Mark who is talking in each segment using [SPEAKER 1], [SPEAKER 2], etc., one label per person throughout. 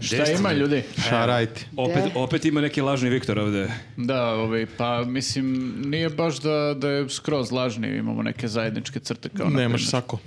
[SPEAKER 1] Šta ima ljudi?
[SPEAKER 2] Šarajti.
[SPEAKER 3] Opet, opet ima neki lažni Viktor ovde.
[SPEAKER 1] Da, ovaj, pa mislim, nije baš da, da je skroz lažni, imamo neke zajedničke crte kao na
[SPEAKER 2] Nemaš
[SPEAKER 1] primjer.
[SPEAKER 2] sako.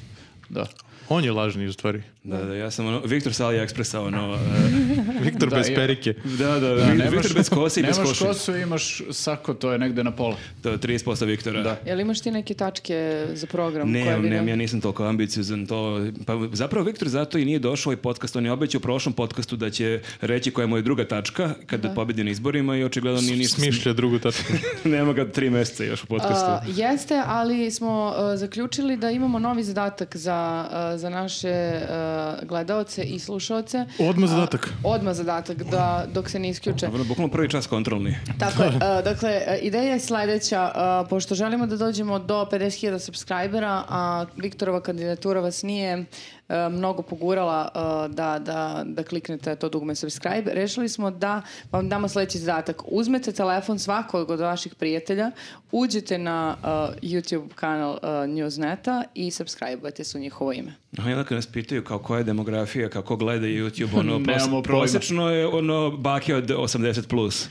[SPEAKER 1] Da.
[SPEAKER 2] On je lažni u stvari.
[SPEAKER 3] Da, da, ja sam ono, Viktor sa AliExpressa, ono,
[SPEAKER 2] Viktor
[SPEAKER 1] Da,
[SPEAKER 2] bez
[SPEAKER 1] ja-
[SPEAKER 2] perike.
[SPEAKER 3] e, da, da,
[SPEAKER 1] Da,
[SPEAKER 3] Vi- Viktor bez kose i bez
[SPEAKER 1] nemaš
[SPEAKER 3] koše.
[SPEAKER 1] kosu, imaš sako, to je negde na pola.
[SPEAKER 3] To je 30% Viktora. Da.
[SPEAKER 4] Jel imaš ti neke tačke za program? koje
[SPEAKER 3] Ne,
[SPEAKER 4] bi nam-
[SPEAKER 3] ne, ja nisam toliko ambiciozan to. Pa zapravo Viktor zato i nije došao ovaj podcast, on je obećao u prošlom podcastu da će reći koja je moja druga tačka kada pobedi na izborima i očigledno nije ništa.
[SPEAKER 2] Smišlja drugu tačku.
[SPEAKER 3] Nema ga tri mjeseca još u podcastu.
[SPEAKER 4] A, jeste, ali smo a, zaključili da imamo novi zadatak za, a, za naše gledalce gledaoce i slušaoce.
[SPEAKER 2] Odmah zadatak.
[SPEAKER 4] Odmah zadatak, da, dok se ne isključe.
[SPEAKER 3] Ono, bukvalno prvi čas kontrolni.
[SPEAKER 4] Tako je, e, dakle, e, ideja je sledeća. e, Pošto želimo da dođemo do 50.000 subscribera, a Viktorova kandidatura vas nije e, mnogo pogurala e, da, da, da kliknete to dugme subscribe, rešili smo da vam damo sledeći zadatak. Uzmete telefon svakog od vaših prijatelja, uđete na e, YouTube kanal e, Newsneta i subscribe-ujete se u njihovo ime.
[SPEAKER 3] A onda kad nas pitaju kao koja je demografija, kako gleda YouTube, ono,
[SPEAKER 1] Nemamo
[SPEAKER 3] pros-
[SPEAKER 1] pojma.
[SPEAKER 3] prosečno je ono bake od 80+. Plus.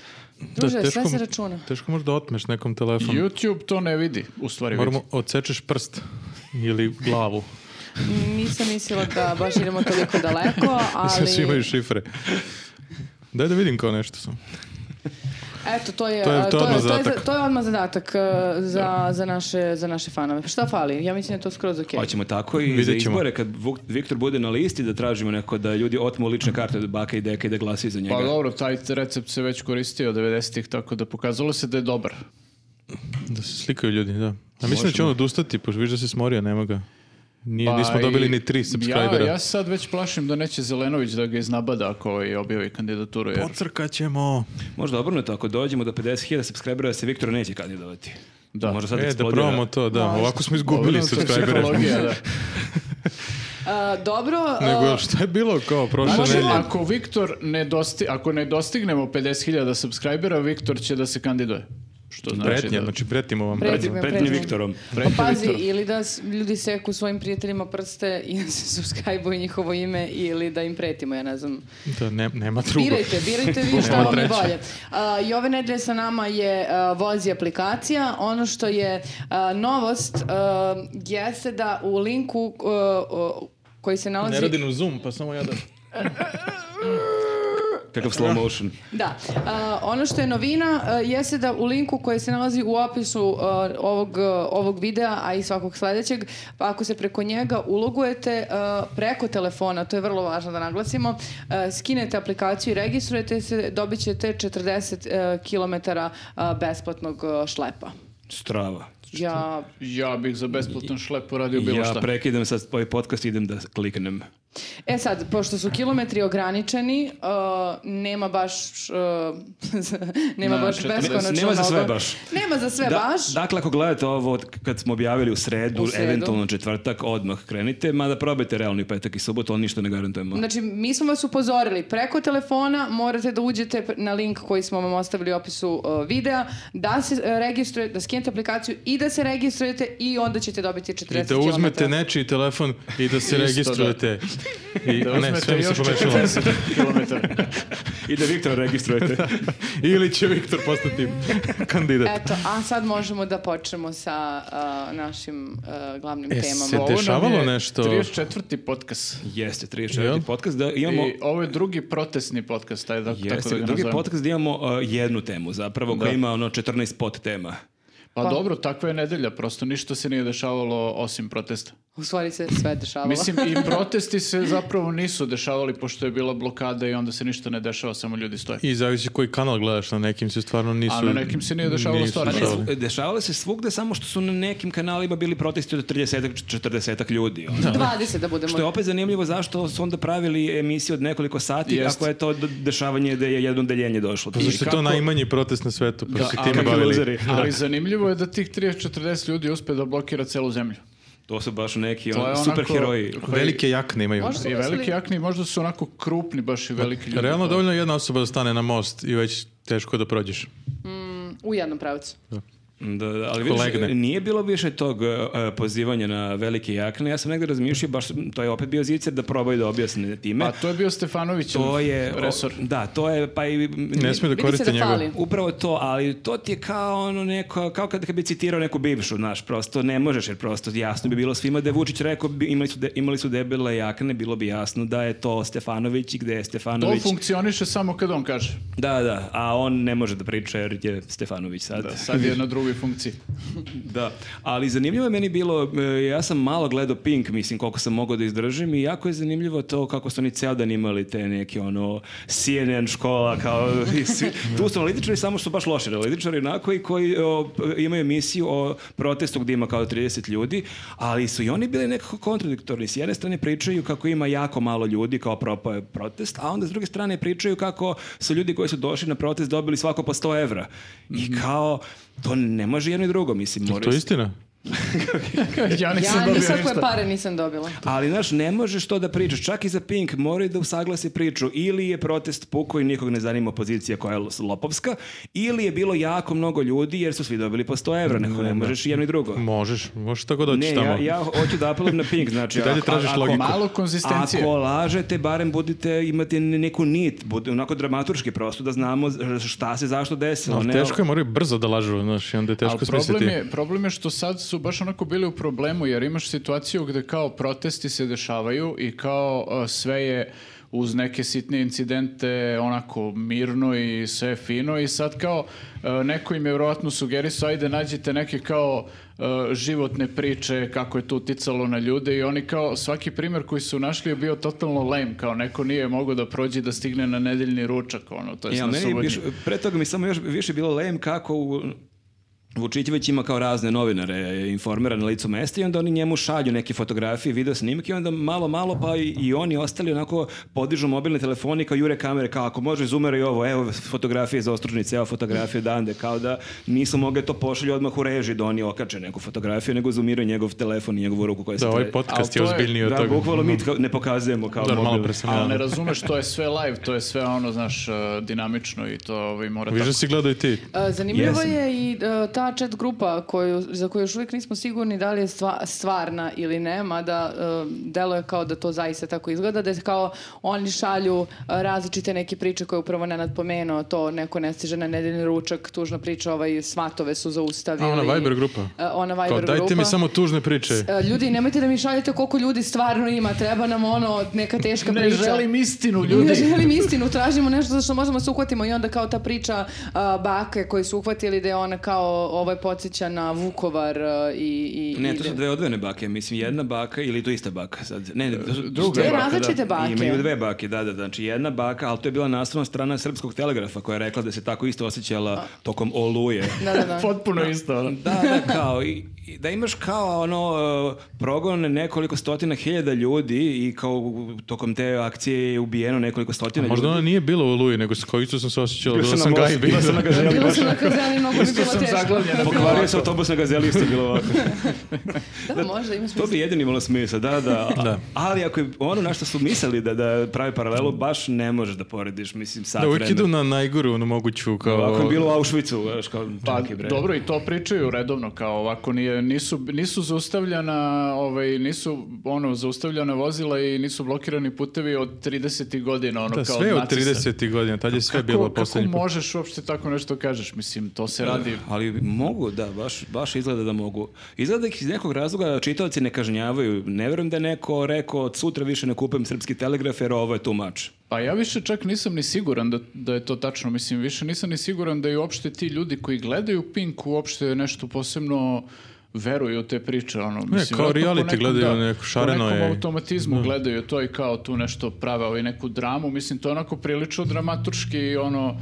[SPEAKER 4] Druže, sve se računa.
[SPEAKER 2] Teško možeš da otmeš nekom telefon.
[SPEAKER 1] YouTube to ne vidi, u stvari
[SPEAKER 2] Moramo odsečeš prst ili glavu.
[SPEAKER 4] Nisam mislila da baš idemo toliko daleko,
[SPEAKER 2] Mislim, svi
[SPEAKER 4] ali
[SPEAKER 2] imaju šifre. Daj da vidim kao nešto sam.
[SPEAKER 4] Eto, to je,
[SPEAKER 2] To je-
[SPEAKER 4] a,
[SPEAKER 2] to je
[SPEAKER 4] to je,
[SPEAKER 2] odmah
[SPEAKER 4] to je,
[SPEAKER 2] zadatak.
[SPEAKER 4] to je odmah zadatak e, za, za, naše, za naše fanove. Šta fali? Ja mislim da je to skroz okej.
[SPEAKER 3] Hoćemo tako i za
[SPEAKER 2] Vidjet ćemo.
[SPEAKER 3] izbore, kad Vuk- Viktor bude na listi, da tražimo neko da ljudi otmu lične karte od baka i deka i da glasaju za njega.
[SPEAKER 1] Pa dobro, taj recept se već koristio od 90-ih, tako da pokazalo se da je dobar.
[SPEAKER 2] Da se slikaju ljudi, da. A mislim da će on odustati, pošto viš da se smorio, nema ga. Nije,
[SPEAKER 1] Pa
[SPEAKER 2] nismo dobili
[SPEAKER 1] i-
[SPEAKER 2] ni tri subscribera.
[SPEAKER 1] Ja, ja se sad već plašim da neće Zelenović da ga iznabada ako ovaj objavi kandidaturu. Jer,
[SPEAKER 2] Pocrkat ćemo.
[SPEAKER 3] Možda obrnuto, ako dođemo do 50.000 subscribera, se Viktor neće kandidovati.
[SPEAKER 1] Da.
[SPEAKER 3] Možda sad
[SPEAKER 2] E, da
[SPEAKER 3] eksplodira.
[SPEAKER 2] probamo to, da.
[SPEAKER 4] Možda.
[SPEAKER 2] Ovako smo
[SPEAKER 1] Dobro, to
[SPEAKER 2] izgubili
[SPEAKER 1] je
[SPEAKER 2] subscribere.
[SPEAKER 1] psihologija, da.
[SPEAKER 4] A, E, dobro, a,
[SPEAKER 2] Nego, šta je bilo kao prošle
[SPEAKER 1] Znači,
[SPEAKER 2] nedelje?
[SPEAKER 1] ako Viktor ne dosti, ako ne dostignemo 50.000 subscribera, Viktor će da se kandiduje. Što znači
[SPEAKER 2] Pretnja,
[SPEAKER 1] da...
[SPEAKER 2] znači pretimo vam.
[SPEAKER 4] Pretnja.
[SPEAKER 3] Pred- pred
[SPEAKER 4] Pređemo.
[SPEAKER 3] Viktorom.
[SPEAKER 4] pa pazi, ili da s- ljudi seku svojim prijateljima prste i da se subscribe njihovo ime ili da im pretimo, ja ne znam.
[SPEAKER 2] Da, ne- nema drugo.
[SPEAKER 4] Birajte, birajte vi šta
[SPEAKER 2] Nema
[SPEAKER 4] vam je
[SPEAKER 2] treće.
[SPEAKER 4] bolje. A, I ove nedelje sa nama je a, vozi aplikacija. Ono što je a, novost a, jeste da u linku a, o, koji se nalazi...
[SPEAKER 2] Ne radim u Zoom, pa samo ja da...
[SPEAKER 3] Kakav slow motion.
[SPEAKER 4] Da. A, ono što je novina a, jeste da u linku koji se nalazi u opisu a, ovog, a, ovog videa, a i svakog sledećeg, pa ako se preko njega ulogujete a, preko telefona, to je vrlo važno da naglasimo, a, skinete aplikaciju i registrujete se, dobit ćete 40 km besplatnog a, šlepa.
[SPEAKER 3] Strava.
[SPEAKER 4] Ja,
[SPEAKER 1] Ja bih za besplatan šlep uradio bilo
[SPEAKER 3] ja
[SPEAKER 1] šta.
[SPEAKER 3] prekidam sad ovaj podcast i idem da kliknem.
[SPEAKER 4] e sad, pošto su kilometri ograničeni, a, nema baš a, nema
[SPEAKER 1] Na
[SPEAKER 4] baš
[SPEAKER 1] 40.
[SPEAKER 4] beskonačno
[SPEAKER 3] Nema za sve
[SPEAKER 4] mnogo.
[SPEAKER 3] baš.
[SPEAKER 4] Nema za sve
[SPEAKER 3] Da,
[SPEAKER 4] baš.
[SPEAKER 3] Dakle, ako gledate ovo od- kad smo objavili u sredu,
[SPEAKER 4] U sredu.
[SPEAKER 3] eventualno četvrtak, odmah krenite, mada probajte realni petak i subot, on ništa ne garantujemo.
[SPEAKER 4] Znači, mi smo vas upozorili. Preko telefona morate da uđete pr- na link koji smo vam ostavili u opisu uh, videa, da se uh, registrujete, da skinete aplikaciju i da se registrujete i onda ćete dobiti 40
[SPEAKER 2] I da
[SPEAKER 4] km.
[SPEAKER 2] uzmete nečiji telefon i da se
[SPEAKER 1] Isto, da.
[SPEAKER 2] registrujete. I,
[SPEAKER 1] Da
[SPEAKER 2] a ne,
[SPEAKER 1] uzmete
[SPEAKER 2] sve mi se
[SPEAKER 1] još Pa
[SPEAKER 2] pomešalo.
[SPEAKER 1] 40 km.
[SPEAKER 3] I da Viktor registrujete.
[SPEAKER 2] Ili će Viktor postati kandidat.
[SPEAKER 4] Eto, a sad možemo da počnemo sa uh, našim uh, glavnim
[SPEAKER 2] E,
[SPEAKER 4] temama.
[SPEAKER 2] se
[SPEAKER 1] Ovo nam je
[SPEAKER 2] dešavalo nešto?
[SPEAKER 1] 34. podcast.
[SPEAKER 3] Jeste,
[SPEAKER 2] Jel?
[SPEAKER 3] 34. podcast da imamo...
[SPEAKER 1] I ovo je drugi protestni podcast, taj, tako, tako
[SPEAKER 3] Jeste,
[SPEAKER 1] da ga
[SPEAKER 3] drugi
[SPEAKER 1] nazovem.
[SPEAKER 3] podcast da imamo uh, jednu temu zapravo koja ima ono 14 pod tema.
[SPEAKER 1] Pa, dobro, takva je nedelja, prosto ništa se nije dešavalo osim protesta.
[SPEAKER 4] U stvari se sve dešavalo.
[SPEAKER 1] Mislim, i protesti se zapravo nisu dešavali pošto je bila blokada i onda se ništa ne dešava, samo ljudi stoje.
[SPEAKER 2] I zavisi koji kanal gledaš, na nekim se stvarno nisu...
[SPEAKER 1] A na nekim se nije dešavalo
[SPEAKER 2] nisu
[SPEAKER 1] stvarno.
[SPEAKER 3] Pa Ne,
[SPEAKER 2] dešavali.
[SPEAKER 3] svu- Dešavalo se svugde samo što su na nekim kanalima bili protesti od 30 40 ljudi. ono.
[SPEAKER 4] 20 da budemo.
[SPEAKER 3] Što je opet zanimljivo zašto su onda pravili emisiju od nekoliko sati,
[SPEAKER 1] Jest.
[SPEAKER 3] ako je to d- dešavanje da je jedno deljenje došlo.
[SPEAKER 2] Pa Zašto je to
[SPEAKER 1] kako-
[SPEAKER 2] najmanji protest na svetu, pa
[SPEAKER 1] Da,
[SPEAKER 2] se
[SPEAKER 1] ali-
[SPEAKER 2] time
[SPEAKER 3] Kakvi
[SPEAKER 2] bavili.
[SPEAKER 3] luzeri.
[SPEAKER 1] Ali zanimljivo je da tih 30-40 ljudi uspe da blokira celu zemlju.
[SPEAKER 3] To su baš neki
[SPEAKER 1] To je
[SPEAKER 3] ono,
[SPEAKER 1] onako-
[SPEAKER 3] superheroji.
[SPEAKER 1] Koji-
[SPEAKER 2] Velike jakne imaju.
[SPEAKER 4] Možda-
[SPEAKER 1] I
[SPEAKER 4] Su
[SPEAKER 1] veliki
[SPEAKER 4] mislili-
[SPEAKER 1] jakni možda su onako krupni baš i veliki ljudi. pa-
[SPEAKER 2] Realno dovoljno je jedna osoba da stane na most i već teško da prođeš.
[SPEAKER 4] U jednom pravcu.
[SPEAKER 3] Da, da, ali vidiš,
[SPEAKER 2] Legne.
[SPEAKER 3] nije bilo više tog e, pozivanja na velike jakne. Ja sam negdje razmišljao, baš to je opet bio zicer da probaju da objasne time.
[SPEAKER 1] A Pa to je bio Stefanović
[SPEAKER 3] to je... o,
[SPEAKER 1] resor.
[SPEAKER 3] Da, to je, pa i...
[SPEAKER 2] Ne smije da
[SPEAKER 4] Vidi se
[SPEAKER 2] koriste
[SPEAKER 4] da
[SPEAKER 2] njegov.
[SPEAKER 4] fali.
[SPEAKER 3] Upravo to, ali to ti je kao ono neko, kao kad bi citirao neku bivšu, znaš, prosto ne možeš, jer prosto jasno bi bilo svima da je Vučić rekao, bi- imali su, de, imali su debele jakne, bilo bi jasno da je to Stefanović i gde je
[SPEAKER 1] To
[SPEAKER 3] Stefanović.
[SPEAKER 1] funkcioniše samo kad on kaže.
[SPEAKER 3] Da, da, a on ne može da priča jer je Stefanović sad.
[SPEAKER 1] Da, sad je na drugoj funkciji.
[SPEAKER 3] Da, ali zanimljivo je meni bilo, e, ja sam malo gledao Pink, mislim, koliko sam mogao da izdržim i jako je zanimljivo to kako su oni ceo dan imali te neke, ono, CNN škola, kao, i svi- tu su analitičari, samo što su baš loši analitičari, onako, i koji o, p- imaju emisiju o protestu gdje ima kao 30 ljudi, ali su i oni bili nekako kontradiktorni. S jedne strane pričaju kako ima jako malo ljudi, kao propao je protest, a onda s druge strane pričaju kako su ljudi koji su došli na protest dobili svako po 100 evra. I kao, to ne može jedno i drugo, mislim,
[SPEAKER 2] Jel To
[SPEAKER 3] moraju
[SPEAKER 2] je istina?
[SPEAKER 1] ja nisam
[SPEAKER 4] Ja
[SPEAKER 1] dobio
[SPEAKER 4] nikakve
[SPEAKER 1] ništa.
[SPEAKER 4] pare nisam dobila.
[SPEAKER 3] Ali, znaš, ne možeš to da pričaš. Čak i za Pink moraju da usaglasi priču. Ili je protest puko i nikog ne zanima opozicija koja je lopovska, ili je bilo jako mnogo ljudi jer su svi dobili po 100 evra. Neko ne možeš i jedno i drugo.
[SPEAKER 2] Možeš, možeš tako da
[SPEAKER 3] Ne,
[SPEAKER 2] hoćeš tamo.
[SPEAKER 3] ja, ja hoću da apelujem na Pink. Znači,
[SPEAKER 2] I dalje
[SPEAKER 3] ako-
[SPEAKER 2] tražiš
[SPEAKER 3] ako-
[SPEAKER 2] logiku.
[SPEAKER 1] Malo konzistencije.
[SPEAKER 3] Ako lažete, barem budite, imate ne- neku nit, bude onako dramaturški prosto da znamo šta se zašto desilo.
[SPEAKER 2] Ali
[SPEAKER 3] ne-
[SPEAKER 2] teško je, moraju brzo da lažu, znaš, i onda je
[SPEAKER 1] Ali
[SPEAKER 2] teško
[SPEAKER 1] problem
[SPEAKER 2] smisliti.
[SPEAKER 1] je, problem je što sad su baš onako bili u problemu, jer imaš situaciju gde kao protesti se dešavaju i kao a, sve je uz neke sitne incidente onako mirno i sve je fino i sad kao a, neko im je vjerojatno sugerisao ajde nađite neke kao a, životne priče kako je to uticalo na ljude i oni kao svaki primjer koji su našli je bio totalno lame kao neko nije mogao da prođe da stigne na nedeljni ručak ono to je
[SPEAKER 2] E,
[SPEAKER 3] Ja,
[SPEAKER 1] na
[SPEAKER 3] E, meni
[SPEAKER 1] subotnji.
[SPEAKER 3] biš, pre toga mi samo još više bilo lem kako u, Vučić već ima kao razne novinare informera na licu mesta i onda oni njemu šalju neke fotografije, video snimke i onda malo, malo pa i, i oni ostali onako podižu mobilne telefone i kao jure kamere, kao ako može zoomeraj ovo, evo fotografije za ostružnice, evo fotografije dande, kao da nisu mogli to pošalju odmah u režiji da oni okače neku fotografiju, nego zoomiraju njegov telefon i njegovu ruku koja se...
[SPEAKER 2] Da, ovaj
[SPEAKER 3] tre-
[SPEAKER 2] podcast je
[SPEAKER 1] Ali to je-
[SPEAKER 2] ozbiljniji od
[SPEAKER 3] Da,
[SPEAKER 2] toga.
[SPEAKER 3] bukvalno mi kao- ne pokazujemo kao
[SPEAKER 2] Da, malo
[SPEAKER 3] mobil.
[SPEAKER 2] pre sam
[SPEAKER 1] Ali ne
[SPEAKER 2] ja-
[SPEAKER 1] razumeš, to je sve live, to je sve ono, znaš, uh, dinamično i to ovaj, mora
[SPEAKER 2] Viš da
[SPEAKER 1] tako.
[SPEAKER 2] Pa si gledao i ti.
[SPEAKER 4] E, Zanimljivo
[SPEAKER 3] Jesam.
[SPEAKER 4] je i e, ta chat grupa koju, za koju još uvijek nismo sigurni da li je stva- stvarna ili ne, mada e, deluje kao da to zaista tako izgleda, da je kao oni šalju e, različite neke priče koje je upravo Nenad pomenuo, to neko ne stiže na nedeljni ručak, tužna priča, ovaj, svatove su
[SPEAKER 2] A
[SPEAKER 4] zaustavili.
[SPEAKER 2] ona Ono, Viber grupa.
[SPEAKER 4] E, ona Viber
[SPEAKER 2] Kao,
[SPEAKER 4] grupa.
[SPEAKER 2] dajte mi samo tužne priče.
[SPEAKER 4] E, Ljudi, nemojte da mi šaljete koliko ljudi stvarno ima, treba nam ono neka teška
[SPEAKER 1] Ne
[SPEAKER 4] priča.
[SPEAKER 1] želim istinu,
[SPEAKER 4] Ne
[SPEAKER 1] ljudi.
[SPEAKER 4] želim istinu, tražimo nešto za što možemo da se uhvatimo i onda kao ta priča a, bake koju su uhvatili da je ona kao ovo je podsjeća na Vukovar a, i, i...
[SPEAKER 3] Ne,
[SPEAKER 4] i
[SPEAKER 3] to
[SPEAKER 4] da-
[SPEAKER 3] su dve odvojene bake, mislim jedna baka ili to ista baka sad. Ne, ne, to su
[SPEAKER 1] Druga
[SPEAKER 3] dve
[SPEAKER 1] je.
[SPEAKER 3] bake,
[SPEAKER 4] Različite
[SPEAKER 3] da.
[SPEAKER 4] bake.
[SPEAKER 3] Imaju dve bake, da, da, znači jedna baka, ali to je bila naslovna strana srpskog telegrafa koja je rekla da se tako isto osjećala tokom oluje.
[SPEAKER 4] Da, da, da.
[SPEAKER 1] Potpuno isto. ono.
[SPEAKER 3] Da, da, kao, i, i da imaš kao ono, e, progon nekoliko stotina hiljada ljudi i kao u- tokom te akcije je ubijeno nekoliko stotina
[SPEAKER 2] Možda
[SPEAKER 3] ljudi.
[SPEAKER 2] ona nije bila u Luji, nego s kojicu sam se osjećala, bila sam
[SPEAKER 3] na voz-
[SPEAKER 2] gajbi.
[SPEAKER 3] bila sam na gazeli,
[SPEAKER 4] Bila
[SPEAKER 3] baš.
[SPEAKER 4] sam na kazani, mnogo bi
[SPEAKER 1] Isto
[SPEAKER 4] bilo
[SPEAKER 1] sam
[SPEAKER 4] teško.
[SPEAKER 1] zaglavljen.
[SPEAKER 3] Pokvario se autobus na gazeli, isto je bilo ovako.
[SPEAKER 4] Da, možda ima
[SPEAKER 3] To
[SPEAKER 4] smisla.
[SPEAKER 3] bi jedino imalo smisla, da, da.
[SPEAKER 2] Da. Mm.
[SPEAKER 3] Ali ako je ono na što su mislili da, da pravi paralelu, baš ne možeš da porediš, mislim, sad
[SPEAKER 2] Da, uvijek
[SPEAKER 3] vremena.
[SPEAKER 2] idu na najgoru, ono moguću, kao...
[SPEAKER 3] Ovako je bilo u Auschwitzu, znaš, kao
[SPEAKER 1] Pa,
[SPEAKER 3] čekaj bre.
[SPEAKER 1] dobro, i to pričaju redovno, kao ovako, nije, nisu, nisu zaustavljana, ovaj, nisu, ono, zaustavljana vozila i nisu blokirani putevi od 30. godina, ono,
[SPEAKER 2] Da,
[SPEAKER 1] kao
[SPEAKER 2] sve od
[SPEAKER 1] nacista.
[SPEAKER 2] 30. godina, tad je sve
[SPEAKER 1] Kako-
[SPEAKER 2] bilo posljednji
[SPEAKER 1] Kako
[SPEAKER 2] put.
[SPEAKER 1] možeš uopšte tako nešto kažeš? Mislim, to se radi
[SPEAKER 3] Ali mogu, da, baš, baš izgleda da mogu. Izgleda da ih iz nekog razloga čitaoci ne kažnjavaju. Ne vjerujem da je neko rekao od sutra više ne kupujem srpski telegraf jer ovo je tumač.
[SPEAKER 1] Pa ja više čak nisam ni siguran da, da je to tačno. Mislim, više nisam ni siguran da i uopšte ti ljudi koji gledaju Pink uopšte nešto posebno veruju u te priče. Ono, mislim,
[SPEAKER 2] kao
[SPEAKER 1] vjerojatno po
[SPEAKER 2] reality gledaju neko, šareno
[SPEAKER 1] Po nekom
[SPEAKER 2] je.
[SPEAKER 1] automatizmu gledaju to i kao tu nešto prave, ovaj neku dramu. Mislim, to je onako prilično dramaturški ono,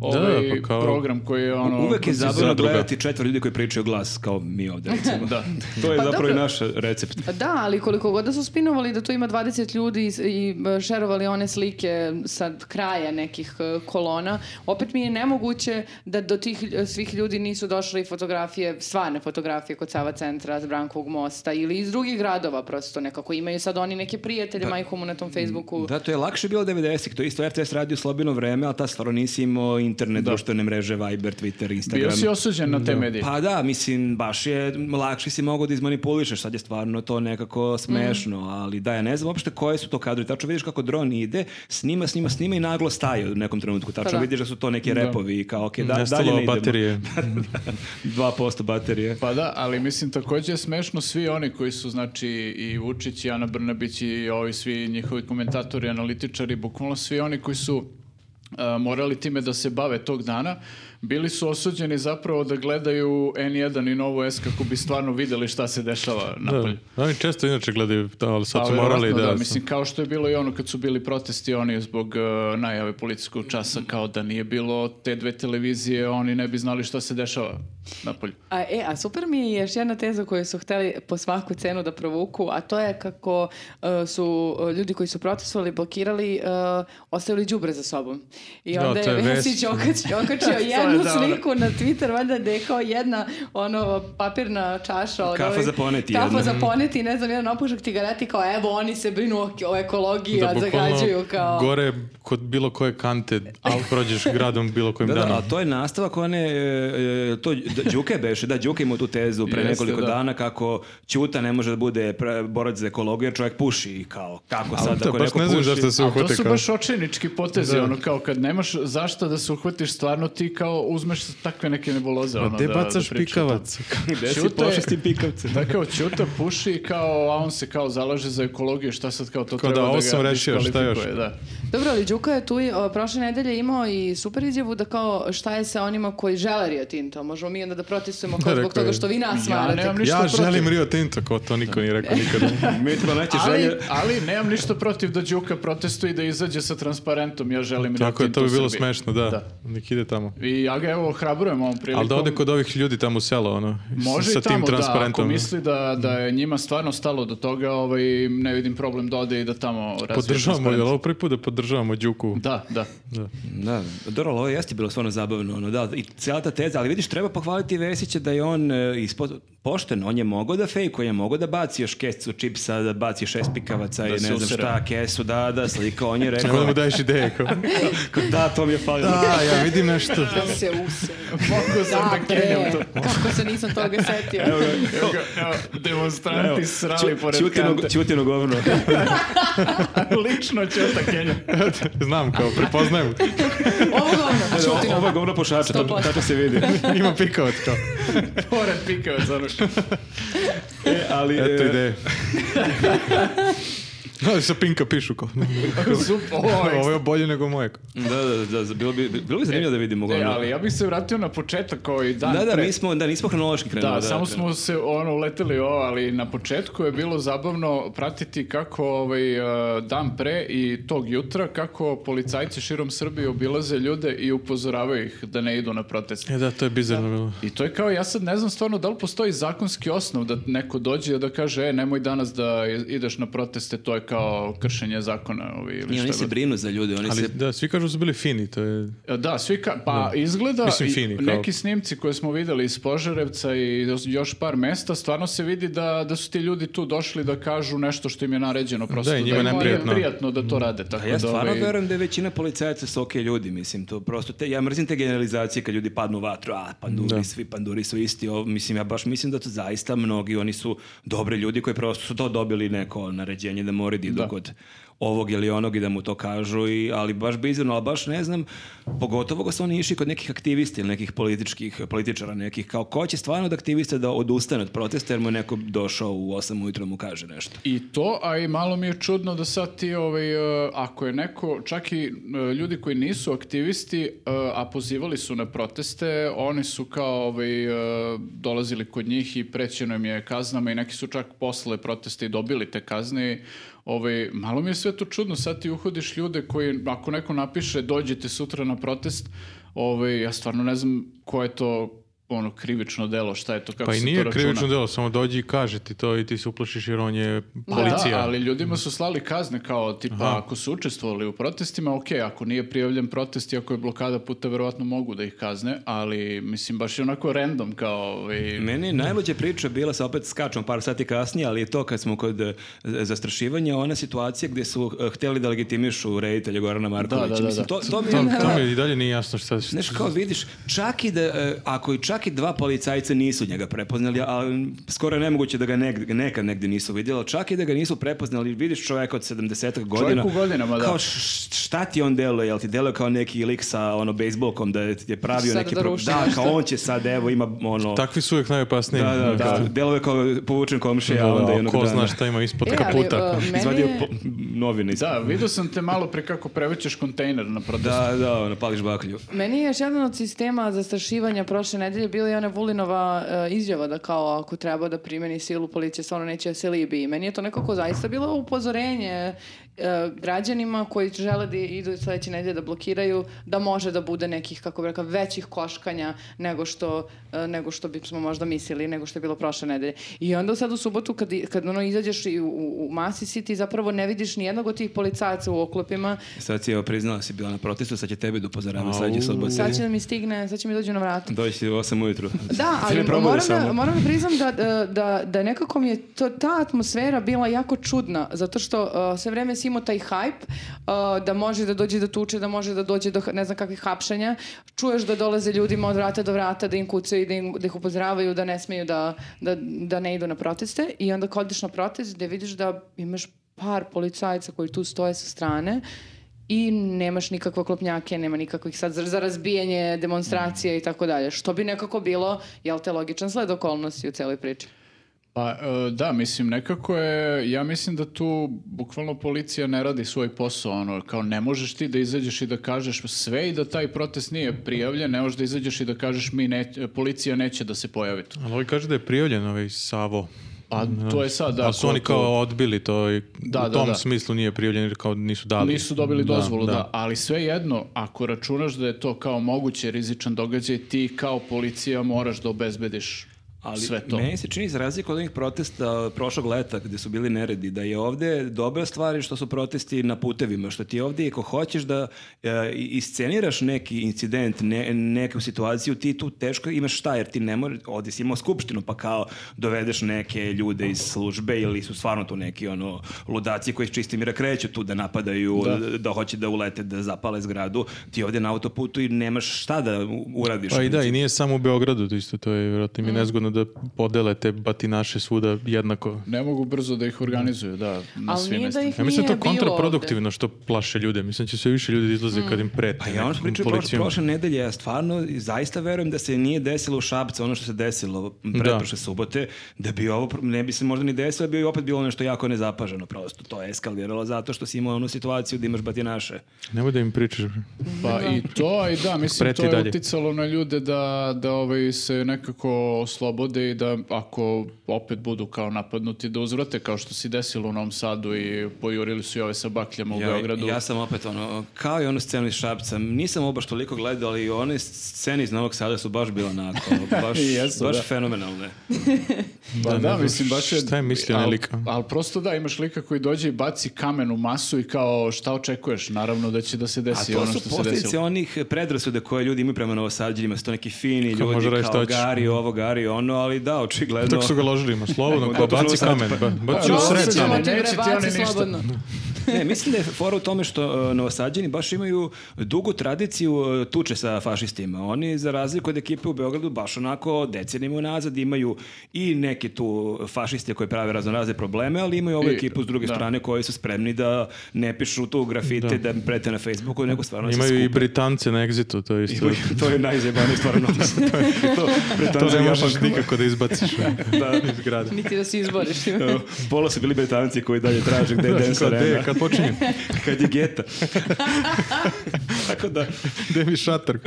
[SPEAKER 1] ovaj
[SPEAKER 2] da, pa kao-
[SPEAKER 1] program koji je ono...
[SPEAKER 3] Uvek je zabavno
[SPEAKER 2] zadruga.
[SPEAKER 3] gledati četvr ljudi koji pričaju glas, kao mi ovdje, recimo. da. To je
[SPEAKER 4] Pa
[SPEAKER 3] zapravo i
[SPEAKER 4] dobro.
[SPEAKER 3] naš recept.
[SPEAKER 4] Da, ali koliko god da su spinovali da tu ima 20 ljudi i, i e, šerovali one slike sa kraja nekih e, kolona, opet mi je nemoguće da do tih e, svih ljudi nisu došle i fotografije, stvarne fotografije kod Sava centra, s Brankovog mosta ili iz drugih gradova prosto nekako. Imaju sad oni neke prijatelje majkomu na tom Facebooku.
[SPEAKER 3] Da, to je lakše bilo 90-ih, to je isto RTS radio slobino vreme, ali ta stvarno nisi imao internet, društvene mreže, Viber, Twitter, Instagram.
[SPEAKER 1] Bio si osuđen na te medije.
[SPEAKER 3] Pa da, mislim, baš je, lakše si mogao da izmanipulišeš, sad je stvarno to nekako smešno, ali da, ja ne znam uopšte koje su to kadrovi. Tačno vidiš kako dron ide, snima, snima, snima i naglo staje u nekom trenutku. Tačno
[SPEAKER 4] Pa da.
[SPEAKER 3] vidiš da su to neki repovi i kao, ok, da, dalje ne
[SPEAKER 2] Nestalo
[SPEAKER 3] idemo.
[SPEAKER 2] baterije.
[SPEAKER 3] 2% baterije.
[SPEAKER 1] Pa da, ali mislim takođe je smešno svi oni koji su, znači, i Vučić i Ana Brnabić i ovi svi njihovi komentatori, analitičari, bukvalno svi oni koji su e, morali time da se bave tog dana, bili su osuđeni zapravo da gledaju N1 i Novu S kako bi stvarno videli šta se dešava
[SPEAKER 2] Da,
[SPEAKER 1] napolje.
[SPEAKER 2] oni često inače gledaju, da, ali sad
[SPEAKER 1] Pa,
[SPEAKER 2] su morali da...
[SPEAKER 1] verovatno Mislim, kao što je bilo i ono kad su bili protesti oni zbog e, najave policijskog časa, kao da nije bilo te dve televizije, oni ne bi znali šta se dešava napolju.
[SPEAKER 4] A, e, a super mi je još jedna teza koju su hteli po svaku cenu da provuku, a to je kako e, su e, ljudi koji su protestovali, blokirali, e, ostavili đubre za sobom. I
[SPEAKER 2] Da,
[SPEAKER 4] onda
[SPEAKER 2] to
[SPEAKER 4] je
[SPEAKER 2] je vest.
[SPEAKER 4] Vesić okačio,
[SPEAKER 1] To je
[SPEAKER 4] jednu
[SPEAKER 1] dobro.
[SPEAKER 4] sliku na Twitter, valjda da je kao jedna ono, papirna čaša. Od
[SPEAKER 3] Kafa
[SPEAKER 4] ovih-
[SPEAKER 3] za poneti
[SPEAKER 4] Kafa
[SPEAKER 3] jedna.
[SPEAKER 4] za poneti, ne znam, jedan opušak tigareti kao evo oni se brinu o, o ekologiji,
[SPEAKER 2] da
[SPEAKER 4] a
[SPEAKER 2] bukvalno
[SPEAKER 4] zagađuju kao...
[SPEAKER 2] gore kod bilo koje kante, a prođeš gradom bilo kojim
[SPEAKER 3] Da, da,
[SPEAKER 2] danom.
[SPEAKER 3] a to je nastavak one, e, e, to da, Đuke beše, da, Đuke ima tu tezu pre
[SPEAKER 1] Jeste,
[SPEAKER 3] nekoliko
[SPEAKER 1] da.
[SPEAKER 3] dana kako Ćuta ne može da bude pra- borac za ekologiju jer čovjek puši i kao, kako sad
[SPEAKER 2] Da,
[SPEAKER 3] ako
[SPEAKER 2] baš
[SPEAKER 3] neko
[SPEAKER 2] ne znam
[SPEAKER 3] puši?
[SPEAKER 2] zašto se
[SPEAKER 1] Ali to
[SPEAKER 2] uhvate
[SPEAKER 1] su
[SPEAKER 2] kao-
[SPEAKER 1] baš očajnički potezi,
[SPEAKER 2] Da.
[SPEAKER 1] ono kao kad nemaš zašta da se uhvatiš, stvarno ti kao uzmeš takve neke nebuloze.
[SPEAKER 2] Pa
[SPEAKER 1] ono,
[SPEAKER 2] gde
[SPEAKER 1] da-
[SPEAKER 2] bacaš
[SPEAKER 1] da pričaš
[SPEAKER 2] pikavac?
[SPEAKER 1] o tome.
[SPEAKER 3] Gde si
[SPEAKER 1] Ćute-
[SPEAKER 3] pošao s tim pikavcem?
[SPEAKER 1] Da kao Ćuta puši i kao, a on se kao zalaže za ekologiju, šta sad kao to
[SPEAKER 2] Kao da,
[SPEAKER 1] treba
[SPEAKER 2] ovo
[SPEAKER 1] da,
[SPEAKER 2] sam
[SPEAKER 1] ga
[SPEAKER 2] rešio, šta još?
[SPEAKER 1] diskvalifikuje, Da.
[SPEAKER 4] Dobro, ali Đuka je tu i, o, prošle nedelje imao i super izjavu da kao šta je sa onima koji žele Rio Tinto. Možemo mi onda da protestujemo kao
[SPEAKER 2] Da,
[SPEAKER 4] zbog
[SPEAKER 2] rekao
[SPEAKER 4] toga
[SPEAKER 2] je.
[SPEAKER 4] što vi nas
[SPEAKER 1] Ja
[SPEAKER 4] varate.
[SPEAKER 1] nemam ništa
[SPEAKER 2] Ja
[SPEAKER 1] protiv.
[SPEAKER 2] želim Rio Tinto, kao to niko nije rekao nikada.
[SPEAKER 3] Mi smo najče
[SPEAKER 1] Ali,
[SPEAKER 3] želje-
[SPEAKER 1] ali nemam ništa protiv da Đuka protestuje i da izađe sa transparentom, ja želim
[SPEAKER 2] Tako je,
[SPEAKER 1] Rio
[SPEAKER 2] to
[SPEAKER 1] Tinto
[SPEAKER 2] bi bilo
[SPEAKER 1] u Srbiji.
[SPEAKER 2] smešno, da.
[SPEAKER 1] Da.
[SPEAKER 2] Nek ide tamo.
[SPEAKER 1] I ja ga evo ohrabrujem ovom prilikom.
[SPEAKER 2] Ali da ode kod ovih ljudi tamo u selo, ono,
[SPEAKER 1] Može
[SPEAKER 2] sa
[SPEAKER 1] i tamo,
[SPEAKER 2] tim
[SPEAKER 1] da, ako
[SPEAKER 2] transparentom.
[SPEAKER 1] misli da, da je njima stvarno stalo do toga, ovaj, ne vidim problem da ode i da tamo razvije
[SPEAKER 2] Podržavamo,
[SPEAKER 1] transparent.
[SPEAKER 2] jel ovo prvi put da podržavamo Đuku?
[SPEAKER 1] Da, da.
[SPEAKER 3] Da, dobro, ali ovo jeste bilo stvarno zabavno, ono, da, i cijela ta teza, ali vidiš, treba pohvaliti Vesića da je on e, ispo- pošten, on je mogao da fejkuje, je mogao da baci još kesicu čipsa, da baci šest pikavaca i ne
[SPEAKER 1] se
[SPEAKER 3] znam
[SPEAKER 1] usere.
[SPEAKER 3] šta, kesu, da, da, slika, on je
[SPEAKER 2] Nemoj da
[SPEAKER 3] rekao,
[SPEAKER 2] mu daješ ideje, kao.
[SPEAKER 3] Kao, da, to mi je falilo.
[SPEAKER 2] Da, ja vidim nešto.
[SPEAKER 4] Da se usem.
[SPEAKER 1] Mogu sam
[SPEAKER 4] Da,
[SPEAKER 1] da
[SPEAKER 4] bre,
[SPEAKER 1] kenjam to.
[SPEAKER 4] e, kako se nisam toga setio.
[SPEAKER 1] Evo ga, evo, demonstranti
[SPEAKER 3] Evo,
[SPEAKER 1] srali
[SPEAKER 3] Ću-
[SPEAKER 1] pored
[SPEAKER 3] Ćutino-
[SPEAKER 1] kante.
[SPEAKER 3] Ćutino govno.
[SPEAKER 1] Lično ću da kenjam.
[SPEAKER 2] Znam, kao, prepoznajem.
[SPEAKER 4] Ovo ono, govno, Ćutino.
[SPEAKER 3] Ovo je govno pušača, to,
[SPEAKER 4] 100%.
[SPEAKER 3] tačno se vidi.
[SPEAKER 2] Ima pikavac, kao.
[SPEAKER 1] Pored pikavac, ono.
[SPEAKER 3] E, ali,
[SPEAKER 2] Eto
[SPEAKER 3] e,
[SPEAKER 2] ideje. No, sa Pinka pišu, kao.
[SPEAKER 1] Super, ovo je
[SPEAKER 2] Ovo je bolje nego moje. kao.
[SPEAKER 3] da, da, da, da, bilo bi, bilo bi zanimljivo da vidimo
[SPEAKER 1] E,
[SPEAKER 3] govno.
[SPEAKER 1] ali ja bih se vratio na početak ovaj dan
[SPEAKER 3] Da, da,
[SPEAKER 1] pre.
[SPEAKER 3] mi smo, da, nismo hronološki
[SPEAKER 1] Da,
[SPEAKER 3] krenuli.
[SPEAKER 1] samo smo se ono uleteli u ovo, ali na početku je bilo zabavno pratiti kako ovaj e, dan pre i tog jutra kako policajci širom Srbije obilaze ljude i upozoravaju ih da ne idu na protest.
[SPEAKER 2] E da, to je bizarno bilo.
[SPEAKER 1] I to je kao, ja sad ne znam stvarno da li postoji zakonski osnov da neko dođe da kaže, e, nemoj danas da ideš na proteste, to je kao kršenje zakona. Ovaj, ili
[SPEAKER 3] I
[SPEAKER 1] šta
[SPEAKER 3] oni se
[SPEAKER 1] god.
[SPEAKER 3] brinu za ljude, oni
[SPEAKER 2] Ali
[SPEAKER 3] se
[SPEAKER 2] da, svi kažu da su bili fini, to je...
[SPEAKER 1] Da, svi ka- pa izgleda
[SPEAKER 2] Mislim,
[SPEAKER 1] i-
[SPEAKER 2] fini, kao-
[SPEAKER 1] neki snimci koje smo videli iz Požarevca i još- još par mesta, stvarno se vidi da, da su ti ljudi tu došli da kažu nešto što im je naređeno. Prosto,
[SPEAKER 2] Da, i njima
[SPEAKER 1] im je
[SPEAKER 2] neprijatno.
[SPEAKER 1] prijatno da to rade. Tako
[SPEAKER 3] Pa ja
[SPEAKER 1] da,
[SPEAKER 3] stvarno
[SPEAKER 1] ovaj,
[SPEAKER 3] verujem da je većina policajaca su okej ljudi, mislim, to prosto, te, ja mrzim te generalizacije kad ljudi padnu u vatru, a panduri,
[SPEAKER 2] Da.
[SPEAKER 3] svi panduri su isti, ovo, mislim, ja baš mislim da su zaista mnogi, oni su dobre ljudi koji prosto su to dobili neko naređenje da moraju da idu
[SPEAKER 1] Da.
[SPEAKER 3] kod ovog ili onog i da mu to kažu, i, ali baš bizarno, ali baš ne znam, pogotovo kad su oni išli kod nekih aktivista ili nekih političkih, političara nekih, kao ko će stvarno od aktivista da odustane od protesta jer mu je neko došao u 8 ujutro da mu kaže nešto.
[SPEAKER 1] I to, a i malo mi je čudno da sad ti, ovaj, e, ako je neko, čak i e, ljudi koji nisu aktivisti, e, a pozivali su na proteste, oni su kao ovaj, e, dolazili kod njih i prećeno im je kaznama i neki su čak posle proteste i dobili te kazne. i, Ovaj, malo mi je sve to čudno, sad ti uhodiš ljude koji, ako neko napiše dođite sutra na protest, ovaj, ja stvarno ne znam ko je to ono krivično delo, šta je to, kako
[SPEAKER 2] Pa i
[SPEAKER 1] se to
[SPEAKER 2] nije
[SPEAKER 1] računa?
[SPEAKER 2] krivično delo, samo dođi i kaže ti to i ti se uplašiš jer on je
[SPEAKER 1] Pa
[SPEAKER 2] policija.
[SPEAKER 1] Da, ali ljudima su slali kazne kao tipa ako su učestvovali u protestima, ok, ako nije prijavljen protest i ako je blokada puta, verovatno mogu da ih kazne, ali mislim baš je onako random kao... Ovaj,
[SPEAKER 3] Meni je najluđa priča bila, sa opet skačemo par sati kasnije, ali je to kad smo kod e, zastrašivanja, ona situacija gdje su e, htjeli da legitimišu reditelja Gorana Markovića.
[SPEAKER 1] da, da,
[SPEAKER 3] Mislim,
[SPEAKER 1] da.
[SPEAKER 3] to, to mi je
[SPEAKER 2] To,
[SPEAKER 3] kao-
[SPEAKER 2] to mi i dalje nije jasno šta...
[SPEAKER 3] Znaš, kao vidiš, čak i da, e, ako i čak i dva policajca nisu njega prepoznali, a m, skoro je nemoguće da ga negd- nekad negdje nisu vidjeli, ali čak i da ga nisu prepoznali, vidiš čovjeka od 70 godina.
[SPEAKER 1] u godinama, da.
[SPEAKER 3] Kao š- šta ti on deluje, jel ti deluje kao neki lik sa ono bejsbolkom da je je pravio
[SPEAKER 4] Sad
[SPEAKER 3] neki...
[SPEAKER 4] da
[SPEAKER 3] pro-
[SPEAKER 4] ruši
[SPEAKER 3] da,
[SPEAKER 4] nešto.
[SPEAKER 3] kao on će sad, evo, ima ono...
[SPEAKER 2] Takvi su uvijek najopasniji. Ono,
[SPEAKER 3] Da, da, da. Deluje kao povučen komšija, a onda jednog
[SPEAKER 2] ko
[SPEAKER 3] dana
[SPEAKER 2] zna šta ima ispod
[SPEAKER 4] E, ali,
[SPEAKER 2] kaputa.
[SPEAKER 4] e, meni
[SPEAKER 3] izvadio
[SPEAKER 4] je-
[SPEAKER 3] po- novine iz...
[SPEAKER 1] Da, vidio sam te malo pre kako prevećeš kontejner na protestu.
[SPEAKER 3] da, da, ono, pališ baklju.
[SPEAKER 4] Meni je još jedan od sistema zastrašivanja prošle nedelje bila i ona Vulinova e, izjava da kao ako treba da primeni silu policija stvarno neće da se libi. I meni je to nekako zaista bilo upozorenje e, građanima koji žele da idu sledeće nedelje da blokiraju da može da bude nekih kako bi rekla većih koškanja nego što e, nego što bismo možda mislili nego što je bilo prošle nedelje. I onda sad u subotu kad, i- kad ono izađeš i u, u, u masi si ti zapravo ne vidiš ni jednog od tih policajaca u oklopima
[SPEAKER 3] Sad si, evo, priznala si bila na protestu, sad će tebe da upozoravam sledeće subote.
[SPEAKER 4] Sad će da mi stigne, sad će mi dođu na vrata.
[SPEAKER 3] Doći u 8 ujutru.
[SPEAKER 4] Da, ali
[SPEAKER 3] Ili probaj
[SPEAKER 4] moram da,
[SPEAKER 3] samo.
[SPEAKER 4] moram da priznam da, da, da, da nekako mi je to, ta atmosfera bila jako čudna, zato što uh, sve vreme si imao taj hype, uh, da može da dođe do tuče, da može da dođe do h- ne znam kakvih hapšenja, čuješ da dolaze ljudima od vrata do vrata, da im kucaju i da, im, da ih upozoravaju, da ne smeju da, da, da ne idu na proteste i onda kad odiš na protest gde vidiš da imaš par policajaca koji tu stoje sa strane i nemaš nikakve oklopnjake, nema nikakvih sad za, za razbijanje
[SPEAKER 2] Mm.
[SPEAKER 4] demonstracije i tako dalje. Što bi nekako bilo, jel te, logičan sled okolnosti u celoj priči.
[SPEAKER 1] Pa e, da, mislim nekako je, ja mislim da tu bukvalno policija ne radi svoj posao, ono kao ne možeš ti da izađeš i da kažeš sve i da taj protest nije prijavljen, ne možeš da izađeš i da kažeš mi ne, policija neće da se pojavi tu.
[SPEAKER 2] Ali ovi kaže da je prijavljen ovaj Savo.
[SPEAKER 1] Pa to je sad, da.
[SPEAKER 2] Ali su
[SPEAKER 1] ko
[SPEAKER 2] oni
[SPEAKER 1] to-
[SPEAKER 2] kao odbili to i
[SPEAKER 1] Da,
[SPEAKER 2] u
[SPEAKER 1] da,
[SPEAKER 2] tom
[SPEAKER 1] da.
[SPEAKER 2] smislu nije prijavljen jer kao nisu dali.
[SPEAKER 1] Nisu dobili dozvolu, da, Ali sve jedno, ako računaš da je to kao moguće rizičan događaj, ti kao policija moraš da obezbediš
[SPEAKER 3] Ali
[SPEAKER 1] sve to.
[SPEAKER 3] meni se čini za razliku od onih protesta prošlog leta gdje su bili neredi, da je ovdje dobra stvar je što su protesti na putevima, što ti ovdje ako hoćeš da e, isceniraš neki incident, ne, neku situaciju, ti tu teško imaš šta, jer ti ne možeš, ovdje si imao skupštinu, pa kao dovedeš neke ljude iz službe ili su stvarno tu neki ono ludaci koji iz Čistimira kreću tu da napadaju, da, hoće da ulete, da zapale zgradu, ti ovdje na autoputu i nemaš šta da u- uradiš.
[SPEAKER 2] Pa i da, i nije samo u Beogradu to isto, to je vjerojatno mi
[SPEAKER 1] Mm.
[SPEAKER 2] nezgodno da podele te batinaše svuda jednako.
[SPEAKER 1] Ne mogu brzo da ih organizuju, da, na
[SPEAKER 4] Ali
[SPEAKER 1] svim
[SPEAKER 4] nije da
[SPEAKER 1] mestima.
[SPEAKER 4] ih
[SPEAKER 2] Ja mislim da
[SPEAKER 4] nije
[SPEAKER 2] je to
[SPEAKER 4] bilo
[SPEAKER 2] kontraproduktivno što plaše ljude. Mislim da će sve više ljudi da izlaze kad im prete.
[SPEAKER 3] Pa ja ono što
[SPEAKER 2] nekom
[SPEAKER 3] pričam prošle,
[SPEAKER 2] policijom.
[SPEAKER 3] prošle nedelje, ja stvarno i zaista verujem da se nije desilo u Šapcu ono što se desilo pretprošle subote, da bi ovo pro- ne bi se možda ni desilo, bi opet bilo nešto jako nezapaženo prosto. To je eskaliralo zato što si imao onu situaciju da imaš batinaše.
[SPEAKER 2] Nemoj da im pričaš.
[SPEAKER 1] Pa i to, a i da, mislim,
[SPEAKER 2] Preti
[SPEAKER 1] to je
[SPEAKER 2] dalje.
[SPEAKER 1] uticalo na ljude da, da ovaj, se nekako oslobode i da ako opet budu kao napadnuti da uzvrate, kao što se desilo u Novom Sadu i pojurili su i ove sa bakljama u Beogradu.
[SPEAKER 3] ja sam opet ono, kao i onu scenu iz Šapca, nisam ovo baš toliko gledao, ali one scene iz Novog Sada su baš bila onako, ono, baš,
[SPEAKER 1] Jesu,
[SPEAKER 3] baš
[SPEAKER 1] da.
[SPEAKER 3] fenomenalne.
[SPEAKER 1] Pa
[SPEAKER 2] Da,
[SPEAKER 1] da,
[SPEAKER 2] ne znam
[SPEAKER 1] mislim, baš je...
[SPEAKER 2] šta je mislio na
[SPEAKER 1] al-
[SPEAKER 2] lika.
[SPEAKER 1] al prosto da, imaš lika koji dođe i baci kamen u masu i kao šta očekuješ? Naravno da će da se
[SPEAKER 3] A
[SPEAKER 1] desi
[SPEAKER 3] to
[SPEAKER 1] ono
[SPEAKER 3] su
[SPEAKER 1] što se
[SPEAKER 3] posljedice
[SPEAKER 1] desilo.
[SPEAKER 3] onih predrasuda koje ljudi imaju prema novosadđenjima, su to neki fini
[SPEAKER 2] Kao može
[SPEAKER 3] ljudi,
[SPEAKER 2] raditi šta
[SPEAKER 3] kao
[SPEAKER 2] hoćeš.
[SPEAKER 3] gari ovo, gari ono, ali da, očigledno...
[SPEAKER 2] Pa Tako su ga ložili, ma slobodno,
[SPEAKER 3] Nemoj
[SPEAKER 2] kao
[SPEAKER 3] da
[SPEAKER 2] baci
[SPEAKER 3] uzmem
[SPEAKER 2] kamen,
[SPEAKER 3] sad,
[SPEAKER 2] ba, baci u
[SPEAKER 4] Prosto
[SPEAKER 2] sred
[SPEAKER 1] srećan
[SPEAKER 2] samo.
[SPEAKER 4] ćemo
[SPEAKER 1] je.
[SPEAKER 4] ti, bre,
[SPEAKER 1] Neće ti
[SPEAKER 4] baci
[SPEAKER 1] oni ništa.
[SPEAKER 4] slobodno.
[SPEAKER 3] Ne, mislim da je fora u tome što e, Novosađani baš imaju dugu tradiciju e, tuče sa fašistima. Oni, za razliku od ekipe u Beogradu, baš onako decenijima unazad imaju i neke tu fašiste koji prave raznorazne probleme, ali imaju ovu
[SPEAKER 1] I-
[SPEAKER 3] ekipu s druge
[SPEAKER 1] da.
[SPEAKER 3] strane koji su spremni da ne pišu tu grafite, da, im prete na Facebooku, nego stvarno se
[SPEAKER 2] Imaju i
[SPEAKER 3] skupe.
[SPEAKER 2] Britance na egzitu, to je isto.
[SPEAKER 3] to je najzajbanija stvar u Novom Sadu. to, je- to,
[SPEAKER 2] To
[SPEAKER 3] Britanci
[SPEAKER 2] ne
[SPEAKER 3] i
[SPEAKER 2] možeš
[SPEAKER 3] Japanci.
[SPEAKER 2] nikako da izbaciš
[SPEAKER 3] Da.
[SPEAKER 2] iz grada.
[SPEAKER 4] Niti da se izboriš.
[SPEAKER 3] E, Pola su bili Britanci koji dalje traže gde je Dance
[SPEAKER 2] Kao, gde
[SPEAKER 3] Arena.
[SPEAKER 2] je, kad počinje?
[SPEAKER 3] kad je geta. Tako da,
[SPEAKER 2] Gde mi šator?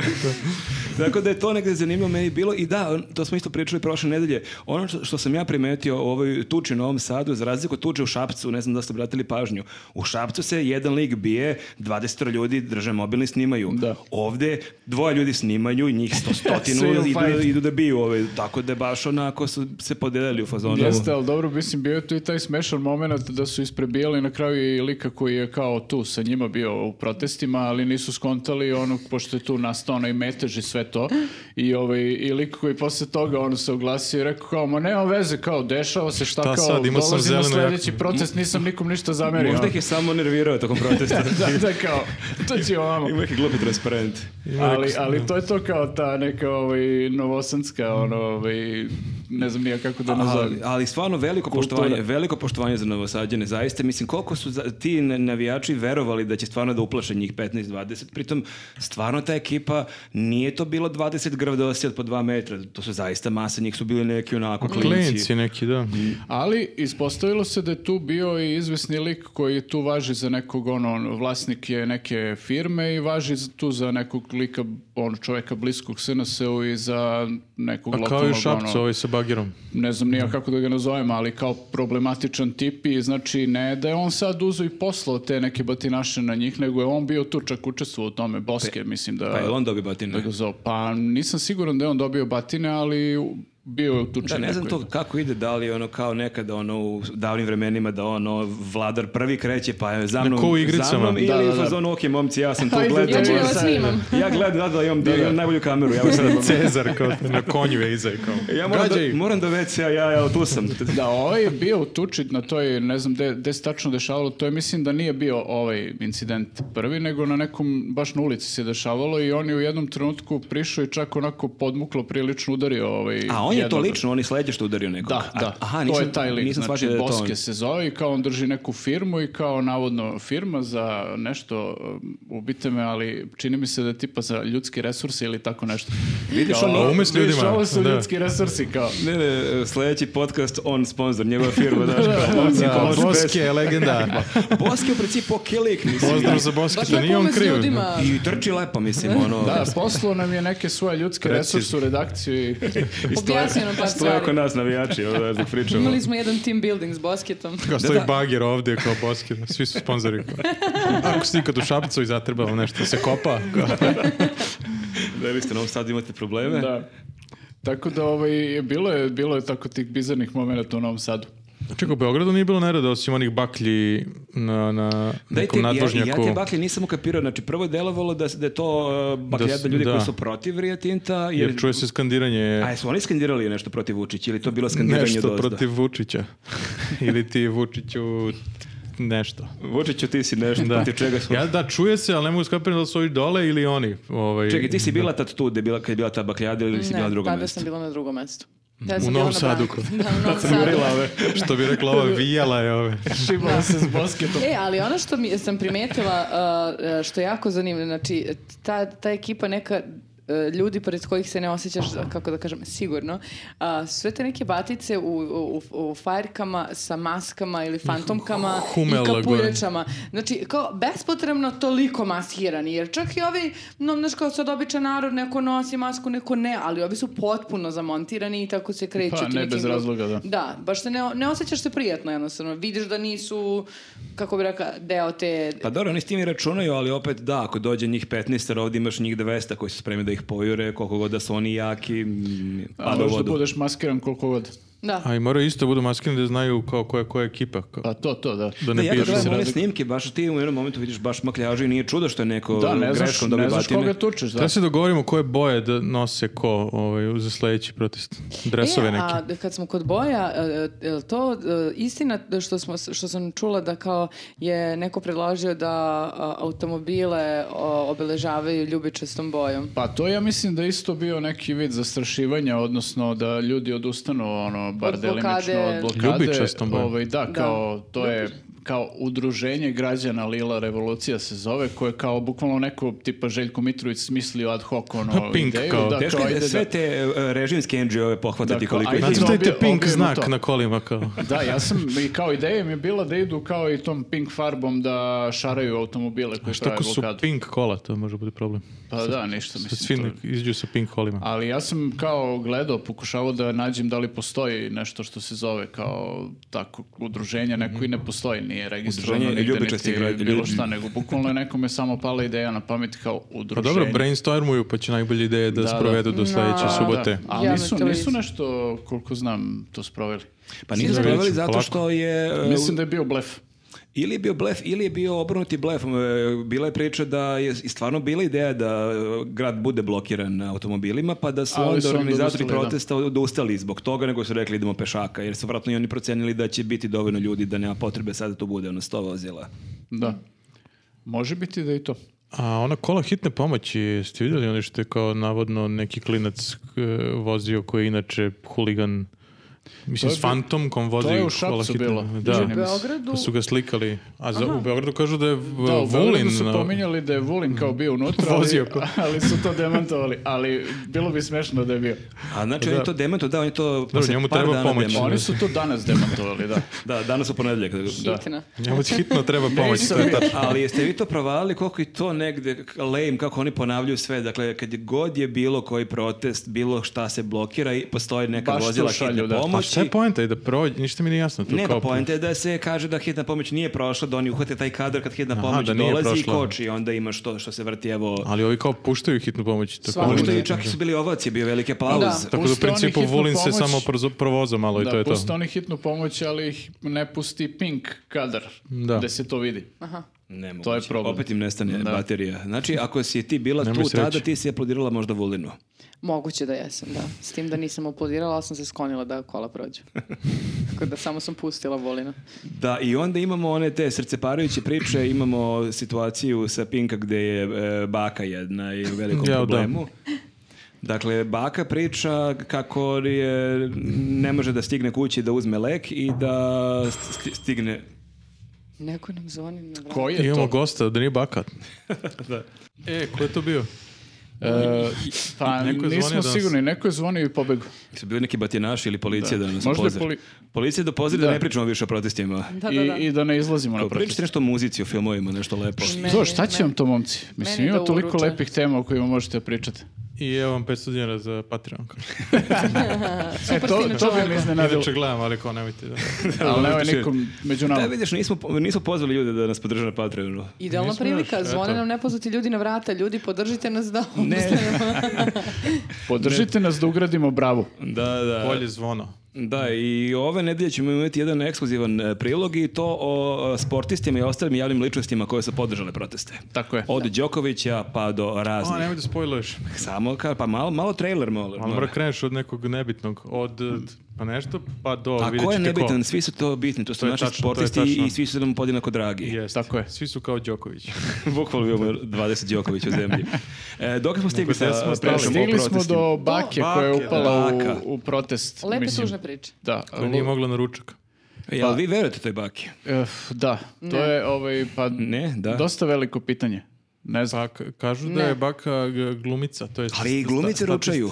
[SPEAKER 3] Tako da je to negde zanimljivo meni bilo i da, to smo isto pričali prošle nedelje. Ono što, što sam ja primetio u ovoj tuči u Novom Sadu, za razliku od tuče u Šapcu, ne znam da ste obratili pažnju, u Šapcu se jedan lik bije, 20 ljudi drže mobilni snimaju.
[SPEAKER 1] Da.
[SPEAKER 3] Ovde dvoje ljudi snimaju, njih sto
[SPEAKER 1] Sale
[SPEAKER 3] stotinu idu,
[SPEAKER 1] fight.
[SPEAKER 3] idu da biju ove. Tako da je baš onako su se podelili u
[SPEAKER 2] ono,
[SPEAKER 3] fazonu.
[SPEAKER 1] Jeste, ali dobro, mislim, bio je tu i taj smešan moment da su isprebijali na kraju i lika koji je kao tu sa njima bio u protestima, ali nisu skontali ono, pošto je tu nastao onaj metež i sve to. I, ovaj, i lik koji posle toga ono se oglasio i rekao kao, ma nema veze, kao, dešava se šta,
[SPEAKER 2] Šta
[SPEAKER 1] kao,
[SPEAKER 2] sad, imao sam
[SPEAKER 1] dolazi na
[SPEAKER 2] zelenu jaku."
[SPEAKER 1] sledeći protest, nisam nikom ništa zamerio.
[SPEAKER 3] Možda ih je samo nervirao tokom protesta.
[SPEAKER 1] da, da, kao, to će ovamo.
[SPEAKER 3] Ima neki glupi transparent.
[SPEAKER 1] Ali, ali to je to kao ta neka ovaj, novosanska, ono, ovaj, ne znam nija kako da nazovem.
[SPEAKER 3] Ali, ali stvarno veliko poštovanje, veliko poštovanje za Novosađane, zaista. Mislim, koliko su za- ti na- navijači verovali da će stvarno da uplaše njih 15-20, pritom stvarno ta ekipa nije to bilo 20 grvdosi od po 2 metra, to su zaista mase, njih su bili neki onako klinci.
[SPEAKER 2] Klinci neki, da.
[SPEAKER 1] Ali ispostavilo se da je tu bio i izvesni lik koji tu važi za nekog, ono, vlasnik je neke firme i važi za- tu za nekog lika, ono, čoveka bliskog SNS-u i za nekog
[SPEAKER 2] A
[SPEAKER 1] lokalnog,
[SPEAKER 2] Pa kao i u
[SPEAKER 1] ono,
[SPEAKER 2] Šapcu, ovaj sa bagirom.
[SPEAKER 1] ne znam nija kako da ga nazovem, ali kao problematičan tip i znači ne da je on sad uzo i poslao te neke batinaše na njih, nego je on bio tu čak učestvovao u tome, Boske, mislim da...
[SPEAKER 3] Pa je on dobio batine?
[SPEAKER 1] da ga zove. Pa nisam siguran da je on dobio batine, ali bio je u tuči
[SPEAKER 3] Da, ne znam
[SPEAKER 1] nekoj.
[SPEAKER 3] to kako ide, da li je ono kao nekada ono u davnim vremenima da ono vladar prvi kreće pa je za mnom,
[SPEAKER 2] ko u igricama?
[SPEAKER 3] za mnom
[SPEAKER 2] Da,
[SPEAKER 3] ili
[SPEAKER 1] da, da.
[SPEAKER 3] u fazonu ok momci ja sam to
[SPEAKER 1] Ajde,
[SPEAKER 3] gledao.
[SPEAKER 1] ja ću da
[SPEAKER 3] ja
[SPEAKER 1] vas
[SPEAKER 4] snimam.
[SPEAKER 3] Ja gledam, da, da, imam, imam najbolju kameru, ja, sad,
[SPEAKER 2] Cezar, kao na konju je iza i kao.
[SPEAKER 3] E, ja moram,
[SPEAKER 2] Gađaj.
[SPEAKER 3] da, moram da već ja, ja, ja tu sam.
[SPEAKER 1] Da, ovaj je bio u tuči na toj, ne znam gde, gde se tačno dešavalo, to je mislim da nije bio ovaj incident prvi, nego na nekom, baš na ulici se dešavalo i on je u jednom trenutku prišao i čak onako podmuklo prilično udario ovaj...
[SPEAKER 3] A on je to
[SPEAKER 1] jednog-
[SPEAKER 3] lično, on je sledeće što udario nekog.
[SPEAKER 1] Da,
[SPEAKER 3] A-
[SPEAKER 1] da,
[SPEAKER 3] Aha,
[SPEAKER 1] to
[SPEAKER 3] nisam,
[SPEAKER 1] je taj lik,
[SPEAKER 3] Nisam
[SPEAKER 1] znači
[SPEAKER 3] shvatio da je to
[SPEAKER 1] Boske
[SPEAKER 3] on.
[SPEAKER 1] se zove i kao on drži neku firmu i kao navodno firma za nešto, um, ubite me, ali čini mi se da je tipa za ljudski resursi ili tako nešto.
[SPEAKER 3] Vidiš,
[SPEAKER 1] Kao,
[SPEAKER 2] ono, ume s
[SPEAKER 1] vidiš,
[SPEAKER 2] ljudima,
[SPEAKER 1] ovo su
[SPEAKER 2] da.
[SPEAKER 1] ljudski resursi, kao.
[SPEAKER 3] Ne, ne, e, sledeći podcast, on sponsor, njegova firma, znaš, kao momci,
[SPEAKER 2] Da,
[SPEAKER 3] pomozite
[SPEAKER 2] Boske je legenda.
[SPEAKER 3] bez- Boske u principu ok lik, mislim.
[SPEAKER 2] Pozdrav za Boske,
[SPEAKER 4] Baš
[SPEAKER 2] to nije on
[SPEAKER 4] pomoć
[SPEAKER 2] kriv.
[SPEAKER 4] ljudima.
[SPEAKER 3] I trči lepo, mislim, ono.
[SPEAKER 1] Da, poslao nam je neke svoje ljudske
[SPEAKER 2] Precizno.
[SPEAKER 1] resurse u redakciju i
[SPEAKER 4] Objasni nam par
[SPEAKER 3] Stoje oko
[SPEAKER 4] stvari.
[SPEAKER 3] nas navijači, ono, ovo da pričamo.
[SPEAKER 4] Imali smo jedan team building s basketom.
[SPEAKER 2] Kao stoji bagir ovdje kao Boske, svi su sponzori. Ako ste ikad u Šapcu i zatrbalo nešto, se kopa.
[SPEAKER 3] Da vi ste na ovom sadu imate probleme.
[SPEAKER 1] da. Tako da ovaj, bilo, je, bilo je tako tih bizarnih momenata u Novom Sadu.
[SPEAKER 2] Čekaj, u Beogradu nije bilo nereda osim onih baklji na, na nekom
[SPEAKER 3] ja,
[SPEAKER 2] nadvožnjaku.
[SPEAKER 3] ja te baklje nisam ukapirao. Znači, prvo je delovalo da, da je to uh, bakljada
[SPEAKER 2] Da s-
[SPEAKER 3] ljudi koji
[SPEAKER 2] da.
[SPEAKER 3] su protiv Rio Tinta. Jer,
[SPEAKER 2] Jer čuje se skandiranje
[SPEAKER 3] A jesu oni skandirali nešto protiv Vučića ili je to bilo skandiranje
[SPEAKER 2] nešto
[SPEAKER 3] odozda?
[SPEAKER 2] protiv Vučića. Ili ti Vučiću nešto.
[SPEAKER 3] Vučiću, ti si nešto
[SPEAKER 2] Da.
[SPEAKER 3] protiv čega smo...
[SPEAKER 2] Ja da čuje se, ali ne mogu skapirati da li su ovi dole ili oni. Ovaj,
[SPEAKER 3] Čekaj, ti si bila tad tu gde je bila, kad je bila ta bakljada ili si bila na
[SPEAKER 4] Ne,
[SPEAKER 3] drugom
[SPEAKER 4] tada
[SPEAKER 3] mjestu?
[SPEAKER 4] sam bila na drugom mestu. Tada
[SPEAKER 2] U
[SPEAKER 4] sam bila
[SPEAKER 2] Novom
[SPEAKER 4] na
[SPEAKER 2] Sadu
[SPEAKER 4] Bank-
[SPEAKER 2] kod-
[SPEAKER 4] Da, u Novom Sadu.
[SPEAKER 2] Što bi rekla ova, vijala je ove.
[SPEAKER 1] Šimala se s basketom.
[SPEAKER 4] E, ali ono što mi, sam primetila, uh, uh, što je jako zanimljivo, znači, ta, ta ekipa neka uh, ljudi pored kojih se ne osjećaš, kako da kažem, sigurno. uh, sve te neke batice u, u, u fajrkama sa maskama ili fantomkama
[SPEAKER 2] Humela
[SPEAKER 4] i
[SPEAKER 2] gore.
[SPEAKER 4] kapuljačama. Znači, kao, bespotrebno toliko maskirani, jer čak i ovi, no, znaš, kao sad običan narod, neko nosi masku, neko ne, ali ovi su potpuno zamontirani i tako se kreću.
[SPEAKER 1] Pa,
[SPEAKER 4] ti
[SPEAKER 1] ne
[SPEAKER 4] nekim
[SPEAKER 1] bez
[SPEAKER 4] gru-
[SPEAKER 1] razloga, da.
[SPEAKER 4] da, baš se ne, ne osjećaš se prijatno jednostavno. Vidiš da nisu, kako bi rekla, deo te...
[SPEAKER 3] Pa dobro, oni s tim i računaju, ali opet da, ako dođe njih 15, jer ovdje imaš njih 200 koji su spremni da ih pojure, koliko god da su oni jaki, mm,
[SPEAKER 1] A
[SPEAKER 3] pada u
[SPEAKER 1] možeš da
[SPEAKER 3] vodu.
[SPEAKER 1] budeš maskiran koliko god.
[SPEAKER 4] Da.
[SPEAKER 2] A i moraju isto da budu maskirani da znaju kao koja koja je ekipa. Kao,
[SPEAKER 1] Pa to, to, da.
[SPEAKER 2] da
[SPEAKER 3] Da,
[SPEAKER 2] ne
[SPEAKER 3] ja kad
[SPEAKER 2] pišu.
[SPEAKER 3] gledam one snimke, baš ti u jednom momentu vidiš baš makljažu i nije čudo što je neko
[SPEAKER 1] Da, ne znaš,
[SPEAKER 3] greškom dobio
[SPEAKER 1] ne znaš
[SPEAKER 3] batine.
[SPEAKER 1] koga tučeš, da.
[SPEAKER 2] Treba se dogovorimo koje boje da nose ko ovaj, za sledeći protest. Dresove
[SPEAKER 4] E,
[SPEAKER 2] neke.
[SPEAKER 4] a kad smo kod boja, e, e, je li to e, istina što, smo, što sam čula da kao je neko predložio da a, automobile o, obeležavaju ljubičastom bojom?
[SPEAKER 1] Pa to ja mislim da je isto bio neki vid zastrašivanja, odnosno da ljudi odustanu ono, ono, bar
[SPEAKER 4] Od blokade.
[SPEAKER 1] delimično od blokade.
[SPEAKER 2] Ljubičastom, bre.
[SPEAKER 1] ovaj, da, kao, to je kao udruženje građana Lila Revolucija se zove, koje kao bukvalno neko tipa Željko Mitrović smislio ad hoc ono
[SPEAKER 2] Pa Pink
[SPEAKER 1] ideju.
[SPEAKER 2] kao.
[SPEAKER 1] Da,
[SPEAKER 3] Teško
[SPEAKER 1] kao,
[SPEAKER 3] je da
[SPEAKER 1] ajde
[SPEAKER 3] sve te e, režimske NGO-ve
[SPEAKER 1] Dakle,
[SPEAKER 3] pohvatati koliko ih
[SPEAKER 1] ajde
[SPEAKER 2] Znate
[SPEAKER 1] da
[SPEAKER 2] taj te
[SPEAKER 1] obje-
[SPEAKER 2] pink
[SPEAKER 1] objavimo
[SPEAKER 2] znak
[SPEAKER 1] to.
[SPEAKER 2] na kolima kao...
[SPEAKER 1] Da, ja sam i kao ideja mi je bila da idu kao i tom pink farbom da šaraju automobile koji
[SPEAKER 2] Šta
[SPEAKER 1] prave
[SPEAKER 2] ako su
[SPEAKER 1] blokadu.
[SPEAKER 2] pink kola, to može biti problem.
[SPEAKER 1] Pa da, ništa
[SPEAKER 2] Sad
[SPEAKER 1] mislim.
[SPEAKER 2] svi
[SPEAKER 1] to je-
[SPEAKER 2] nek- izađu sa pink kolima.
[SPEAKER 1] Ali ja sam kao gledao, pokušavao da nađem da li postoji nešto što se zove kao tako udruženje, neko i
[SPEAKER 2] Mhm.
[SPEAKER 1] ne postoji, nije registrovano
[SPEAKER 3] Udruženje
[SPEAKER 1] nigde,
[SPEAKER 3] ljubičastih
[SPEAKER 1] niti
[SPEAKER 3] građana.
[SPEAKER 1] bilo šta, nego bukvalno je nekome samo pala ideja na pamet kao
[SPEAKER 2] Pa
[SPEAKER 1] udruženje.
[SPEAKER 2] dobro, brainstormuju pa će najbolje ideje
[SPEAKER 1] Da,
[SPEAKER 2] da,
[SPEAKER 1] da.
[SPEAKER 2] sprovedu do sledeće
[SPEAKER 1] A,
[SPEAKER 2] subote.
[SPEAKER 1] da, ali
[SPEAKER 4] Javno
[SPEAKER 1] nisu,
[SPEAKER 4] televiziji.
[SPEAKER 1] nisu nešto, koliko znam, to sproveli.
[SPEAKER 3] Pa nisu
[SPEAKER 2] Vidjet
[SPEAKER 3] sproveli
[SPEAKER 2] ću,
[SPEAKER 3] zato
[SPEAKER 2] polako.
[SPEAKER 3] što je... e,
[SPEAKER 1] Znači, Mislim da je bio blef.
[SPEAKER 3] Ili je bio blef, ili je bio obrnuti blef. E, Bila je priča da je i stvarno bila ideja da e, grad bude blokiran automobilima, pa da su
[SPEAKER 1] Ali su
[SPEAKER 3] onda
[SPEAKER 1] onda
[SPEAKER 3] organizatori
[SPEAKER 1] odustali, da.
[SPEAKER 3] protesta odustali zbog toga, nego su rekli idemo pešaka, jer su vratno i oni procenili da će biti dovoljno ljudi da nema potrebe sada to bude ono sto vozila.
[SPEAKER 1] Da. Može biti da i to.
[SPEAKER 2] A ona kola hitne pomoći, ste vidjeli oni što je kao navodno neki klinac e, vozio koji je inače huligan, mislim
[SPEAKER 1] To je
[SPEAKER 2] s
[SPEAKER 1] bi-
[SPEAKER 2] fantomkom vozi
[SPEAKER 1] to je u
[SPEAKER 2] kola
[SPEAKER 1] Šapcu
[SPEAKER 2] hitne.
[SPEAKER 1] bilo.
[SPEAKER 2] Da,
[SPEAKER 1] Čini mi se.
[SPEAKER 4] Beogradu...
[SPEAKER 2] pa su ga slikali. A za, u Beogradu kažu da je v-
[SPEAKER 1] Da, u
[SPEAKER 2] Vulin.
[SPEAKER 1] Beogradu su
[SPEAKER 2] na-
[SPEAKER 1] pominjali da je Vulin kao bio unutra, ali,
[SPEAKER 2] Vozio ko.
[SPEAKER 1] ali su to demantovali. Ali bilo bi smešno da je bio.
[SPEAKER 3] A znači on je to demanto, da, on je to... posle
[SPEAKER 2] njemu
[SPEAKER 3] par
[SPEAKER 2] treba
[SPEAKER 3] dana
[SPEAKER 2] pomoć.
[SPEAKER 3] demantovao.
[SPEAKER 1] Oni su to danas demantovali, da.
[SPEAKER 3] Da, danas u ponedjeljak. Da.
[SPEAKER 4] Hitna.
[SPEAKER 2] Njemu hitno treba pomoć. to je tačno.
[SPEAKER 3] Ali jeste vi to provalili koliko je to negde lame, kako oni ponavljaju sve. Dakle, kad god je bilo koji protest, bilo šta se blokira i postoji neka
[SPEAKER 1] Baš to
[SPEAKER 3] vozila
[SPEAKER 1] šalju,
[SPEAKER 3] hitne
[SPEAKER 1] da.
[SPEAKER 2] A
[SPEAKER 3] pomoći.
[SPEAKER 2] Pa šta je poenta? I da prođe, ništa mi nije jasno. Tu
[SPEAKER 3] Ne,
[SPEAKER 2] kao
[SPEAKER 3] pa poenta je da se kaže da hitna pomoć nije prošla, da oni uhvate taj kadar kad hitna pomoć
[SPEAKER 2] da nije
[SPEAKER 3] dolazi i
[SPEAKER 2] prošla.
[SPEAKER 3] koči, onda imaš to što se vrti, evo...
[SPEAKER 2] Ali ovi kao puštaju hitnu pomoć. Tako,
[SPEAKER 4] Svako
[SPEAKER 2] da-
[SPEAKER 3] Možda i čak i su bili ovaci, bio je veliki aplauz.
[SPEAKER 4] Da.
[SPEAKER 2] tako da u
[SPEAKER 1] Puste oni
[SPEAKER 2] principu
[SPEAKER 1] hitnu
[SPEAKER 2] Vulin se
[SPEAKER 1] pomoć.
[SPEAKER 2] samo prozo- provoza malo i to
[SPEAKER 1] Da,
[SPEAKER 2] je to.
[SPEAKER 1] puste oni hitnu pomoć, ali ih ne pusti pink kadar,
[SPEAKER 2] Da.
[SPEAKER 1] gde se to vidi.
[SPEAKER 3] Ne moguće.
[SPEAKER 1] To je problem.
[SPEAKER 3] Opet im nestane
[SPEAKER 1] Da.
[SPEAKER 3] baterija. Znači, ako si ti bila
[SPEAKER 2] Nemoj
[SPEAKER 3] tu
[SPEAKER 2] sreće.
[SPEAKER 3] tada, ti si aplodirala možda Vulinu.
[SPEAKER 4] Moguće da jesam, da. S tim da nisam aplodirala, ali sam se sklonila da kola prođu. Tako da samo sam pustila volina.
[SPEAKER 3] Da, i onda imamo one te srceparajuće priče, imamo situaciju sa Pinka gde je e, baka jedna i u velikom
[SPEAKER 2] Jao, da.
[SPEAKER 3] problemu. Dakle, baka priča kako je, ne može da stigne kući da uzme lek i da sti- stigne...
[SPEAKER 4] Neko nam zvoni na vrat.
[SPEAKER 1] Ko je
[SPEAKER 2] Imamo
[SPEAKER 1] to?
[SPEAKER 2] gosta, da nije bakat. E, ko je to bio?
[SPEAKER 1] E, pa
[SPEAKER 2] Neko je zvonio
[SPEAKER 1] nismo
[SPEAKER 2] danas.
[SPEAKER 1] sigurni, neko je zvonio i pobegao.
[SPEAKER 3] Su bili neki batinaši ili policija da, nas
[SPEAKER 1] Možda je
[SPEAKER 3] upozori.
[SPEAKER 1] poli-
[SPEAKER 3] Policija da upozori da
[SPEAKER 1] Da.
[SPEAKER 3] ne pričamo više o protestima.
[SPEAKER 4] Da, da,
[SPEAKER 1] I,
[SPEAKER 4] da.
[SPEAKER 1] I da ne izlazimo na
[SPEAKER 3] Kao,
[SPEAKER 1] protest.
[SPEAKER 3] Pričajte nešto o muzici, o filmovima, nešto lepo.
[SPEAKER 4] Meni-
[SPEAKER 1] Zor, šta će
[SPEAKER 4] meni-
[SPEAKER 1] vam to, momci? Mislim,
[SPEAKER 4] meni
[SPEAKER 1] ima
[SPEAKER 4] da
[SPEAKER 1] toliko
[SPEAKER 4] uruče.
[SPEAKER 1] lepih tema o kojima možete pričati.
[SPEAKER 2] I evo vam 500 dinara za Patreon.
[SPEAKER 1] E, to,
[SPEAKER 4] fino
[SPEAKER 1] to bi
[SPEAKER 4] čovjeka.
[SPEAKER 1] me iznenadilo.
[SPEAKER 2] Inače gledam, ali kao nemojte da...
[SPEAKER 1] Ali nemoj nikom među nama.
[SPEAKER 3] Da, vidiš, nismo, nismo pozvali ljude da nas podrže na Patreonu.
[SPEAKER 4] Idealna
[SPEAKER 2] Nismo
[SPEAKER 4] prilika,
[SPEAKER 2] još,
[SPEAKER 4] zvone
[SPEAKER 2] eto.
[SPEAKER 4] nam nepoznati ljudi na vrata, ljudi podržite nas da obustanemo.
[SPEAKER 1] Podržite nas da ugradimo bravu.
[SPEAKER 3] Da, da.
[SPEAKER 2] Bolje zvono.
[SPEAKER 3] Da, i ove nedelje ćemo imati jedan ekskluzivan e, prilog i to o e, sportistima i ostalim javnim ličnostima koje su podržale proteste.
[SPEAKER 1] Tako je.
[SPEAKER 3] Od Đokovića pa do
[SPEAKER 2] A,
[SPEAKER 3] raznih.
[SPEAKER 2] nemoj da spojluješ.
[SPEAKER 3] Samo ka, pa malo, malo trailer molim.
[SPEAKER 2] Ali mora kreneš od nekog nebitnog. Od, eh, pa nešto, pa do...
[SPEAKER 3] A
[SPEAKER 2] vidjet
[SPEAKER 3] ko je
[SPEAKER 2] ćete
[SPEAKER 3] nebitan? Svi su to bitni. To su
[SPEAKER 2] To je
[SPEAKER 3] naši
[SPEAKER 2] tačno, to je
[SPEAKER 3] sportisti
[SPEAKER 2] tačno.
[SPEAKER 3] i svi su nam podjednako dragi.
[SPEAKER 2] Jeste.
[SPEAKER 1] Tako je.
[SPEAKER 2] Svi su kao Đoković.
[SPEAKER 3] Bukvalno imamo 20 Đoković u zemlji. E, dok smo stigli
[SPEAKER 2] Nego
[SPEAKER 3] sa
[SPEAKER 2] gde smo stali?
[SPEAKER 3] pričom o
[SPEAKER 1] Stigli smo
[SPEAKER 3] protestima?
[SPEAKER 1] do bake koja je
[SPEAKER 2] Bake, da.
[SPEAKER 1] upala u-
[SPEAKER 3] Baka.
[SPEAKER 1] u, protest.
[SPEAKER 4] Lepe
[SPEAKER 1] mislim.
[SPEAKER 4] tužne priče.
[SPEAKER 1] Da,
[SPEAKER 2] Koja nije mogla na ručak.
[SPEAKER 3] Jel vi verujete toj baki?
[SPEAKER 1] Eh, da, to je ovaj, pa,
[SPEAKER 3] Ne, da.
[SPEAKER 1] dosta veliko pitanje. Ne znam.
[SPEAKER 2] Pa k- kažu da
[SPEAKER 4] Ne.
[SPEAKER 2] je baka g- glumica. To je
[SPEAKER 3] Ali i glumice ručaju.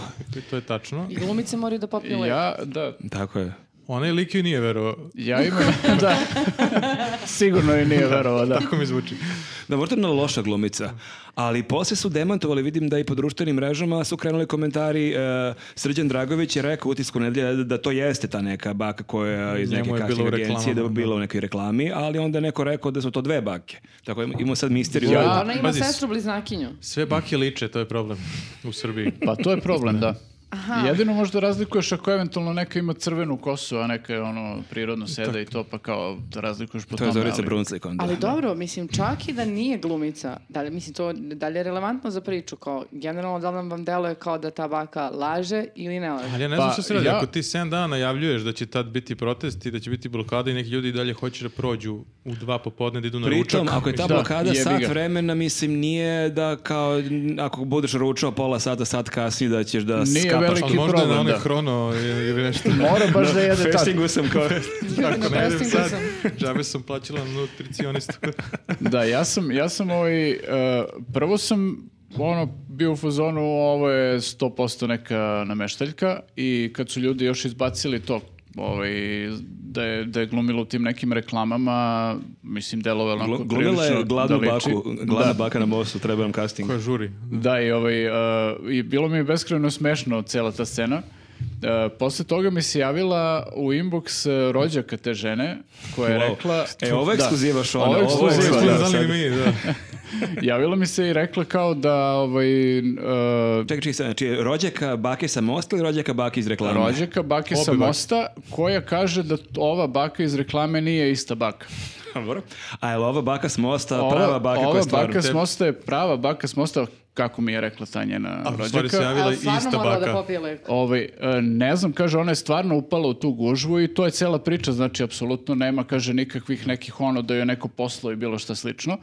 [SPEAKER 2] To je tačno.
[SPEAKER 4] I glumice moraju da
[SPEAKER 3] Pa,
[SPEAKER 4] popiju lek.
[SPEAKER 1] Ja, da,
[SPEAKER 3] Tako je.
[SPEAKER 2] Onaj lik ju nije verovao.
[SPEAKER 1] ja imam, da, sigurno je nije verovao, da.
[SPEAKER 2] Tako mi zvuči.
[SPEAKER 3] Da, možda je ona loša glumica. Ali posle su demantovali, vidim da i po društvenim mrežama su krenuli komentari. e, Srđan Dragović je rekao u utisku nedelje da, da to jeste ta neka baka koja iz
[SPEAKER 2] Njemu
[SPEAKER 3] neke
[SPEAKER 2] je bilo
[SPEAKER 3] casting
[SPEAKER 2] u reklamama,
[SPEAKER 3] agencije da je
[SPEAKER 2] da.
[SPEAKER 3] bila u nekoj reklami, ali onda je neko rekao da su to dve bake. Tako da imamo sad misteriju.
[SPEAKER 1] Ja-
[SPEAKER 4] Ona ima
[SPEAKER 2] Pazi,
[SPEAKER 4] sestru bliznakinju.
[SPEAKER 2] Sve bake liče, to je problem u Srbiji.
[SPEAKER 1] Pa to je problem, da. Jedino možda razlikuješ ako eventualno neka ima crvenu kosu, a neka je ono prirodno seda i to, pa kao da razlikuješ po
[SPEAKER 3] To je
[SPEAKER 1] tome,
[SPEAKER 3] Zorica
[SPEAKER 1] ali-
[SPEAKER 3] Brunslik onda.
[SPEAKER 4] Ali dobro, mislim, čak i da nije glumica, da li, mislim, to dalje je relevantno za priču, kao, generalno da li vam deluje kao da ta baka laže ili ne laže.
[SPEAKER 2] Ali ja ne znam
[SPEAKER 1] Pa,
[SPEAKER 2] što se radi.
[SPEAKER 1] ja-
[SPEAKER 2] Ako ti 7 dana najavljuješ da će tad biti protest i da će biti blokada i neki ljudi i dalje hoće da prođu u dva popodne da idu na
[SPEAKER 3] Pritom,
[SPEAKER 2] ručak.
[SPEAKER 3] ako je ta
[SPEAKER 1] Ono Da,
[SPEAKER 3] blokada
[SPEAKER 1] jebi
[SPEAKER 3] sat
[SPEAKER 1] ga.
[SPEAKER 3] vremena, mislim, nije da kao, n- ako budeš ručao pola sata, sat kasnije, da ćeš da
[SPEAKER 1] Nije je
[SPEAKER 2] Pa,
[SPEAKER 1] veliki
[SPEAKER 2] ali možda je na
[SPEAKER 1] problem,
[SPEAKER 2] onaj
[SPEAKER 1] da.
[SPEAKER 2] hrono ili ili nešto.
[SPEAKER 1] Mora baš da jede tako.
[SPEAKER 3] Fastingu sam kao...
[SPEAKER 2] Ako
[SPEAKER 4] Na
[SPEAKER 2] ne idem
[SPEAKER 4] fastingu
[SPEAKER 2] sad,
[SPEAKER 4] sam.
[SPEAKER 2] džabe sam plaćala nutricionistu.
[SPEAKER 1] Da, ja sam, ja sam ovaj, e, prvo sam ono, bio u fazonu, ovo je 100% neka nameštaljka i kad su ljudi još izbacili to, ovaj, da je, da je glumila u tim nekim reklamama, mislim, delove onako
[SPEAKER 3] Glu- Glumila je
[SPEAKER 1] prilično
[SPEAKER 3] gladnu
[SPEAKER 1] da liči.
[SPEAKER 3] baku, gladna baka na mostu, treba nam casting.
[SPEAKER 2] Koja žuri.
[SPEAKER 1] Da, i, ovaj, e, i bilo mi je beskrajno smešno cela ta scena. E, posle toga mi se javila u inbox e, rođaka te žene koja je
[SPEAKER 3] Wow.
[SPEAKER 1] rekla...
[SPEAKER 3] E, ovo je
[SPEAKER 1] Da.
[SPEAKER 3] ekskluziva, Šone,
[SPEAKER 1] Ovo je
[SPEAKER 3] ovo je
[SPEAKER 1] ekskluziva,
[SPEAKER 3] ekskluziva.
[SPEAKER 1] da.
[SPEAKER 3] sad.
[SPEAKER 2] Znali mi, da.
[SPEAKER 1] Javila mi se i rekla kao da ovaj, e,
[SPEAKER 3] Čekaj, čekaj, sad, znači rođaka bake sa mosta ili rođaka bake iz reklame?
[SPEAKER 1] rođaka bake sa
[SPEAKER 2] Obje bake.
[SPEAKER 1] mosta koja kaže da t- ova baka iz reklame nije ista baka.
[SPEAKER 3] Dobro. A je li ova baka s mosta,
[SPEAKER 1] Ova,
[SPEAKER 3] prava baka koja
[SPEAKER 1] ova
[SPEAKER 3] je stvarno?
[SPEAKER 1] baka s mosta je prava baka s mosta, kako mi je rekla ta njena
[SPEAKER 2] A u stvari se
[SPEAKER 1] rođaka.
[SPEAKER 2] javila
[SPEAKER 4] Ali
[SPEAKER 2] ista
[SPEAKER 4] stvarno morala da
[SPEAKER 2] baka.
[SPEAKER 4] popije lek.
[SPEAKER 1] Ovaj, e, ne znam, kaže, ona je stvarno upala u tu gužvu i to je cela priča, znači, apsolutno nema, kaže, nikakvih nekih ono da je neko poslo i bilo šta slično.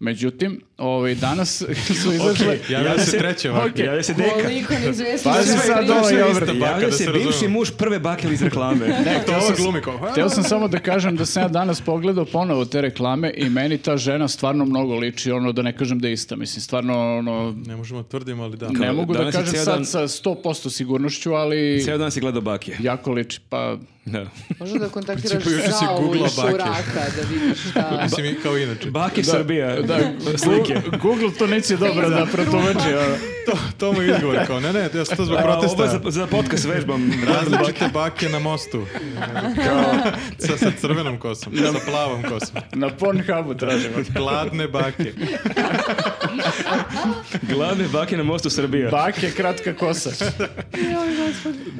[SPEAKER 1] Međutim, ovaj, danas su izašle...
[SPEAKER 2] Okej, javila
[SPEAKER 3] Javlja
[SPEAKER 2] se treća baka.
[SPEAKER 1] Okej.
[SPEAKER 3] Javlja se deka.
[SPEAKER 4] Koliko neizvjesno
[SPEAKER 1] Pazi
[SPEAKER 4] sve
[SPEAKER 1] sad
[SPEAKER 4] priča.
[SPEAKER 1] ovo,
[SPEAKER 2] Sve
[SPEAKER 1] Javlja
[SPEAKER 2] ista
[SPEAKER 1] se
[SPEAKER 2] baka,
[SPEAKER 3] Javlja
[SPEAKER 2] da
[SPEAKER 3] se
[SPEAKER 2] se
[SPEAKER 3] bivši
[SPEAKER 2] razumemo.
[SPEAKER 3] muž prve bake iz reklame. ne,
[SPEAKER 2] To ovo glumi kao. "Ha,
[SPEAKER 1] Htio sam samo da kažem da sam ja danas pogledao ponovo te reklame i meni ta žena stvarno mnogo liči, ono da ne kažem da je ista. Mislim, stvarno, ono,
[SPEAKER 2] Ne možemo tvrdimo, ali da.
[SPEAKER 1] ne
[SPEAKER 3] Kao,
[SPEAKER 1] mogu da
[SPEAKER 3] danas je
[SPEAKER 1] kažem
[SPEAKER 3] ceo
[SPEAKER 1] sad
[SPEAKER 3] dan-
[SPEAKER 1] sa 100% sigurnošću, ali
[SPEAKER 3] Ceo dan si gledao bake.
[SPEAKER 1] jako liči, pa...
[SPEAKER 3] Da.
[SPEAKER 4] Može da kontaktiraš
[SPEAKER 2] principu juče si
[SPEAKER 4] za ovu
[SPEAKER 2] googlao bake.
[SPEAKER 4] šuraka da vidiš šta...
[SPEAKER 2] Mislim, i kao inače.
[SPEAKER 3] Bake Srbija.
[SPEAKER 1] Da,
[SPEAKER 3] Slike.
[SPEAKER 1] Gu- Google to neće dobro da protumači. ono. a-
[SPEAKER 2] To, to mu je izgovor kao, ne, ne, ja sam to zbog protesta.
[SPEAKER 3] Ovo za, za podcast vežbam.
[SPEAKER 2] Različite bake na mostu. sa, sa crvenom kosom, sa plavom kosom.
[SPEAKER 1] Na Pornhubu tražimo.
[SPEAKER 2] Gladne bake.
[SPEAKER 3] Glavne bake na mostu Srbija.
[SPEAKER 1] Bake, kratka kosa.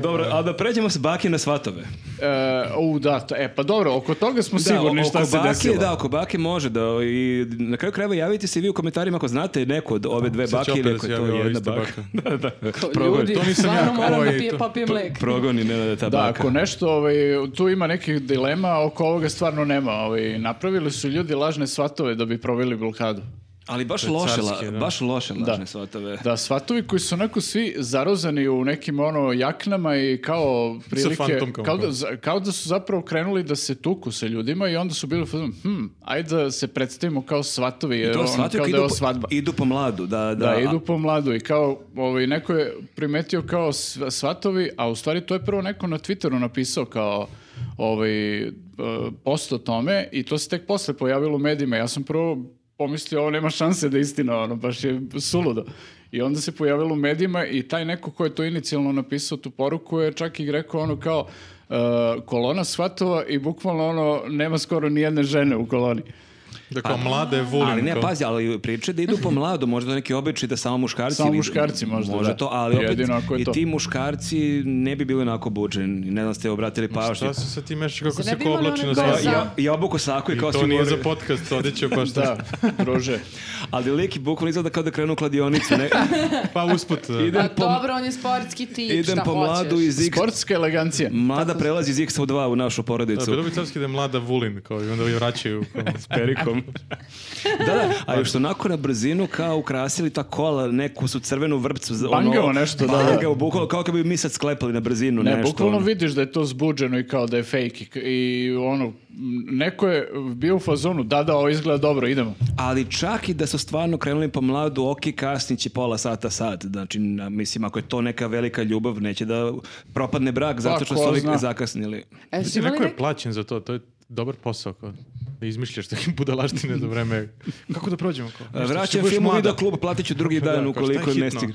[SPEAKER 3] Dobro, a da pređemo s bake na svatove.
[SPEAKER 1] E, u, da, to- e, pa dobro, oko toga smo sigurni
[SPEAKER 3] o-
[SPEAKER 1] šta
[SPEAKER 3] oko
[SPEAKER 1] se
[SPEAKER 3] bake,
[SPEAKER 1] desilo.
[SPEAKER 3] Da, oko bake može da i na kraju krajeva javite se i vi u komentarima ako znate neko od ove dve
[SPEAKER 2] Sad će
[SPEAKER 3] bake ili
[SPEAKER 2] opet
[SPEAKER 3] ako
[SPEAKER 2] da se
[SPEAKER 3] je to
[SPEAKER 2] javi ova
[SPEAKER 3] jedna
[SPEAKER 2] ista
[SPEAKER 3] baka.
[SPEAKER 2] baka.
[SPEAKER 3] da, da.
[SPEAKER 4] Ljudi,
[SPEAKER 3] Progoni,
[SPEAKER 2] to nisam ja,
[SPEAKER 4] stvarno moram da
[SPEAKER 2] ovaj,
[SPEAKER 4] pije-
[SPEAKER 2] to-
[SPEAKER 4] popijem lek.
[SPEAKER 3] progoni Nenada ta
[SPEAKER 1] Da,
[SPEAKER 3] baka.
[SPEAKER 1] ako nešto, ovaj, tu ima nekih dilema, oko ovoga stvarno nema. Ovaj, napravili su ljudi lažne svatove da bi proveli blokadu.
[SPEAKER 3] Ali baš
[SPEAKER 2] To je
[SPEAKER 3] loše, la-
[SPEAKER 2] carski, da.
[SPEAKER 3] baš loše lažne
[SPEAKER 1] Da.
[SPEAKER 3] svatove.
[SPEAKER 1] Da, svatovi koji su onako svi zarozani u nekim ono jaknama i kao prilike,
[SPEAKER 2] fantomkama.
[SPEAKER 1] kao da, za- kao da su zapravo krenuli da se tuku sa ljudima i onda su bili u fazonu, hm, ajde da se predstavimo kao svatovi, jer
[SPEAKER 3] To
[SPEAKER 1] ono,
[SPEAKER 3] shvatio
[SPEAKER 1] kao
[SPEAKER 3] kao
[SPEAKER 1] da je ovo
[SPEAKER 3] idu po-
[SPEAKER 1] svadba.
[SPEAKER 3] Idu po mladu, da, da.
[SPEAKER 1] Da, idu po mladu i kao, ovaj, neko je primetio kao sv- svatovi, a u stvari to je prvo neko na Twitteru napisao kao ovaj, e, post o tome i to se tek posle pojavilo u medijima. Ja sam prvo pomislio ovo nema šanse da je istina, ono, baš je suludo. I onda se pojavilo u medijima i taj neko ko je to inicijalno napisao tu poruku je čak i rekao ono kao e, kolona svatova i bukvalno ono nema skoro ni jedne žene u koloni.
[SPEAKER 2] Dakle, mlade volim.
[SPEAKER 3] Ali ne,
[SPEAKER 2] kao.
[SPEAKER 3] pazi, ali priče da idu po mladu, možda to neki običaj da samo muškarci...
[SPEAKER 1] Samo
[SPEAKER 3] idu.
[SPEAKER 1] muškarci možda, da.
[SPEAKER 3] to, ali opet
[SPEAKER 1] Jedino ako je
[SPEAKER 3] i
[SPEAKER 1] to.
[SPEAKER 3] ti muškarci ne bi bili onako obučeni. Ne znam, ste obratili pažnju.
[SPEAKER 2] Šta se sa ti mešaš kako
[SPEAKER 4] Zar
[SPEAKER 2] se
[SPEAKER 4] ne bi
[SPEAKER 2] ko
[SPEAKER 4] imali
[SPEAKER 2] oblači
[SPEAKER 4] one
[SPEAKER 2] na
[SPEAKER 4] koje
[SPEAKER 2] sva?
[SPEAKER 4] za-
[SPEAKER 3] Ja, ja obuko saku i kao
[SPEAKER 2] To
[SPEAKER 3] svi
[SPEAKER 2] nije za
[SPEAKER 3] moraju-
[SPEAKER 2] podcast, odeće baš
[SPEAKER 1] Da, druže.
[SPEAKER 3] Ali lik je bukvalno izgleda kao da krenu u kladionicu. Ne?
[SPEAKER 2] Pa usput. da.
[SPEAKER 3] Idem
[SPEAKER 4] A
[SPEAKER 3] po,
[SPEAKER 4] dobro, on je sportski tip,
[SPEAKER 3] idem
[SPEAKER 4] šta
[SPEAKER 3] po mladu
[SPEAKER 4] hoćeš?
[SPEAKER 3] iz X...
[SPEAKER 1] Sportska elegancija.
[SPEAKER 3] Mlada prelazi iz X u 2 u našu
[SPEAKER 2] Da,
[SPEAKER 3] porodicu.
[SPEAKER 2] bilo bi carski da je mlada Vulin, kao i onda je vraćaju. Kao.
[SPEAKER 3] perikom. da, da, a još onako na brzinu kao ukrasili ta kola, neku su crvenu vrpcu. za ono-
[SPEAKER 1] Bangao nešto, da, da.
[SPEAKER 3] Bangao, bukvalno kao kad bi mi sad sklepali na brzinu
[SPEAKER 1] Ne,
[SPEAKER 3] nešto.
[SPEAKER 1] bukvalno
[SPEAKER 3] ono.
[SPEAKER 1] vidiš da je to zbuđeno i kao da je fake i, k- i ono, m, neko je bio u fazonu, da, da, ovo izgleda dobro, idemo.
[SPEAKER 3] Ali čak i da su stvarno krenuli po mladu, ok, kasniće pola sata, sat. Znači, na- mislim, ako je to neka velika ljubav, neće da propadne brak zato što
[SPEAKER 1] Pa, ko
[SPEAKER 3] su ovi
[SPEAKER 1] zna.
[SPEAKER 3] zakasnili.
[SPEAKER 4] E, su imali
[SPEAKER 2] Neko je
[SPEAKER 4] nek-
[SPEAKER 2] plaćen za to, to je dobar posao. Kao. Da izmišljaš takve budalaštine za vreme. Kako da prođemo? Kao? Ništa, što
[SPEAKER 3] Vraćam
[SPEAKER 2] budeš
[SPEAKER 3] film u
[SPEAKER 2] mlada.
[SPEAKER 3] video klub, platit ću drugi
[SPEAKER 2] Da, kao,
[SPEAKER 3] dan
[SPEAKER 2] šta je
[SPEAKER 3] ukoliko ne
[SPEAKER 2] hitno?
[SPEAKER 3] stigne.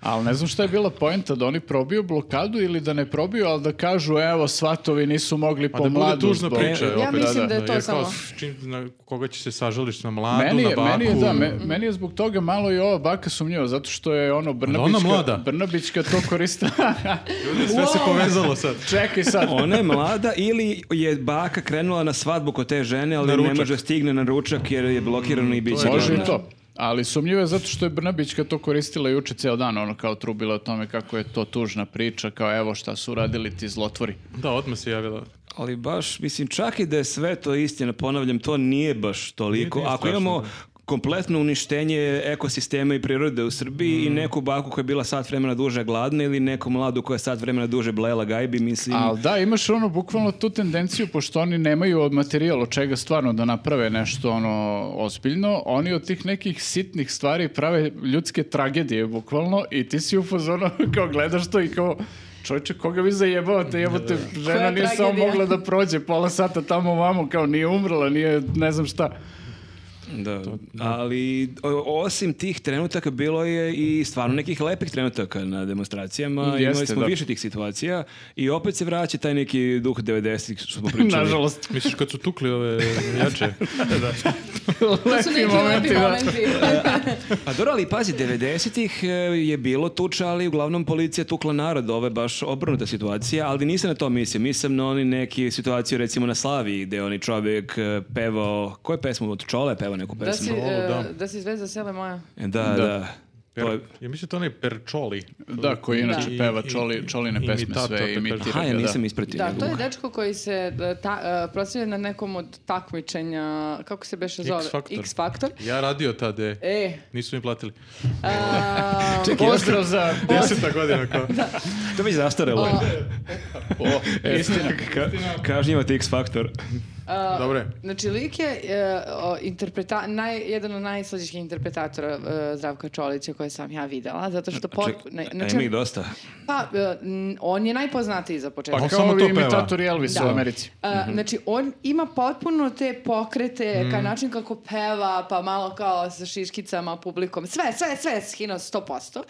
[SPEAKER 1] Ali ne znam šta je bila poenta, da oni probiju blokadu ili da ne probiju, ali da kažu, evo, svatovi nisu mogli
[SPEAKER 2] Pa
[SPEAKER 1] po
[SPEAKER 2] da bude
[SPEAKER 1] mladu.
[SPEAKER 2] tužna
[SPEAKER 1] zbog-
[SPEAKER 2] priča.
[SPEAKER 1] E,
[SPEAKER 4] Ja
[SPEAKER 2] opet,
[SPEAKER 4] mislim da je to
[SPEAKER 2] jer kao
[SPEAKER 4] samo-
[SPEAKER 2] s čim- na koga će se sažališ na mladu,
[SPEAKER 1] Meni
[SPEAKER 2] na
[SPEAKER 1] je,
[SPEAKER 2] baku.
[SPEAKER 1] meni, je, da, me- meni je zbog toga malo i ova baka sumnjiva, zato što je ono Brnabićka,
[SPEAKER 2] mlada.
[SPEAKER 1] Brnabićka to koristila.
[SPEAKER 2] Ljudi, sve se povezalo sad.
[SPEAKER 1] Čekaj sad.
[SPEAKER 3] Ona je mlada ili je baka krenula na svadbu kod te žene,
[SPEAKER 2] Na
[SPEAKER 3] ali ne
[SPEAKER 2] ručak.
[SPEAKER 3] može stigne na ručak jer Pa je blokirano i biće.
[SPEAKER 1] Može i
[SPEAKER 3] gladna.
[SPEAKER 1] to. Ali sumnjivo je zato što je Brnabićka to koristila juče ceo dan, ono kao trubila o tome kako je to tužna priča, kao evo šta su uradili ti zlotvori.
[SPEAKER 2] Da, odmah se javila.
[SPEAKER 3] Ali baš, mislim, čak i da je sve to istina, ponavljam, to nije baš toliko.
[SPEAKER 2] Nije, nije
[SPEAKER 3] Ako
[SPEAKER 2] strašno,
[SPEAKER 3] imamo kompletno uništenje ekosistema i prirode u Srbiji
[SPEAKER 2] Mhm.
[SPEAKER 3] i neku baku koja je bila sat vremena duže gladna ili neku mladu koja je sat vremena duže blejela gajbi, mislim...
[SPEAKER 1] Ali da, imaš ono bukvalno tu tendenciju, pošto oni nemaju od materijala od čega stvarno da naprave nešto ono ozbiljno, oni od tih nekih sitnih stvari prave ljudske tragedije bukvalno i ti si u fazonu kao gledaš to i kao čovječe, koga vi zajebavate, jebote, žena
[SPEAKER 4] Koja
[SPEAKER 1] nije samo
[SPEAKER 4] tragedija?
[SPEAKER 1] mogla da prođe pola sata tamo vamo, kao nije umrla, nije ne znam šta.
[SPEAKER 3] Da, ali o- osim tih trenutaka bilo je i stvarno nekih lepih trenutaka na demonstracijama, imali
[SPEAKER 1] Jeste,
[SPEAKER 3] smo
[SPEAKER 1] da.
[SPEAKER 3] više tih situacija i opet se vraća taj neki duh 90-ih što smo pričali.
[SPEAKER 1] Nažalost,
[SPEAKER 2] Misliš kad su tukli ove jače?
[SPEAKER 4] To su neki
[SPEAKER 1] lepi momenti,
[SPEAKER 4] lepi
[SPEAKER 1] da.
[SPEAKER 4] momenti.
[SPEAKER 3] Pa dobro, ali pazi, 90-ih e, je bilo tuča, ali uglavnom policija tukla narod, ovo je baš obrnuta situacija, ali nisam na to mislim, mislim na oni neki situaciju recimo na Slaviji gde je oni čovjek e, pevao, koju pesmu od Čole pevao neku
[SPEAKER 4] Da si,
[SPEAKER 3] pesmu? E,
[SPEAKER 4] e,
[SPEAKER 2] da.
[SPEAKER 4] da si izvezao sele moja.
[SPEAKER 3] Da, da.
[SPEAKER 2] Per,
[SPEAKER 3] To je-
[SPEAKER 2] ja mislim da to onaj Perčoli.
[SPEAKER 1] Pa- Da, koji inače
[SPEAKER 2] Da.
[SPEAKER 1] peva
[SPEAKER 2] I-
[SPEAKER 1] čoli,
[SPEAKER 2] i-
[SPEAKER 1] čoline pesme
[SPEAKER 2] imitator,
[SPEAKER 1] sve
[SPEAKER 2] tako
[SPEAKER 1] imitira.
[SPEAKER 3] Aha, ja
[SPEAKER 1] ga, da.
[SPEAKER 3] nisam ispratio.
[SPEAKER 4] Da,
[SPEAKER 3] njegovu.
[SPEAKER 4] to je dečko koji se e, ta, e, proslavio na nekom od takmičenja, kako se beše zove?
[SPEAKER 2] X-Factor.
[SPEAKER 4] X Factor.
[SPEAKER 2] Ja radio tade,
[SPEAKER 4] E,
[SPEAKER 2] nisu mi platili.
[SPEAKER 4] a,
[SPEAKER 1] Pozdrav za
[SPEAKER 2] Deseta godina kao.
[SPEAKER 3] To je već zastarelo. E,
[SPEAKER 1] O, istina.
[SPEAKER 3] Ka kažnjivate X faktor.
[SPEAKER 2] Dobre.
[SPEAKER 4] Znači, lik je e, o, interpreta- naj, jedan od najslađih interpretatora e, Zdravka Čolića koje sam ja videla, zato što... pot-
[SPEAKER 3] Ček,
[SPEAKER 4] ne,
[SPEAKER 3] a
[SPEAKER 4] znači,
[SPEAKER 3] ima ih e, dosta.
[SPEAKER 4] pa, e, n- on je najpoznatiji za početak.
[SPEAKER 1] Pa
[SPEAKER 2] On
[SPEAKER 1] kao
[SPEAKER 2] samo
[SPEAKER 1] ovi
[SPEAKER 2] to peva.
[SPEAKER 1] imitatori Elvisa
[SPEAKER 4] Da.
[SPEAKER 1] u Americi. Mhm.
[SPEAKER 4] A, Znači, on ima potpuno te pokrete, ka način kako peva, pa malo kao sa šiškicama, publikom, sve, sve, sve, skinuo 100%.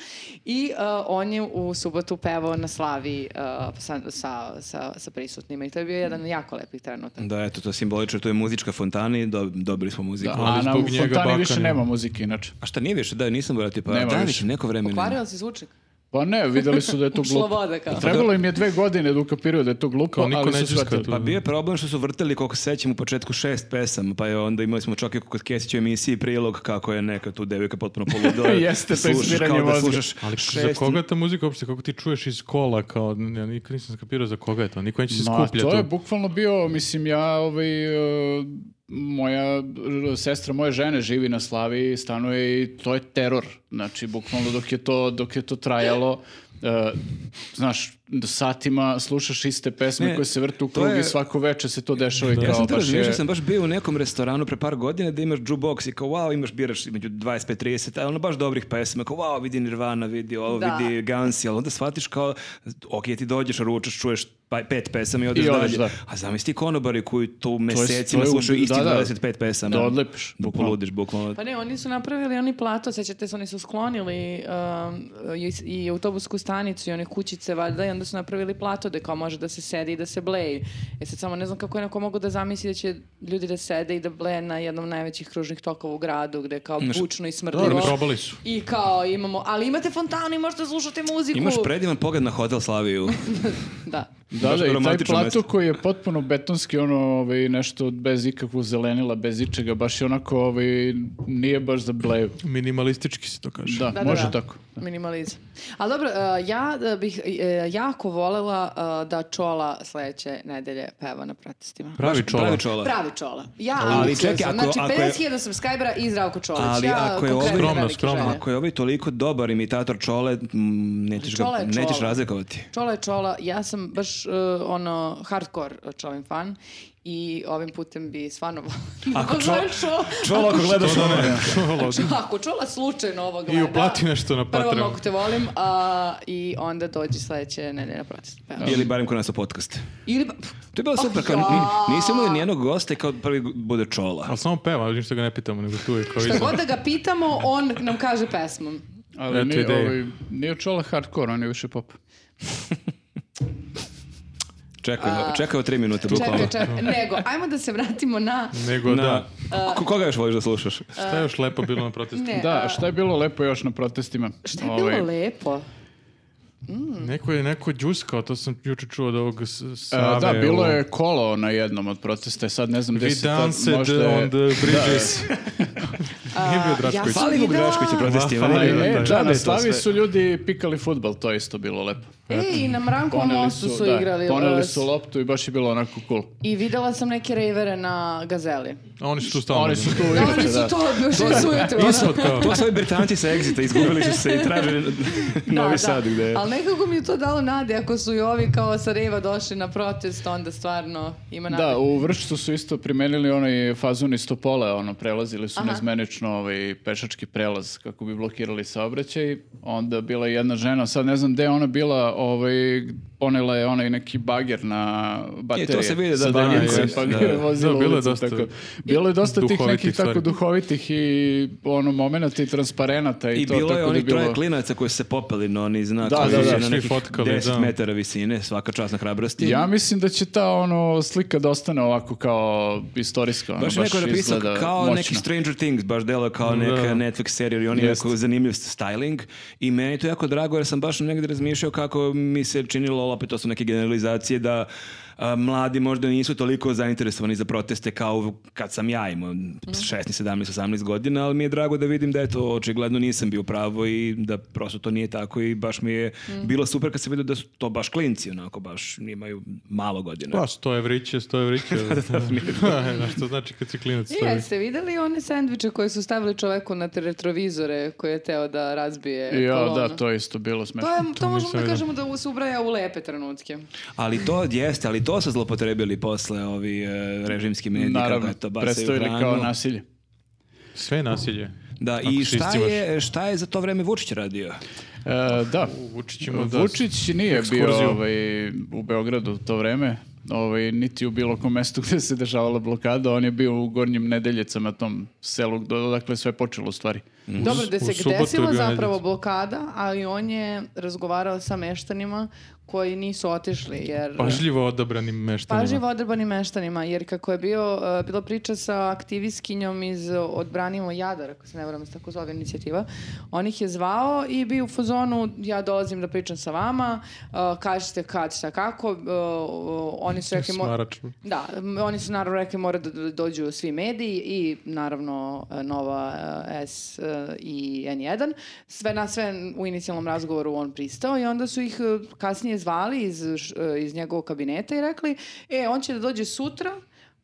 [SPEAKER 4] I a, on je u subotu pevao na slavi a, sa, sa, sa, sa prisutnima i to je bio jedan od jako lepih trenutaka.
[SPEAKER 3] Da, eto, to je simbolično, to je muzička fontana i dob- dobili smo muziku.
[SPEAKER 1] Da,
[SPEAKER 2] Ali
[SPEAKER 1] a na
[SPEAKER 2] zbog njega
[SPEAKER 1] Fontani
[SPEAKER 2] baka
[SPEAKER 1] više
[SPEAKER 2] nema.
[SPEAKER 1] nema muzike inače.
[SPEAKER 3] A šta nije više? Da, nisam vratio pa.
[SPEAKER 1] Nema
[SPEAKER 3] da,
[SPEAKER 1] više.
[SPEAKER 3] već neko vreme. nema.
[SPEAKER 4] Pokvarila si zvučnik.
[SPEAKER 1] Pa ne, videli su da je to
[SPEAKER 4] Ušla
[SPEAKER 1] glupo.
[SPEAKER 4] voda kao.
[SPEAKER 1] Trebalo im je dve godine da ukapiraju da je to glupo,
[SPEAKER 2] Kao niko
[SPEAKER 1] ali su
[SPEAKER 2] neće
[SPEAKER 1] shvatili.
[SPEAKER 2] shvatiti.
[SPEAKER 3] Pa bio je problem što su vrtali, koliko se sećam, u početku šest pesama, pa je onda imali smo čak i kod Kesića u emisiji prilog kako je neka tu devojka potpuno poludila.
[SPEAKER 1] Jeste, to je
[SPEAKER 3] Slušaš
[SPEAKER 1] sviranje
[SPEAKER 3] kao da
[SPEAKER 1] mozga.
[SPEAKER 3] slušaš
[SPEAKER 2] Ali za
[SPEAKER 3] šest...
[SPEAKER 2] koga je ta muzika uopšte, kako ti čuješ iz kola, kao, n- ja nikad nisam skapirao za koga je to, niko neće se
[SPEAKER 1] Ma,
[SPEAKER 2] skuplja
[SPEAKER 1] to je
[SPEAKER 2] tu.
[SPEAKER 1] bukvalno bio, mislim, ja, ovaj, e, moja r- sestra moje žene živi na Slavi, stanuje i to je teror. Znači, bukvalno dok je to, dok je to trajalo, e, znaš, satima slušaš iste pesme
[SPEAKER 3] Ne,
[SPEAKER 1] koje se vrtu u
[SPEAKER 3] to
[SPEAKER 1] krug i
[SPEAKER 3] je-
[SPEAKER 1] svako veče se to dešava i kao
[SPEAKER 3] Ja sam to
[SPEAKER 1] baš
[SPEAKER 3] razmišljao,
[SPEAKER 1] je...
[SPEAKER 3] sam baš bio u nekom restoranu pre par godina da imaš jukebox i kao wow, imaš biraš između 25-30, ali ono baš dobrih pesama, kao wow, vidi Nirvana, vidi ovo,
[SPEAKER 4] Da.
[SPEAKER 3] vidi Gansi, ali onda shvatiš kao, ok, ti dođeš, ručaš, čuješ pa- pet pesama i odeš
[SPEAKER 1] I odeš,
[SPEAKER 3] dalje.
[SPEAKER 1] da.
[SPEAKER 3] A zamisli konobari koji tu
[SPEAKER 1] to je-
[SPEAKER 3] mesecima
[SPEAKER 1] to je u-
[SPEAKER 3] slušaju istih
[SPEAKER 1] da, da.
[SPEAKER 3] 25 pesama.
[SPEAKER 1] Da odlepiš,
[SPEAKER 3] Dok
[SPEAKER 1] bukvalno.
[SPEAKER 3] poludiš, bukvalno.
[SPEAKER 4] Pa ne, oni su napravili oni plato, sećate se, oni su sklonili um, i, i autobusku stanicu i one kućice valjda i onda su napravili plato da kao može da se sedi i da se bleji. E sad samo ne znam kako je neko mogu da zamisli da će ljudi da sede i da bleje na jednom od najvećih kružnih tokova u gradu gde je kao bučno i
[SPEAKER 2] Dobro,
[SPEAKER 4] smrdljivo.
[SPEAKER 2] probali su.
[SPEAKER 4] I kao imamo, ali imate fontanu i možete slušati muziku.
[SPEAKER 3] Imaš predivan pogled na Hotel Slaviju.
[SPEAKER 4] Da.
[SPEAKER 1] Da,
[SPEAKER 3] Baš
[SPEAKER 1] da, i taj
[SPEAKER 3] romantično
[SPEAKER 1] plato
[SPEAKER 3] mesto.
[SPEAKER 1] koji je potpuno betonski, ono, ovaj, nešto bez ikakvog zelenila, bez ičega, baš je onako, ovaj, nije baš za bleju.
[SPEAKER 2] Minimalistički se to kaže.
[SPEAKER 1] Da,
[SPEAKER 4] Da, da,
[SPEAKER 1] može
[SPEAKER 4] da.
[SPEAKER 1] tako. Da.
[SPEAKER 4] Minimalizam. Ali dobro, uh, ja uh, bih uh, jako volela uh, da Čola sledeće nedelje peva na protestima.
[SPEAKER 2] Pravi
[SPEAKER 3] Baš
[SPEAKER 2] čola.
[SPEAKER 3] Pravi čola.
[SPEAKER 4] Pravi Čola. Ja,
[SPEAKER 3] Ali
[SPEAKER 4] ali
[SPEAKER 3] čekaj,
[SPEAKER 4] čekaj,
[SPEAKER 3] ako-
[SPEAKER 4] znači
[SPEAKER 3] ako je-
[SPEAKER 4] 50.000 subscribera i Zdravko Čolić.
[SPEAKER 3] Ali
[SPEAKER 4] ja,
[SPEAKER 3] ako je
[SPEAKER 4] konkretno
[SPEAKER 3] ovo-
[SPEAKER 2] Skromno,
[SPEAKER 4] velike
[SPEAKER 2] skromno.
[SPEAKER 4] želje.
[SPEAKER 3] Ako je ovaj toliko dobar imitator čole, mm, nećeš,
[SPEAKER 4] Čola
[SPEAKER 3] ga,
[SPEAKER 4] je
[SPEAKER 3] nećeš
[SPEAKER 4] čola.
[SPEAKER 3] razlikovati.
[SPEAKER 4] Čola je Čola, ja sam baš uh, ono hardcore Čolin fan i ovim putem bi stvarno volila.
[SPEAKER 3] Ako
[SPEAKER 4] da
[SPEAKER 3] Čola-
[SPEAKER 4] zovem Čola,
[SPEAKER 3] Čola ako gledaš ono. ovo.
[SPEAKER 2] Čola.
[SPEAKER 4] ako Čola slučajno ovo gleda.
[SPEAKER 2] I uplati nešto na
[SPEAKER 4] Prvo
[SPEAKER 2] Patreon.
[SPEAKER 4] mnogo te volim a, i onda dođi sledeće nedelje na protest. Evo.
[SPEAKER 3] Ili barem kod nas u podcast.
[SPEAKER 4] Ili, pa-
[SPEAKER 3] To je bilo super, kao,
[SPEAKER 4] ja.
[SPEAKER 3] ni- nisam imali nijednog gosta i kao prvi bude čola.
[SPEAKER 2] Ali samo peva, ništa ga ne pitamo, nego tu je kao
[SPEAKER 4] šta
[SPEAKER 2] izgleda.
[SPEAKER 4] god da ga pitamo, on nam kaže pesmom.
[SPEAKER 1] Ali
[SPEAKER 2] Eto
[SPEAKER 1] nije,
[SPEAKER 2] ideje.
[SPEAKER 1] ovaj, nije čola hardcore, on je više pop.
[SPEAKER 3] Čekaj, čekaj o tri minute, bukvalno.
[SPEAKER 4] Čekaj, čekaj, nego, ajmo da se vratimo na...
[SPEAKER 2] Nego da,
[SPEAKER 3] Na- Ko- koga još voliš da slušaš?
[SPEAKER 2] šta je još lepo bilo na protestu?
[SPEAKER 4] E, Ne,
[SPEAKER 1] Da,
[SPEAKER 4] E, a,
[SPEAKER 1] šta je bilo lepo još na protestima?
[SPEAKER 4] Šta je
[SPEAKER 1] Ovaj,
[SPEAKER 4] bilo lepo?
[SPEAKER 2] Neko je neko džuskao, to sam juče čuo od ovog s- Save.
[SPEAKER 1] a, E, da, bilo
[SPEAKER 2] ovog-
[SPEAKER 1] je kolo na jednom od protesta, sad ne znam gde
[SPEAKER 2] We
[SPEAKER 1] se tad
[SPEAKER 2] danced
[SPEAKER 1] možda... je-
[SPEAKER 2] on the bridges. Nije bio
[SPEAKER 4] A,
[SPEAKER 2] Drašković.
[SPEAKER 4] sam
[SPEAKER 3] Fali mu
[SPEAKER 4] videla-
[SPEAKER 3] Drašković je protestima.
[SPEAKER 2] Fali,
[SPEAKER 1] Ali,
[SPEAKER 2] da,
[SPEAKER 1] e,
[SPEAKER 2] da.
[SPEAKER 1] da,
[SPEAKER 3] Džabe
[SPEAKER 1] na
[SPEAKER 3] je to
[SPEAKER 1] Slavi
[SPEAKER 3] sve.
[SPEAKER 1] su ljudi pikali futbal, to je isto bilo lepo.
[SPEAKER 4] E, i na Mrankovom
[SPEAKER 1] Poneli
[SPEAKER 4] mostu su,
[SPEAKER 1] da,
[SPEAKER 4] igrali.
[SPEAKER 1] Poneli
[SPEAKER 4] e,
[SPEAKER 1] su loptu i baš je bilo onako cool.
[SPEAKER 4] I videla sam neke rejvere na Gazeli.
[SPEAKER 2] A oni su tu stalno.
[SPEAKER 1] Oni su tu
[SPEAKER 4] Da, oni
[SPEAKER 1] uvijek,
[SPEAKER 4] su
[SPEAKER 1] da.
[SPEAKER 4] to još ono- iz ujutru.
[SPEAKER 2] Ispod kao.
[SPEAKER 3] To su ovi Britanci sa Exita, izgubili su se i traže Novi
[SPEAKER 4] da.
[SPEAKER 3] Sad gde je.
[SPEAKER 4] Ali nekako mi je to dalo nade, ako su i ovi kao sa Reva došli na protest, onda stvarno ima nade.
[SPEAKER 1] Da, u Vršcu su isto primenili onaj fazon iz Topole, ono, prelazili su
[SPEAKER 4] Aha.
[SPEAKER 1] nezmenično ovaj pešački prelaz kako bi blokirali saobraćaj. Onda bila je jedna žena, sad ne znam gde je ona bila, ovaj, ponela je onaj neki bager na baterije.
[SPEAKER 3] E, to se vidi, da,
[SPEAKER 1] sa
[SPEAKER 3] da,
[SPEAKER 1] daljince,
[SPEAKER 3] da,
[SPEAKER 1] pa
[SPEAKER 3] da.
[SPEAKER 1] ga je vozila
[SPEAKER 2] Da, bilo je
[SPEAKER 1] ulicom,
[SPEAKER 2] dosta
[SPEAKER 1] tako. Bilo je dosta tih
[SPEAKER 2] duhovitih
[SPEAKER 1] nekih tako
[SPEAKER 2] stvari.
[SPEAKER 1] duhovitih i ono, momenata i transparenata i,
[SPEAKER 3] I
[SPEAKER 1] to.
[SPEAKER 3] bilo
[SPEAKER 1] tako
[SPEAKER 3] je
[SPEAKER 1] da
[SPEAKER 3] onih
[SPEAKER 1] bilo-
[SPEAKER 3] troje klinaca koji su se popeli na oni znak
[SPEAKER 1] Da,
[SPEAKER 3] koji
[SPEAKER 1] da,
[SPEAKER 3] je
[SPEAKER 1] da,
[SPEAKER 3] na
[SPEAKER 2] svi
[SPEAKER 3] nekih
[SPEAKER 2] fotkali,
[SPEAKER 3] 10
[SPEAKER 2] da.
[SPEAKER 3] metara visine, svaka čast na hrabrosti.
[SPEAKER 1] Ja mislim da će ta ono slika da ostane ovako kao istorijska, ono, baš,
[SPEAKER 3] Baš, je neko napisao
[SPEAKER 1] izgleda
[SPEAKER 3] kao
[SPEAKER 1] moćno.
[SPEAKER 3] neki Stranger Things, baš delo kao neka
[SPEAKER 2] Da.
[SPEAKER 3] Netflix serija, jer oni
[SPEAKER 1] Jest.
[SPEAKER 3] jako zanimljiv styling i meni je to jako drago jer sam baš negdje razmišljao kako mi se činilo, ali opet to su neke generalizacije da a, mladi možda nisu toliko zainteresovani za proteste kao kad sam ja imao
[SPEAKER 1] Mhm.
[SPEAKER 3] 16, 17, 18 godina, ali mi je drago da vidim da je to očigledno nisam bio pravo i da prosto to nije tako i baš mi je
[SPEAKER 1] Mhm.
[SPEAKER 3] bilo super kad sam vidio da su to baš klinci, onako baš imaju malo godina.
[SPEAKER 2] Pa, 100 evriće, 100 evriće. Znaš što znači kad si klinac
[SPEAKER 4] I E, jeste videli one sandviče koje su stavili čoveku na te retrovizore koji je teo da razbije
[SPEAKER 1] Ja,
[SPEAKER 4] kolonu?
[SPEAKER 1] da, to je isto bilo
[SPEAKER 4] E, To,
[SPEAKER 1] smešno.
[SPEAKER 4] je, to, možemo
[SPEAKER 2] nisam
[SPEAKER 4] da
[SPEAKER 2] vidio.
[SPEAKER 4] kažemo da se ubraja u lepe trenutke.
[SPEAKER 3] Ali to jeste, ali to su zlopotrebili posle ovi e, režimski mediji. kako
[SPEAKER 1] Naravno,
[SPEAKER 3] je to bacaju
[SPEAKER 1] predstavili
[SPEAKER 3] hranu.
[SPEAKER 1] kao nasilje.
[SPEAKER 2] Sve je nasilje.
[SPEAKER 3] Da,
[SPEAKER 2] Ako
[SPEAKER 3] i
[SPEAKER 2] se
[SPEAKER 3] šta
[SPEAKER 2] iscimaš.
[SPEAKER 3] je, šta je za to vreme Vučić radio?
[SPEAKER 1] E, da,
[SPEAKER 2] Vučić ima da...
[SPEAKER 1] Vučić nije bio
[SPEAKER 2] ekskurziju.
[SPEAKER 1] ovaj, u Beogradu u to vreme, ovaj, niti u bilo kom mestu gde se dešavala blokada, on je bio u Gornjim Nedeljicama, tom selu, do- odakle sve počelo u stvari.
[SPEAKER 4] Dobro, da
[SPEAKER 2] u
[SPEAKER 4] se
[SPEAKER 2] subotu je
[SPEAKER 4] desila
[SPEAKER 2] bio
[SPEAKER 4] zapravo
[SPEAKER 2] Nedeljica.
[SPEAKER 4] blokada, ali on je razgovarao sa meštanima koji nisu otišli, jer...
[SPEAKER 2] Pažljivo ono. odabranim meštanima.
[SPEAKER 4] Pažljivo odrabanim meštanima, jer kako je bio, e, bila priča sa aktivistkinjom iz Odbranimo Jadar, ako se ne varam, se tako zove inicijativa, on ih je zvao i bio u fazonu, ja dolazim da pričam sa vama, e, kažete kad, šta, kako, e, o- oni su rekli... mo-
[SPEAKER 2] Smaračno.
[SPEAKER 4] Da, m, oni su naravno rekli mora da do- dođu svi mediji i naravno e, Nova e, S e, i N1. Sve na sve u inicijalnom razgovoru on pristao i onda su ih e, kasnije zvali iz, š- e, iz njegovog kabineta i rekli e, on će da dođe sutra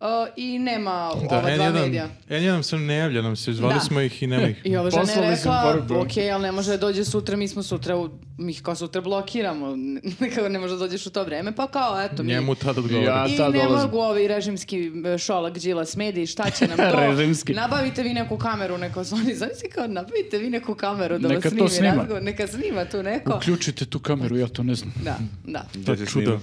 [SPEAKER 4] e, i nema
[SPEAKER 2] Da,
[SPEAKER 4] ova dva medija.
[SPEAKER 2] N1, N1 se ne javlja nam se, zvali
[SPEAKER 4] Da.
[SPEAKER 2] smo ih i nema ih.
[SPEAKER 4] I ova žena je
[SPEAKER 1] Poslali su im
[SPEAKER 4] rekla,
[SPEAKER 1] poruku.
[SPEAKER 4] ok, ali ne može da dođe sutra, mi smo sutra, u, mi ih kao sutra blokiramo, kao ne može da dođeš u to vreme, pa kao, eto, mi...
[SPEAKER 2] Njemu tad odgovara.
[SPEAKER 1] Ja- A
[SPEAKER 4] I
[SPEAKER 1] ta
[SPEAKER 4] ne
[SPEAKER 1] dolazi.
[SPEAKER 4] mogu ovi režimski e, šolak Đilas mediji, šta će nam to?
[SPEAKER 1] Režimski.
[SPEAKER 4] Nabavite vi neku kameru, neka vas oni, zamisli kao nabavite vi neku kameru da
[SPEAKER 1] Neka
[SPEAKER 4] vas
[SPEAKER 1] to
[SPEAKER 4] snimi
[SPEAKER 1] snima.
[SPEAKER 4] razgovor, neka snima tu neko.
[SPEAKER 1] Uključite tu kameru, ja to ne znam.
[SPEAKER 4] Da, da.
[SPEAKER 2] To je čudo.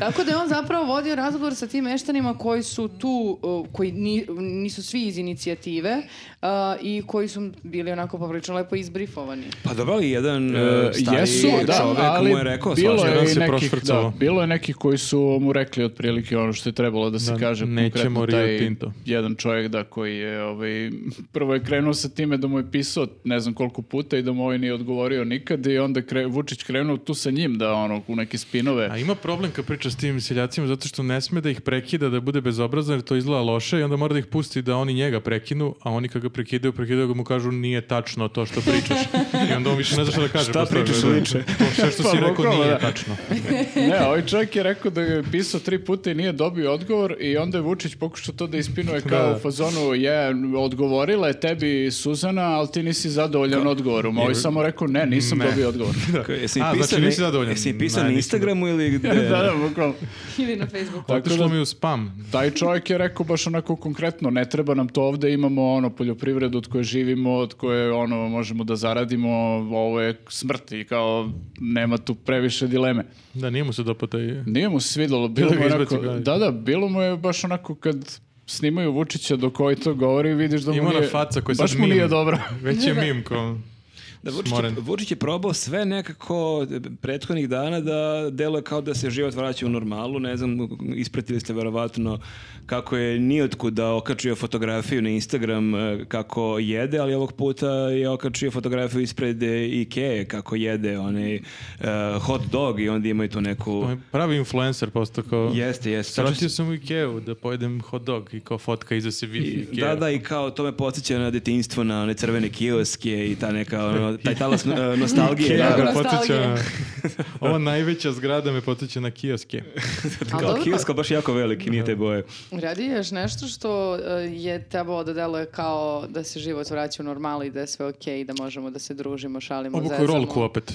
[SPEAKER 4] Tako da je on zapravo vodio razgovor sa tim meštanima koji su tu, uh, koji ni- nisu svi iz inicijative uh, i koji su bili onako poprilično lepo izbrifovani.
[SPEAKER 3] Pa dobro, ali jedan
[SPEAKER 1] E,
[SPEAKER 3] e, stari
[SPEAKER 1] jesu, da,
[SPEAKER 3] čovek
[SPEAKER 1] ali
[SPEAKER 3] mu je rekao
[SPEAKER 1] bilo
[SPEAKER 3] svašta.
[SPEAKER 1] je,
[SPEAKER 2] Jedan
[SPEAKER 1] i
[SPEAKER 2] se
[SPEAKER 1] nekih,
[SPEAKER 2] prošvercovao.
[SPEAKER 1] da, bilo je nekih koji su mu rekli otprilike ono što je trebalo da se
[SPEAKER 2] Da,
[SPEAKER 1] kaže
[SPEAKER 2] nećemo
[SPEAKER 1] konkretno taj
[SPEAKER 2] Rio Tinto.
[SPEAKER 1] jedan čovjek da koji je ovaj, prvo je krenuo sa time da mu je pisao ne znam koliko puta i da mu ovaj nije odgovorio nikad i onda kre, Vučić krenuo tu sa njim da ono u neke spinove
[SPEAKER 2] A ima problem kad priča s tim seljacima zato što ne sme da ih prekida da bude bezobrazan jer to izgleda loše i onda mora da ih pusti da oni njega prekinu, a oni kad ga prekidaju, prekidaju ga mu kažu nije tačno to što pričaš. I onda on više ne zna šta da kaže.
[SPEAKER 3] Šta
[SPEAKER 2] posle
[SPEAKER 3] pričaš
[SPEAKER 2] toga, da.
[SPEAKER 3] liče?
[SPEAKER 2] To sve što
[SPEAKER 1] Pa,
[SPEAKER 2] si rekao
[SPEAKER 1] bukvalno,
[SPEAKER 2] nije
[SPEAKER 1] da.
[SPEAKER 2] tačno.
[SPEAKER 1] ne, ovaj čovjek je rekao da je pisao tri puta i nije dobio odgovor i onda je Vučić pokušao to da ispinuje kao
[SPEAKER 2] Da.
[SPEAKER 1] u fazonu je, odgovorila je tebi Suzana, ali ti nisi zadovoljan odgovorom. Ovo je samo rekao ne, nisam dobio odgovor.
[SPEAKER 3] K- Jesi mi
[SPEAKER 2] A,
[SPEAKER 3] pisao,
[SPEAKER 2] znači nisi
[SPEAKER 3] na-
[SPEAKER 2] zadovoljan?
[SPEAKER 3] Jesi mi pisao
[SPEAKER 2] Ne,
[SPEAKER 3] na
[SPEAKER 2] nisam
[SPEAKER 3] Instagramu ili gde?
[SPEAKER 1] da, da, bukvalno.
[SPEAKER 4] Ili na Facebooku.
[SPEAKER 2] Otišlo mi u spam.
[SPEAKER 1] Taj čovjek je rekao baš onako konkretno, ne treba nam to ovde, imamo ono poljoprivredu od koje živimo, od koje ono možemo da zaradimo, ovo je smrt i kao nema tu previše dileme.
[SPEAKER 2] Da, nije mu se dopao taj...
[SPEAKER 1] Nije mu se svidjelo, bilo
[SPEAKER 2] Ili
[SPEAKER 1] mu
[SPEAKER 2] ga
[SPEAKER 1] je
[SPEAKER 2] izbaci
[SPEAKER 1] onako,
[SPEAKER 2] ga.
[SPEAKER 1] da, da, bilo mu je baš onako kad snimaju Vučića do koji to govori, vidiš da mu
[SPEAKER 2] Ima ona
[SPEAKER 1] nije,
[SPEAKER 2] faca koja je
[SPEAKER 1] baš
[SPEAKER 2] sad
[SPEAKER 1] mu
[SPEAKER 2] mim.
[SPEAKER 1] nije dobro.
[SPEAKER 2] Već je mim kao...
[SPEAKER 3] Da, Vučić, je,
[SPEAKER 2] Smoren.
[SPEAKER 3] Vučić je probao sve nekako prethodnih dana da deluje kao da se život vraća u normalu. Ne znam, ispratili ste verovatno kako je nijotkuda okačio fotografiju na Instagram e, kako jede, ali ovog puta je okačio fotografiju ispred e, Ikee kako jede onaj e, hot dog i onda imaju tu neku...
[SPEAKER 2] On je pravi influencer postao kao...
[SPEAKER 3] Jeste, jeste.
[SPEAKER 2] Sratio sam u Ikeu da pojedem hot dog i kao fotka iza se vidi
[SPEAKER 3] I-
[SPEAKER 2] Ikea.
[SPEAKER 3] Da, da, i kao to me podsjeća na detinjstvo, na one crvene kioske i ta neka, ono, taj talas no- nostalgije.
[SPEAKER 2] Ikea
[SPEAKER 3] da,
[SPEAKER 2] ga
[SPEAKER 4] Dobro,
[SPEAKER 2] podsjeća
[SPEAKER 4] nostalgija.
[SPEAKER 2] na... Ova najveća zgrada me podsjeća na kioske.
[SPEAKER 4] Ali
[SPEAKER 3] Kao
[SPEAKER 4] dobro,
[SPEAKER 3] kiosko, baš jako veliki, nije te boje.
[SPEAKER 4] Radi još nešto što e, je trebalo da deluje kao da se život vraća u normalu i da je sve okej, da možemo da se družimo, šalimo,
[SPEAKER 2] Obuku
[SPEAKER 4] zezamo.
[SPEAKER 2] rolku opet.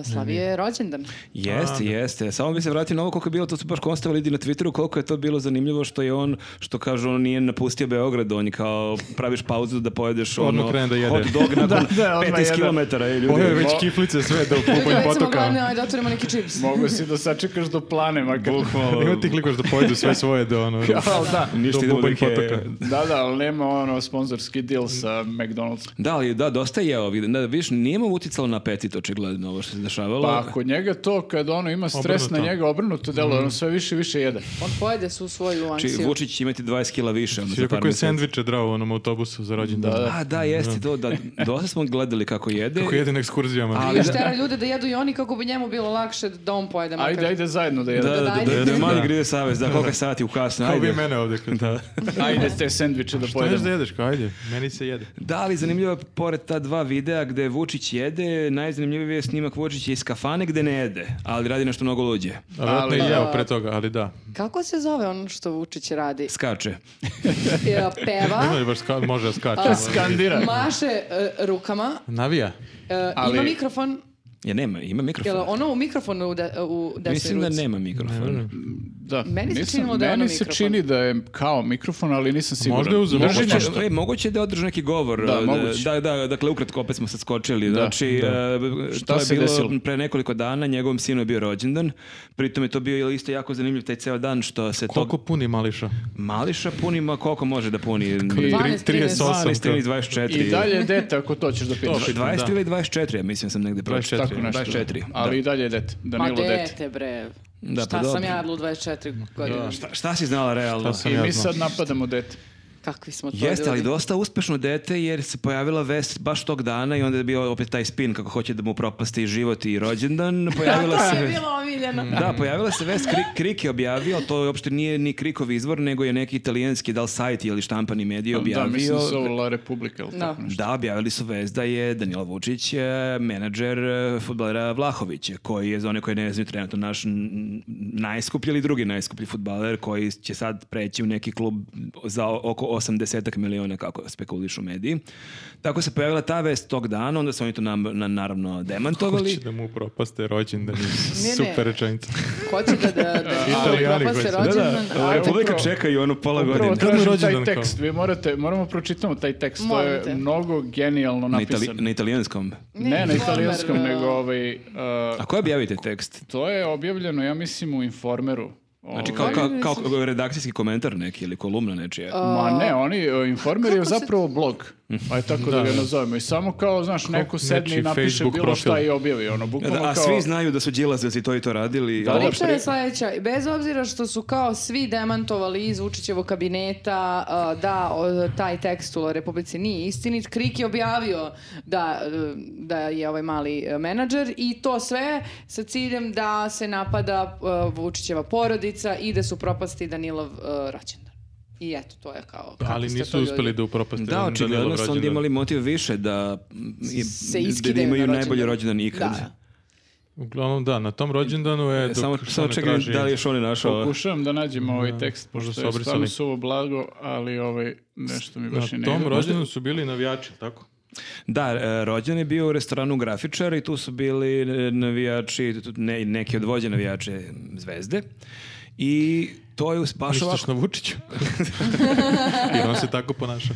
[SPEAKER 4] E, Slavije je rođendan.
[SPEAKER 3] Jeste, jeste. Samo bi se vratio na ovo koliko je bilo, to su baš konstavili ljudi na Twitteru, koliko je to bilo zanimljivo što je on, što kažu, on nije napustio Beograd, on je kao praviš pauzu da pojedeš
[SPEAKER 2] Odmah
[SPEAKER 3] ono,
[SPEAKER 2] krene da jede.
[SPEAKER 3] hot dog nakon
[SPEAKER 1] Da, da, odmah
[SPEAKER 3] 15
[SPEAKER 1] jede.
[SPEAKER 3] kilometara. e, ljudi.
[SPEAKER 2] Pojeo je već
[SPEAKER 1] mo-
[SPEAKER 2] kiflice sve do
[SPEAKER 4] Ljudi,
[SPEAKER 2] pupanj
[SPEAKER 4] recimo,
[SPEAKER 2] pa
[SPEAKER 4] glavne,
[SPEAKER 2] potoka.
[SPEAKER 4] ajde, otvorimo neki čips.
[SPEAKER 1] Mogu si da sačekaš do plane, makar.
[SPEAKER 2] Ima ti klikaš da pojedu sve svoje do ono...
[SPEAKER 1] Al da.
[SPEAKER 3] Ništa
[SPEAKER 2] Do
[SPEAKER 3] idemo do
[SPEAKER 2] Bubanj
[SPEAKER 3] Ikee.
[SPEAKER 2] potoka.
[SPEAKER 1] Da, da, ali nema ono sponzorski deal sa McDonald's.
[SPEAKER 3] Da, ali da, dosta je jeo. vidim. Da, vidiš, nije mu uticalo na apetit, očigledno, ovo što se dešavalo.
[SPEAKER 1] Pa kod njega to, kad ono ima stres na
[SPEAKER 2] Obrnuto. Mhm.
[SPEAKER 1] njega, obrnuto delo, ono sve više i više jede.
[SPEAKER 4] On pojede su svoju
[SPEAKER 3] Znači,
[SPEAKER 4] ansiju.
[SPEAKER 3] Vučić će imati 20 kila više. Ono,
[SPEAKER 2] Ti
[SPEAKER 3] za
[SPEAKER 2] rekao
[SPEAKER 3] par
[SPEAKER 2] Znači, kako je
[SPEAKER 3] mjeseci.
[SPEAKER 2] sandviče drao u onom autobusu za rođendan.
[SPEAKER 1] Da, da.
[SPEAKER 3] A, da, jeste to. Da, dosta smo gledali kako jede.
[SPEAKER 2] Kako jede na ekskurzijama.
[SPEAKER 3] Ali
[SPEAKER 4] Još
[SPEAKER 3] da-
[SPEAKER 4] tera ljude da jedu i oni kako bi njemu bilo lakše da on pojede. makar.
[SPEAKER 1] Ajde, ajde zajedno da
[SPEAKER 3] Da,
[SPEAKER 1] jede.
[SPEAKER 3] da, da, da,
[SPEAKER 4] ajde.
[SPEAKER 3] da, mali grize savez, da, koliko je sati u kasno,
[SPEAKER 2] Kao vi
[SPEAKER 3] ajde.
[SPEAKER 2] mene ovdje. Da.
[SPEAKER 1] Ajde te sendviče da
[SPEAKER 2] Šta ješ da
[SPEAKER 1] pojedemo.
[SPEAKER 2] jedeš? Kao ajde, meni se jede.
[SPEAKER 3] Da, ali zanimljivo je, pored ta dva videa gde Vučić jede, najzanimljiviji je snimak Vučića iz kafane gde ne jede, ali radi nešto mnogo luđe.
[SPEAKER 2] A vjerojatno
[SPEAKER 1] Ali-
[SPEAKER 2] i jeo pre toga, ali da.
[SPEAKER 4] Kako se zove ono što Vučić radi?
[SPEAKER 3] Skače.
[SPEAKER 4] E,
[SPEAKER 2] Ima
[SPEAKER 4] Peva,
[SPEAKER 2] li baš ska- može da skače.
[SPEAKER 4] A,
[SPEAKER 1] Skandira.
[SPEAKER 4] maše e, rukama,
[SPEAKER 2] Navija.
[SPEAKER 4] e, ima
[SPEAKER 1] Ali-
[SPEAKER 4] mikrofon,
[SPEAKER 3] Ja nema, ima mikrofon.
[SPEAKER 4] je li ono u mikrofonu u, de, u desnoj
[SPEAKER 3] Mislim da
[SPEAKER 4] ruci?
[SPEAKER 3] nema mikrofon.
[SPEAKER 1] Da.
[SPEAKER 4] Meni se
[SPEAKER 1] Nisam-
[SPEAKER 4] činilo da je ono
[SPEAKER 1] Meni se
[SPEAKER 4] mikrofon.
[SPEAKER 1] čini da je kao mikrofon, ali nisam siguran.
[SPEAKER 2] Možda je uzeo
[SPEAKER 1] Drži
[SPEAKER 2] moguće.
[SPEAKER 1] nešto.
[SPEAKER 3] Moguće, e, moguće da održi neki govor.
[SPEAKER 1] Da, moguće.
[SPEAKER 3] Da, da, dakle, ukratko opet smo se skočili. znači, e,
[SPEAKER 1] Šta
[SPEAKER 3] to je
[SPEAKER 1] se
[SPEAKER 3] bilo
[SPEAKER 1] desilo?
[SPEAKER 3] pre nekoliko dana, njegovom sinu je bio rođendan, pritom je to bio isto jako zanimljiv taj ceo dan što se
[SPEAKER 2] Koliko
[SPEAKER 3] to
[SPEAKER 2] puni mališa?
[SPEAKER 3] mališa punima, koliko može da puni?
[SPEAKER 1] I-
[SPEAKER 4] 12,
[SPEAKER 2] 38.
[SPEAKER 3] 12, 13, 24.
[SPEAKER 1] I dalje je dete ako to ćeš da pitaš.
[SPEAKER 2] Opet,
[SPEAKER 3] 20
[SPEAKER 2] da.
[SPEAKER 3] ili 24, ja mislim sam negde pročitao.
[SPEAKER 1] Tako nešto.
[SPEAKER 3] 24,
[SPEAKER 1] Ali i dalje je dete.
[SPEAKER 4] Ma
[SPEAKER 1] Danilo dete.
[SPEAKER 4] dete, bre.
[SPEAKER 3] Da, pa
[SPEAKER 4] Šta sam
[SPEAKER 3] dobro.
[SPEAKER 4] ja radila u 24 godine?
[SPEAKER 3] Šta, šta si znala realno?
[SPEAKER 2] Šta sam-
[SPEAKER 1] I
[SPEAKER 2] Ja
[SPEAKER 1] mi
[SPEAKER 2] znam.
[SPEAKER 1] sad napadamo dete.
[SPEAKER 4] Kakvi smo to
[SPEAKER 3] Jeste, ali
[SPEAKER 4] ljudi.
[SPEAKER 3] dosta uspešno dete jer se pojavila vest baš tog dana i onda je bio opet taj spin kako hoće da mu propasti i život i rođendan. Pojavila
[SPEAKER 4] Kako
[SPEAKER 3] se
[SPEAKER 4] je
[SPEAKER 3] vest.
[SPEAKER 4] bilo omiljeno.
[SPEAKER 3] Da, pojavila se vest, Kri- Krik je objavio, ali to uopšte nije ni Krikov izvor, nego je neki italijanski, da li sajt ili štampani medij
[SPEAKER 1] Pa Da, mislim
[SPEAKER 3] objavio.
[SPEAKER 1] da se ovo La Republika ili
[SPEAKER 4] Da.
[SPEAKER 1] tako nešto.
[SPEAKER 3] Da, objavili su vez da je Danilo Vučić e, menadžer e, fudbalera Vlahovića, koji je za one koji ne znaju trenutno naš n- n- najskuplji ili drugi najskuplji fudbaler koji će sad preći u neki klub za oko 80 miliona kako spekulišu mediji. Tako se pojavila ta vest tog dana, onda su oni to nam, na- naravno demantovali.
[SPEAKER 2] Hoće da mu propaste rođendan.
[SPEAKER 4] ne.
[SPEAKER 2] Super rečenica.
[SPEAKER 4] Ko će da, da, da,
[SPEAKER 2] Italijani
[SPEAKER 4] propasti
[SPEAKER 2] koji su-
[SPEAKER 4] rođendan? a
[SPEAKER 1] Republika upravo-
[SPEAKER 3] čeka i ono pola
[SPEAKER 1] Prvo
[SPEAKER 2] Kad mu je
[SPEAKER 1] tražim taj
[SPEAKER 2] rođendan kao?
[SPEAKER 1] tekst, vi morate, moramo pročitamo taj tekst, to
[SPEAKER 4] Molim te.
[SPEAKER 1] je mnogo genijalno
[SPEAKER 3] Na, itali-
[SPEAKER 1] napisano.
[SPEAKER 3] na italijanskom.
[SPEAKER 1] Ne, na
[SPEAKER 4] Informer,
[SPEAKER 1] italijanskom,
[SPEAKER 4] a-
[SPEAKER 1] nego ovaj, uh,
[SPEAKER 3] A ko objavite tekst?
[SPEAKER 1] to je objavljeno, ja mislim, u Informeru.
[SPEAKER 3] Znači kao,
[SPEAKER 1] Ovaj,
[SPEAKER 3] kao, kao redakcijski komentar neki ili kolumna nečija.
[SPEAKER 1] Ma ne, oni, uh, Informer je
[SPEAKER 4] Kako se-
[SPEAKER 1] zapravo blog, aj tako da, ga nazovemo. I samo kao, znaš, neko sedne i
[SPEAKER 2] nečiji
[SPEAKER 1] napiše
[SPEAKER 2] Facebook
[SPEAKER 1] bilo
[SPEAKER 2] profil.
[SPEAKER 1] šta i objavi, ono, bukvalno
[SPEAKER 3] Da, a
[SPEAKER 1] kao...
[SPEAKER 3] svi znaju da su Đilasovci to i to radili.
[SPEAKER 1] Da,
[SPEAKER 3] Ovo-
[SPEAKER 1] da.
[SPEAKER 4] Priča je sledeća, bez obzira što su kao svi demantovali iz Vučićevog kabineta a, da o, taj tekst u Republici nije istinit, Krik je objavio da, e, da je ovaj mali e, menadžer i to sve sa ciljem da se napada e, Vučićeva porodica i da su propasti Danilov e, rođendan. I eto, to je kao... kako
[SPEAKER 2] Ali
[SPEAKER 4] ste to
[SPEAKER 2] nisu
[SPEAKER 4] ljudi-
[SPEAKER 2] uspeli da upropaste
[SPEAKER 3] Da, očigledno su onda imali motiv više da, i-
[SPEAKER 4] se
[SPEAKER 3] da,
[SPEAKER 4] iskidaju
[SPEAKER 3] imaju
[SPEAKER 4] na
[SPEAKER 3] najbolji
[SPEAKER 4] rođendan.
[SPEAKER 3] rođendan ikad.
[SPEAKER 4] Da.
[SPEAKER 2] Uglavnom da, na tom rođendanu
[SPEAKER 1] E,
[SPEAKER 2] je... Dok
[SPEAKER 3] E, Samo,
[SPEAKER 2] što
[SPEAKER 3] samo
[SPEAKER 2] ne
[SPEAKER 3] čekaj,
[SPEAKER 2] traži-
[SPEAKER 3] da li još on je našao?
[SPEAKER 1] Pokušavam da nađem ovaj tekst, pošto
[SPEAKER 2] su
[SPEAKER 1] je stvarno
[SPEAKER 2] obrisali.
[SPEAKER 1] suvo blago, ali ovaj, nešto mi baš i
[SPEAKER 2] Na
[SPEAKER 1] ne
[SPEAKER 2] tom
[SPEAKER 1] ide.
[SPEAKER 2] rođendanu su bili navijači, tako?
[SPEAKER 3] Da, e, rođen je bio u restoranu Grafičar i tu su bili e, navijači, tu- ne, neki od vođe navijače Zvezde. I to je us- baš
[SPEAKER 2] Misliš
[SPEAKER 3] ovako.
[SPEAKER 2] na Vučiću? Jer on se tako ponaša.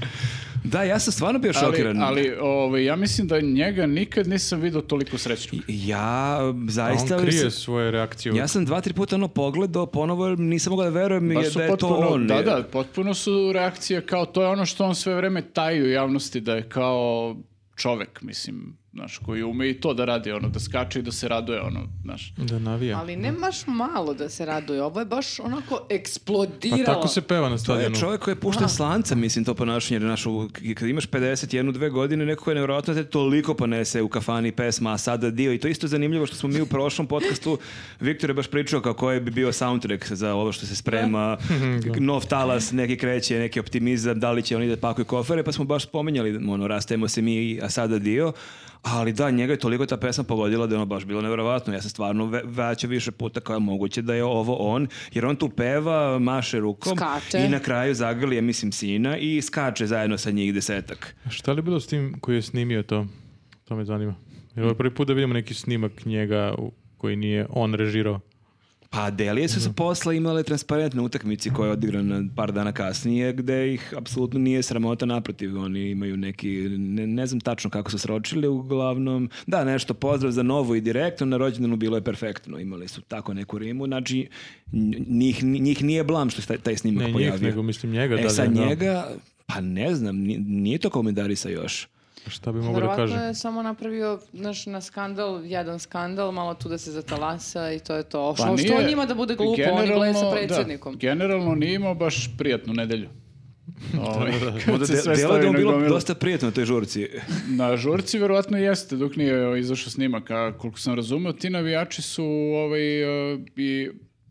[SPEAKER 3] Da, ja sam stvarno bio
[SPEAKER 1] Ali,
[SPEAKER 3] šokiran.
[SPEAKER 1] ali ovaj, ja mislim da njega nikad nisam vidio toliko srećnog.
[SPEAKER 3] Ja m,
[SPEAKER 2] A
[SPEAKER 3] zaista...
[SPEAKER 2] on krije
[SPEAKER 3] sam-
[SPEAKER 2] svoje reakcije.
[SPEAKER 3] Ja sam dva, tri puta ono pogledao, ponovo nisam mogao da verujem
[SPEAKER 1] Pa
[SPEAKER 3] jer
[SPEAKER 1] su
[SPEAKER 3] da je to
[SPEAKER 1] potpuno,
[SPEAKER 3] on.
[SPEAKER 1] da,
[SPEAKER 3] jer-
[SPEAKER 1] da, potpuno su reakcije kao to je ono što on sve vreme taji u javnosti da je kao čovek, mislim, znaš, koji ume i to da radi, ono, da skače i da se raduje, ono, znaš.
[SPEAKER 2] Da navija.
[SPEAKER 4] Ali ne baš malo da se raduje, ovo je baš onako
[SPEAKER 2] Pa
[SPEAKER 4] eksplodiralo.
[SPEAKER 2] tako se peva na
[SPEAKER 3] To je
[SPEAKER 2] stadionu.
[SPEAKER 3] čovjek koji je pušten s lanca, mislim, to ponašanje. Jer, znaš, u- k- kad imaš 51, dve godine, neko je nevjerojatno te toliko ponese u kafani pesma, a sada dio. I to je isto zanimljivo što smo mi u prošlom podcastu, Viktor je baš pričao kako je bi bio soundtrack za ovo što se sprema, k- nov talas, neki kreće, neki optimizam, da li će oni da pakuju kofere, pa smo baš spominjali, ono, rastajemo se mi, a sada dio. Ali da, njega je toliko ta pesma pogodila da je ono baš bilo nevjerovatno. Ja sam stvarno ve- vraćao više puta kao je moguće da je ovo on, jer on tu peva, maše rukom
[SPEAKER 4] Skače.
[SPEAKER 3] i na kraju zagrli, ja mislim, sina i skače zajedno sa njih desetak.
[SPEAKER 2] Šta li je bilo s tim koji je snimio to? To me zanima. Jer ovo je prvi put da vidimo neki snimak njega u- koji nije on režirao.
[SPEAKER 3] Pa Delije su se
[SPEAKER 2] Mhm.
[SPEAKER 3] posle imale transparentne utakmici koja je odigrana par dana kasnije, gde ih apsolutno nije sramota naprotiv. Oni imaju neki, ne, ne znam tačno kako su sročili, uglavnom, da, nešto pozdrav za novo i direktno, na rođendanu bilo je perfektno. Imali su tako neku rimu, znači nj- njih, njih nije blam što se taj, taj snimak
[SPEAKER 2] Ne njih,
[SPEAKER 3] pojavio.
[SPEAKER 2] nego mislim njega,
[SPEAKER 3] E,
[SPEAKER 2] da li je,
[SPEAKER 3] sad
[SPEAKER 2] da.
[SPEAKER 3] njega, pa ne znam, ni- nije to komentarisa još.
[SPEAKER 2] Šta bi mogu da
[SPEAKER 4] Verovatno
[SPEAKER 2] kažem?
[SPEAKER 4] je samo napravio naš, na skandal, jedan skandal, malo tu da se zatalasa i to je to.
[SPEAKER 1] Pa
[SPEAKER 4] što, što
[SPEAKER 1] nije-
[SPEAKER 4] njima da bude glupo, oni
[SPEAKER 1] generalno-
[SPEAKER 4] gledaju sa
[SPEAKER 1] da,
[SPEAKER 4] predsjednikom.
[SPEAKER 1] generalno nije imao baš prijatnu nedelju. Ovaj, kad
[SPEAKER 3] Možda
[SPEAKER 1] se
[SPEAKER 3] de,
[SPEAKER 1] sve
[SPEAKER 3] delo
[SPEAKER 1] stavi
[SPEAKER 3] je da mu
[SPEAKER 1] na
[SPEAKER 3] bilo
[SPEAKER 1] gomilu.
[SPEAKER 3] dosta prijetno na toj žurci.
[SPEAKER 1] Na žurci verovatno jeste, dok nije ovaj, izašao snimak, a koliko sam razumeo, ti navijači su ovaj, eh, i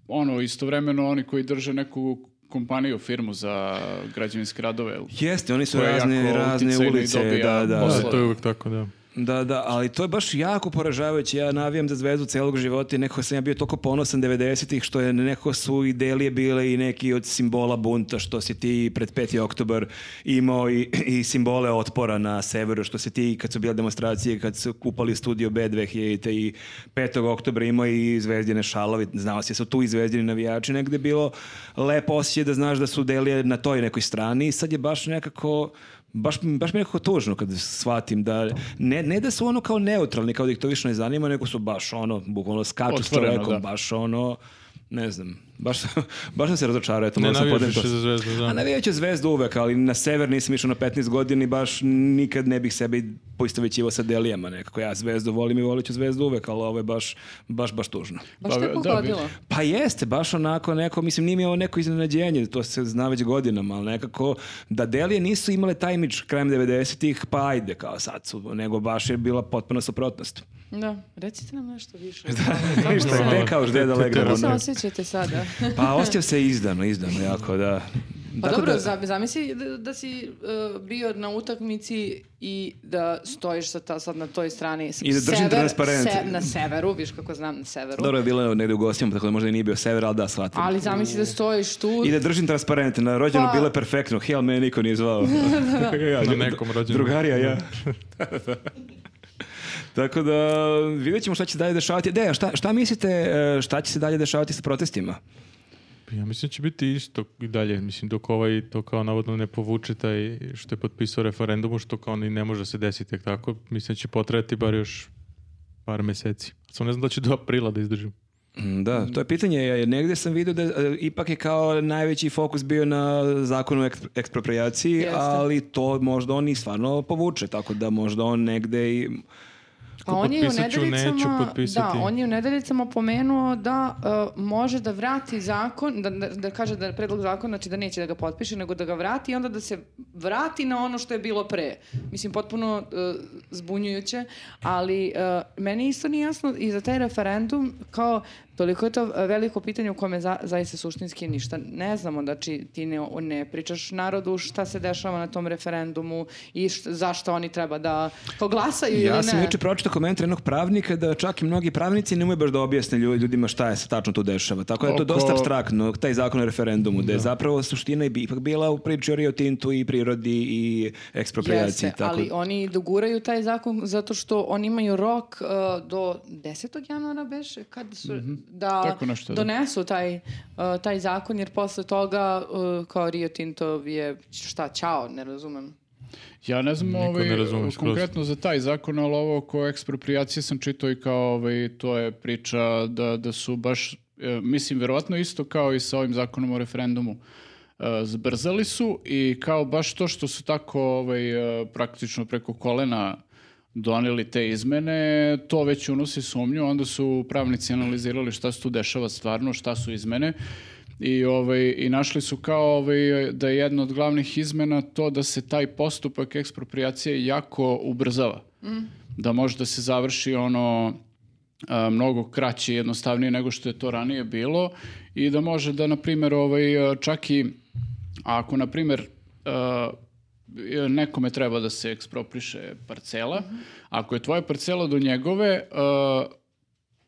[SPEAKER 1] ono, istovremeno oni koji drže neku kompaniju, firmu za građevinske radove. jel?
[SPEAKER 3] Jeste, oni su
[SPEAKER 1] Koja je
[SPEAKER 3] razne,
[SPEAKER 1] jako
[SPEAKER 3] razne
[SPEAKER 1] uticajna i
[SPEAKER 3] ulice,
[SPEAKER 1] dobija
[SPEAKER 3] da, da.
[SPEAKER 1] posao.
[SPEAKER 2] Da, to je uvijek tako, da.
[SPEAKER 3] Da, da, ali to je baš jako poražavajuće. Ja navijam za zvezdu celog života i nekako sam ja bio toliko ponosan 90-ih što je nekako su i delije bile i neki od simbola bunta što si ti pred 5. oktobar imao i, i simbole otpora na severu što si ti kad su bile demonstracije kad su kupali studio B 2000 i 5. oktobra imao i zvezdine šalovi. Znao si da su tu i zvezdini navijači negde bilo lepo osjećaj da znaš da su delije na toj nekoj strani i sad je baš nekako Baš, baš mi je nekako tužno kad shvatim da ne, ne da su ono kao neutralni, kao da ih to više ne zanima, nego su baš ono, bukvalno skaču s
[SPEAKER 1] Otvoreno,
[SPEAKER 3] čovekom,
[SPEAKER 1] da.
[SPEAKER 3] baš ono, ne znam, baš, baš sam se razočarao, eto,
[SPEAKER 2] Ne
[SPEAKER 3] moram sam
[SPEAKER 2] navijaš
[SPEAKER 3] podem to.
[SPEAKER 2] više za Zvezdu, da.
[SPEAKER 3] A navijat ću zvezdu uvek, ali na sever nisam išao na 15 godina i baš nikad ne bih sebe poistovećivao sa delijama nekako. Ja zvezdu volim i volit ću zvezdu uvek, ali ovo je baš, baš, baš tužno.
[SPEAKER 4] Baš
[SPEAKER 1] Pa,
[SPEAKER 4] te
[SPEAKER 1] da,
[SPEAKER 4] pogodilo.
[SPEAKER 1] vidi.
[SPEAKER 3] Pa jeste, baš onako neko, mislim nije mi ovo neko iznenađenje, to se zna već godinama, ali nekako da Delije nisu imale taj imidž krajem 90-ih, pa ajde kao sad su, nego baš je bila potpuna suprotnost.
[SPEAKER 4] Da, recite nam nešto više.
[SPEAKER 3] Ništa,
[SPEAKER 4] Kako se-
[SPEAKER 3] gde kao žde da legne,
[SPEAKER 4] Kako se
[SPEAKER 3] ono.
[SPEAKER 4] osjećate sada?
[SPEAKER 3] Pa osjećam se izdano, izdano jako, da.
[SPEAKER 4] Pa
[SPEAKER 3] Tako
[SPEAKER 4] dobro,
[SPEAKER 3] da-
[SPEAKER 4] za- zamisli da, da si uh, bio na utakmici i da stojiš sa ta, sad na toj strani. s-
[SPEAKER 3] I da držim transparent.
[SPEAKER 4] na severu, viš kako znam, na severu.
[SPEAKER 3] Dobro je bilo negde u gostima, tako da možda i nije bio sever, ali da, shvatim.
[SPEAKER 4] Ali zamisli da stojiš tu.
[SPEAKER 3] I da držim transparent, na rođenu
[SPEAKER 4] Pa-
[SPEAKER 3] bilo je perfektno, hell me niko nije zvao. ja,
[SPEAKER 2] Na nekom rođendu.
[SPEAKER 3] Drugarija, ja. Tako da vidjet ćemo šta će se dalje dešavati. Deja, šta, šta mislite e, šta će se dalje dešavati sa protestima?
[SPEAKER 2] Pa Ja mislim da će biti isto i dalje. Mislim, dok ovaj to kao navodno ne povuče taj što je potpisao referendumu, što kao ni ne može se desiti tek tako, mislim da će potrajati bar još par meseci. Samo ne znam da će do aprila da izdržim.
[SPEAKER 3] Mm, Da, to je pitanje. Jer negdje sam vidio da e, ipak je kao najveći fokus bio na zakonu o eks- eksproprijaciji,
[SPEAKER 4] Jeste.
[SPEAKER 3] ali to možda on i stvarno povuče, tako da možda on negdje i...
[SPEAKER 4] A on je u
[SPEAKER 2] potpisat ću, neću
[SPEAKER 4] nedeljicama, da,
[SPEAKER 2] potpisati.
[SPEAKER 4] on je u nedeljicama pomenuo da uh, može da vrati zakon, da, da, da kaže da je predlog zakona, znači da neće da ga potpiše, nego da ga vrati i onda da se vrati na ono što je bilo pre. Mislim, potpuno uh, zbunjujuće, ali uh, meni isto nije jasno i za taj referendum, kao toliko je to uh, veliko pitanje u kome za, zaista suštinski ništa ne znamo, znači ti ne, ne pričaš narodu šta se dešava na tom referendumu i št- zašto oni treba da kao glasaju ili ne.
[SPEAKER 3] Ja sam juče pročitao komentar jednog pravnika da čak i mnogi pravnici ne umeju baš da objasne lju- ljudima šta je se tačno tu dešava. Tako da je to
[SPEAKER 1] Oko-
[SPEAKER 3] dosta abstraktno, taj zakon o referendumu, da je zapravo suština i bi- ipak bila u priči o Rio Tintu i prirodi i eksproprijaciji.
[SPEAKER 4] Jeste,
[SPEAKER 3] tako.
[SPEAKER 4] ali oni doguraju taj zakon zato što oni imaju rok uh, do 10. januara beše kad su
[SPEAKER 3] Mhm.
[SPEAKER 4] da
[SPEAKER 1] Tako nešto, da.
[SPEAKER 4] donesu taj uh, taj zakon jer posle toga uh, kao Rio Tinto je šta čao, ne razumem.
[SPEAKER 1] Ja ne znam
[SPEAKER 2] Niko
[SPEAKER 1] ovaj,
[SPEAKER 2] ne razume skroz.
[SPEAKER 1] konkretno za taj zakon, ali ovo oko ekspropriacije sam čitao i kao ovaj, to je priča da, da su baš, e, mislim, verovatno isto kao i sa ovim zakonom o referendumu. E, zbrzali su i kao baš to što su tako ovaj, e, praktično preko kolena doneli te izmene, to već unosi sumnju, onda su pravnici analizirali šta se tu dešava stvarno, šta su izmene i, ovaj, i našli su kao ovaj, da je jedna od glavnih izmena to da se taj postupak ekspropriacije jako ubrzava. Da može da se završi ono a, mnogo kraće i jednostavnije nego što je to ranije bilo i da može da, na primjer, ovaj, a, čak i ako, na primjer, a, nekome treba da se ekspropriše parcela, ako je tvoja parcela do njegove, uh,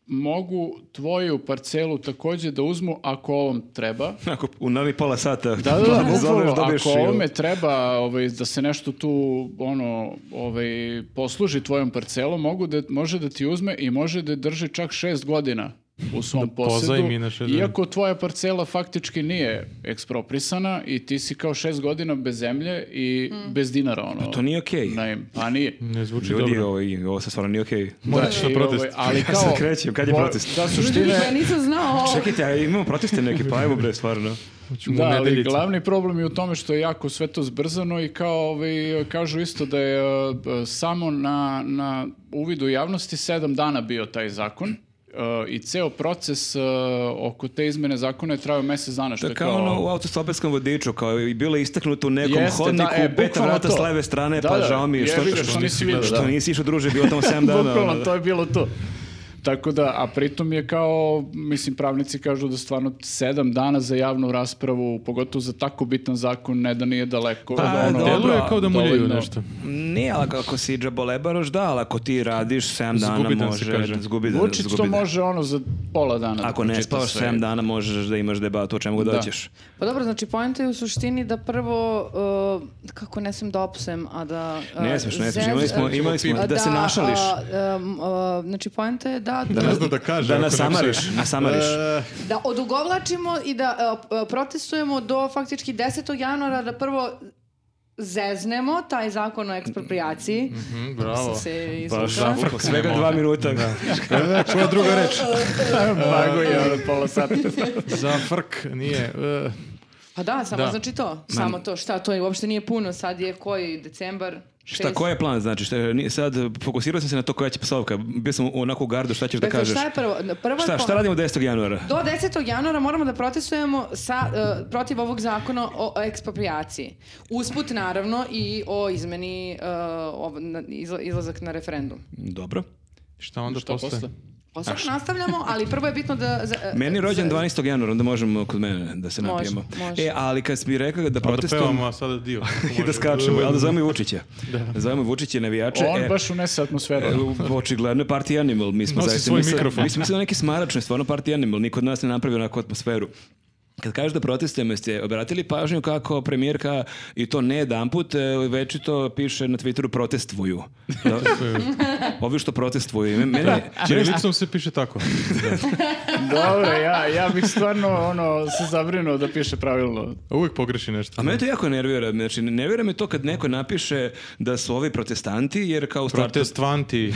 [SPEAKER 1] mogu tvoju parcelu takođe da uzmu ako ovom treba.
[SPEAKER 3] Ako u novi pola sata
[SPEAKER 1] Da, da, da,
[SPEAKER 3] pozoveš,
[SPEAKER 1] bukvalno,
[SPEAKER 3] dobiješ
[SPEAKER 1] ako
[SPEAKER 3] i- ono?
[SPEAKER 1] ovome treba ovaj, da se nešto tu ono, ovaj, posluži tvojom parcelom, mogu da, može da ti uzme i može da je drži čak šest godina u svom posjedu,
[SPEAKER 2] pozajmi na šest godina.
[SPEAKER 1] iako tvoja parcela faktički nije eksproprisana i ti si kao šest godina bez zemlje i bez dinara. Ono,
[SPEAKER 3] Pa To nije okej.
[SPEAKER 1] Naim, pa nije.
[SPEAKER 2] Ne zvuči
[SPEAKER 3] Ljudi,
[SPEAKER 2] dobro.
[SPEAKER 3] ovo, ovo sad stvarno nije okej.
[SPEAKER 2] Moraš
[SPEAKER 1] Da,
[SPEAKER 2] na
[SPEAKER 1] i
[SPEAKER 2] protest.
[SPEAKER 1] ovaj, ali
[SPEAKER 3] Ja
[SPEAKER 1] kao,
[SPEAKER 3] sad krećem, kad je
[SPEAKER 1] po-
[SPEAKER 3] protest?
[SPEAKER 1] Da,
[SPEAKER 4] Ljudi,
[SPEAKER 1] suština
[SPEAKER 4] pa ja
[SPEAKER 1] je,
[SPEAKER 4] nisam znao ovo.
[SPEAKER 3] Čekajte, a imamo proteste neke, pa evo bre, stvarno.
[SPEAKER 2] Hoćemo
[SPEAKER 1] da,
[SPEAKER 2] u
[SPEAKER 1] ali
[SPEAKER 2] nedeljicu.
[SPEAKER 1] glavni problem je u tome što je jako sve to zbrzano i kao ovaj, kažu isto da je e, b- samo na, na uvidu javnosti sedam dana bio taj zakon e, i ceo proces e, oko te izmene zakona je trajao mesec dana što
[SPEAKER 3] Da
[SPEAKER 1] je
[SPEAKER 3] kao
[SPEAKER 1] kao...
[SPEAKER 3] ono u autostoperskom vodiču, kao i bilo je istaknuto u nekom
[SPEAKER 1] Jeste,
[SPEAKER 3] hodniku,
[SPEAKER 1] da, e,
[SPEAKER 3] peta
[SPEAKER 1] bukvalno
[SPEAKER 3] vrata
[SPEAKER 1] to.
[SPEAKER 3] s leve strane,
[SPEAKER 1] Da,
[SPEAKER 3] pa
[SPEAKER 1] da,
[SPEAKER 3] žao mi je što,
[SPEAKER 1] jebi
[SPEAKER 3] što,
[SPEAKER 1] ga, što nisi
[SPEAKER 3] nisi,
[SPEAKER 1] gledao,
[SPEAKER 3] što
[SPEAKER 1] da.
[SPEAKER 3] nisi išao druže, bio tamo 7 dana.
[SPEAKER 1] Bukvalno,
[SPEAKER 3] ono, da.
[SPEAKER 1] to je bilo to. Tako da, a pritom je kao, mislim, pravnici kažu da stvarno sedam dana za javnu raspravu, pogotovo za tako bitan zakon, ne da nije daleko.
[SPEAKER 3] Pa,
[SPEAKER 1] da ono,
[SPEAKER 3] dobro,
[SPEAKER 2] Deluje kao da muljaju
[SPEAKER 1] dovoljno-
[SPEAKER 2] nešto.
[SPEAKER 3] Nije, ali ako si džabolebaroš, da, ali ako ti radiš 7 dana
[SPEAKER 2] Zgubidan si,
[SPEAKER 3] možeš,
[SPEAKER 2] kaže.
[SPEAKER 3] zgubi dan,
[SPEAKER 1] Vučić
[SPEAKER 3] zgubi
[SPEAKER 1] to
[SPEAKER 3] dan.
[SPEAKER 1] može ono za pola dana. da
[SPEAKER 3] Ako ne
[SPEAKER 1] pročita
[SPEAKER 3] spavaš
[SPEAKER 1] sve.
[SPEAKER 3] 7 dana možeš da imaš debatu o čemu god
[SPEAKER 1] Da.
[SPEAKER 3] hoćeš.
[SPEAKER 4] Pa dobro, znači pojenta je u suštini da prvo, uh, kako ne smem da opsem, a da... uh,
[SPEAKER 3] Ne smiješ, ne smiješ,
[SPEAKER 4] zev-
[SPEAKER 3] imali smo,
[SPEAKER 4] uh,
[SPEAKER 3] imali smo da,
[SPEAKER 4] a
[SPEAKER 3] se našališ.
[SPEAKER 4] a, um, a, znači pojenta je da... Da,
[SPEAKER 2] Ne zna da kaže.
[SPEAKER 3] Da
[SPEAKER 2] ako
[SPEAKER 3] nas
[SPEAKER 2] ne psuje.
[SPEAKER 3] samariš, nas samariš.
[SPEAKER 1] E,
[SPEAKER 4] da odugovlačimo i da uh, p- protestujemo do faktički 10. januara da prvo zeznemo taj zakon o ekspropriaciji.
[SPEAKER 2] Mm, bravo.
[SPEAKER 4] Sam se
[SPEAKER 3] Pa
[SPEAKER 4] izvukla.
[SPEAKER 3] šta,
[SPEAKER 2] Frank,
[SPEAKER 3] svega
[SPEAKER 2] nema.
[SPEAKER 3] dva minuta.
[SPEAKER 2] E, koja druga reč?
[SPEAKER 1] Bago je ono pola sata.
[SPEAKER 2] Za frk nije. e,
[SPEAKER 4] Pa da, samo
[SPEAKER 2] Da.
[SPEAKER 4] znači to. Samo to. Šta, to je uopšte nije puno. Sad je koji, decembar?
[SPEAKER 3] Šta,
[SPEAKER 4] Šest-
[SPEAKER 3] koji je plan, znači? Šta, ni- sad fokusirao sam se na to koja će psovka. Bio sam onako u gardu, šta ćeš da
[SPEAKER 4] Dakle,
[SPEAKER 3] kažeš?
[SPEAKER 4] šta je prvo? Prvo je
[SPEAKER 3] Šta,
[SPEAKER 4] po-
[SPEAKER 3] šta radimo 10. januara?
[SPEAKER 4] Do 10. januara moramo da protestujemo sa, e, protiv ovog zakona o ekspropriaciji. Usput, naravno, i o izmeni e, ov- na- izla- izlazak na referendum.
[SPEAKER 3] Dobro.
[SPEAKER 2] Šta onda
[SPEAKER 1] Šta
[SPEAKER 2] postaje?
[SPEAKER 1] posle?
[SPEAKER 4] Posao nastavljamo, ali prvo je bitno da... za- e,
[SPEAKER 3] Meni je rođen
[SPEAKER 4] za-
[SPEAKER 3] 12. januara, onda možemo kod mene da se
[SPEAKER 4] Može,
[SPEAKER 3] napijemo.
[SPEAKER 4] može.
[SPEAKER 3] E, ali kad bi rekao da
[SPEAKER 2] Onda
[SPEAKER 3] protestom...
[SPEAKER 2] Pa pevamo, a sada dio.
[SPEAKER 3] I da skačemo, ali da zovemo i Vučića.
[SPEAKER 2] Da.
[SPEAKER 3] Da zovemo Vučića i navijače.
[SPEAKER 1] On
[SPEAKER 3] e,
[SPEAKER 1] baš unese atmosferu.
[SPEAKER 3] e, Očigledno je Party Animal, mi smo
[SPEAKER 2] Nosi
[SPEAKER 3] zaista
[SPEAKER 2] svoj
[SPEAKER 3] mislili-
[SPEAKER 2] mikrofon.
[SPEAKER 3] Mi smo mislili na neki smaračni, stvarno Party Animal, niko od nas ne napravi onakvu atmosferu. Kad kažeš da protestujemo, jeste obratili pažnju kako premijerka, i to ne jedan put, već i to piše na Twitteru protestvuju. Da, ovi što protestvuju. Mene, mene,
[SPEAKER 2] Čirilicom se piše tako.
[SPEAKER 1] Dobro, ja, ja bih stvarno ono, se zabrinuo da piše pravilno.
[SPEAKER 2] Uvijek pogreši nešto.
[SPEAKER 3] A Pa mene to jako nervira. Znači, nervira me to kad neko napiše da su ovi protestanti, jer kao u startu...
[SPEAKER 2] Protestvanti.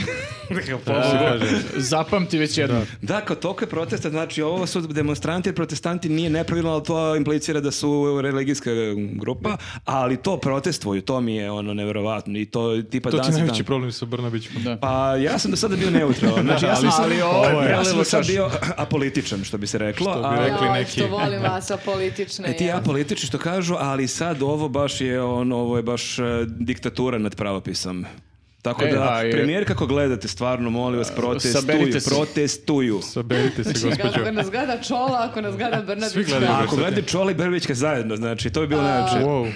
[SPEAKER 2] Kako se
[SPEAKER 1] A,
[SPEAKER 2] kaže.
[SPEAKER 1] E, zapamti već jednom.
[SPEAKER 3] Da, kao toliko je protesta, znači ovo su demonstranti, jer protestanti nije nepravilno, ali to implicira da su religijska grupa, ali to protestvuju, to mi je ono nevjerovatno i to
[SPEAKER 1] Pa
[SPEAKER 3] tipa
[SPEAKER 2] To ti je
[SPEAKER 3] danas i
[SPEAKER 2] najveći
[SPEAKER 3] dan.
[SPEAKER 2] problem sa Brnabićkom.
[SPEAKER 1] Da.
[SPEAKER 3] Pa ja sam do sada bio neutralan, znači ja sam,
[SPEAKER 1] Ali-
[SPEAKER 3] sad-
[SPEAKER 1] ali ovo je
[SPEAKER 3] ja sam do
[SPEAKER 1] prelilo
[SPEAKER 3] sad
[SPEAKER 1] čašu.
[SPEAKER 3] bio apolitičan, što bi se reklo.
[SPEAKER 2] Što bi
[SPEAKER 3] a-
[SPEAKER 2] rekli.
[SPEAKER 4] Joj,
[SPEAKER 2] neki.
[SPEAKER 4] što volim vas, apolitične.
[SPEAKER 3] E ti
[SPEAKER 4] ja.
[SPEAKER 3] ja politički što kažu, ali sad ovo baš je ono, ovo je baš e, diktatura nad pravopisom. Tako
[SPEAKER 1] E,
[SPEAKER 3] da,
[SPEAKER 1] a je-
[SPEAKER 3] premijer kako gledate, stvarno, molim vas, protestuju,
[SPEAKER 1] saberite se.
[SPEAKER 3] protestuju.
[SPEAKER 2] Saberite
[SPEAKER 1] Znači,
[SPEAKER 2] se, gospođo.
[SPEAKER 4] Ako nas gleda Čola, ako nas gleda Brnabić.
[SPEAKER 2] Svi gledaju.
[SPEAKER 3] A
[SPEAKER 4] da.
[SPEAKER 3] ako gledate Čola i Brvićka zajedno, znači, to bi bilo najveće.
[SPEAKER 2] Wow.
[SPEAKER 4] N-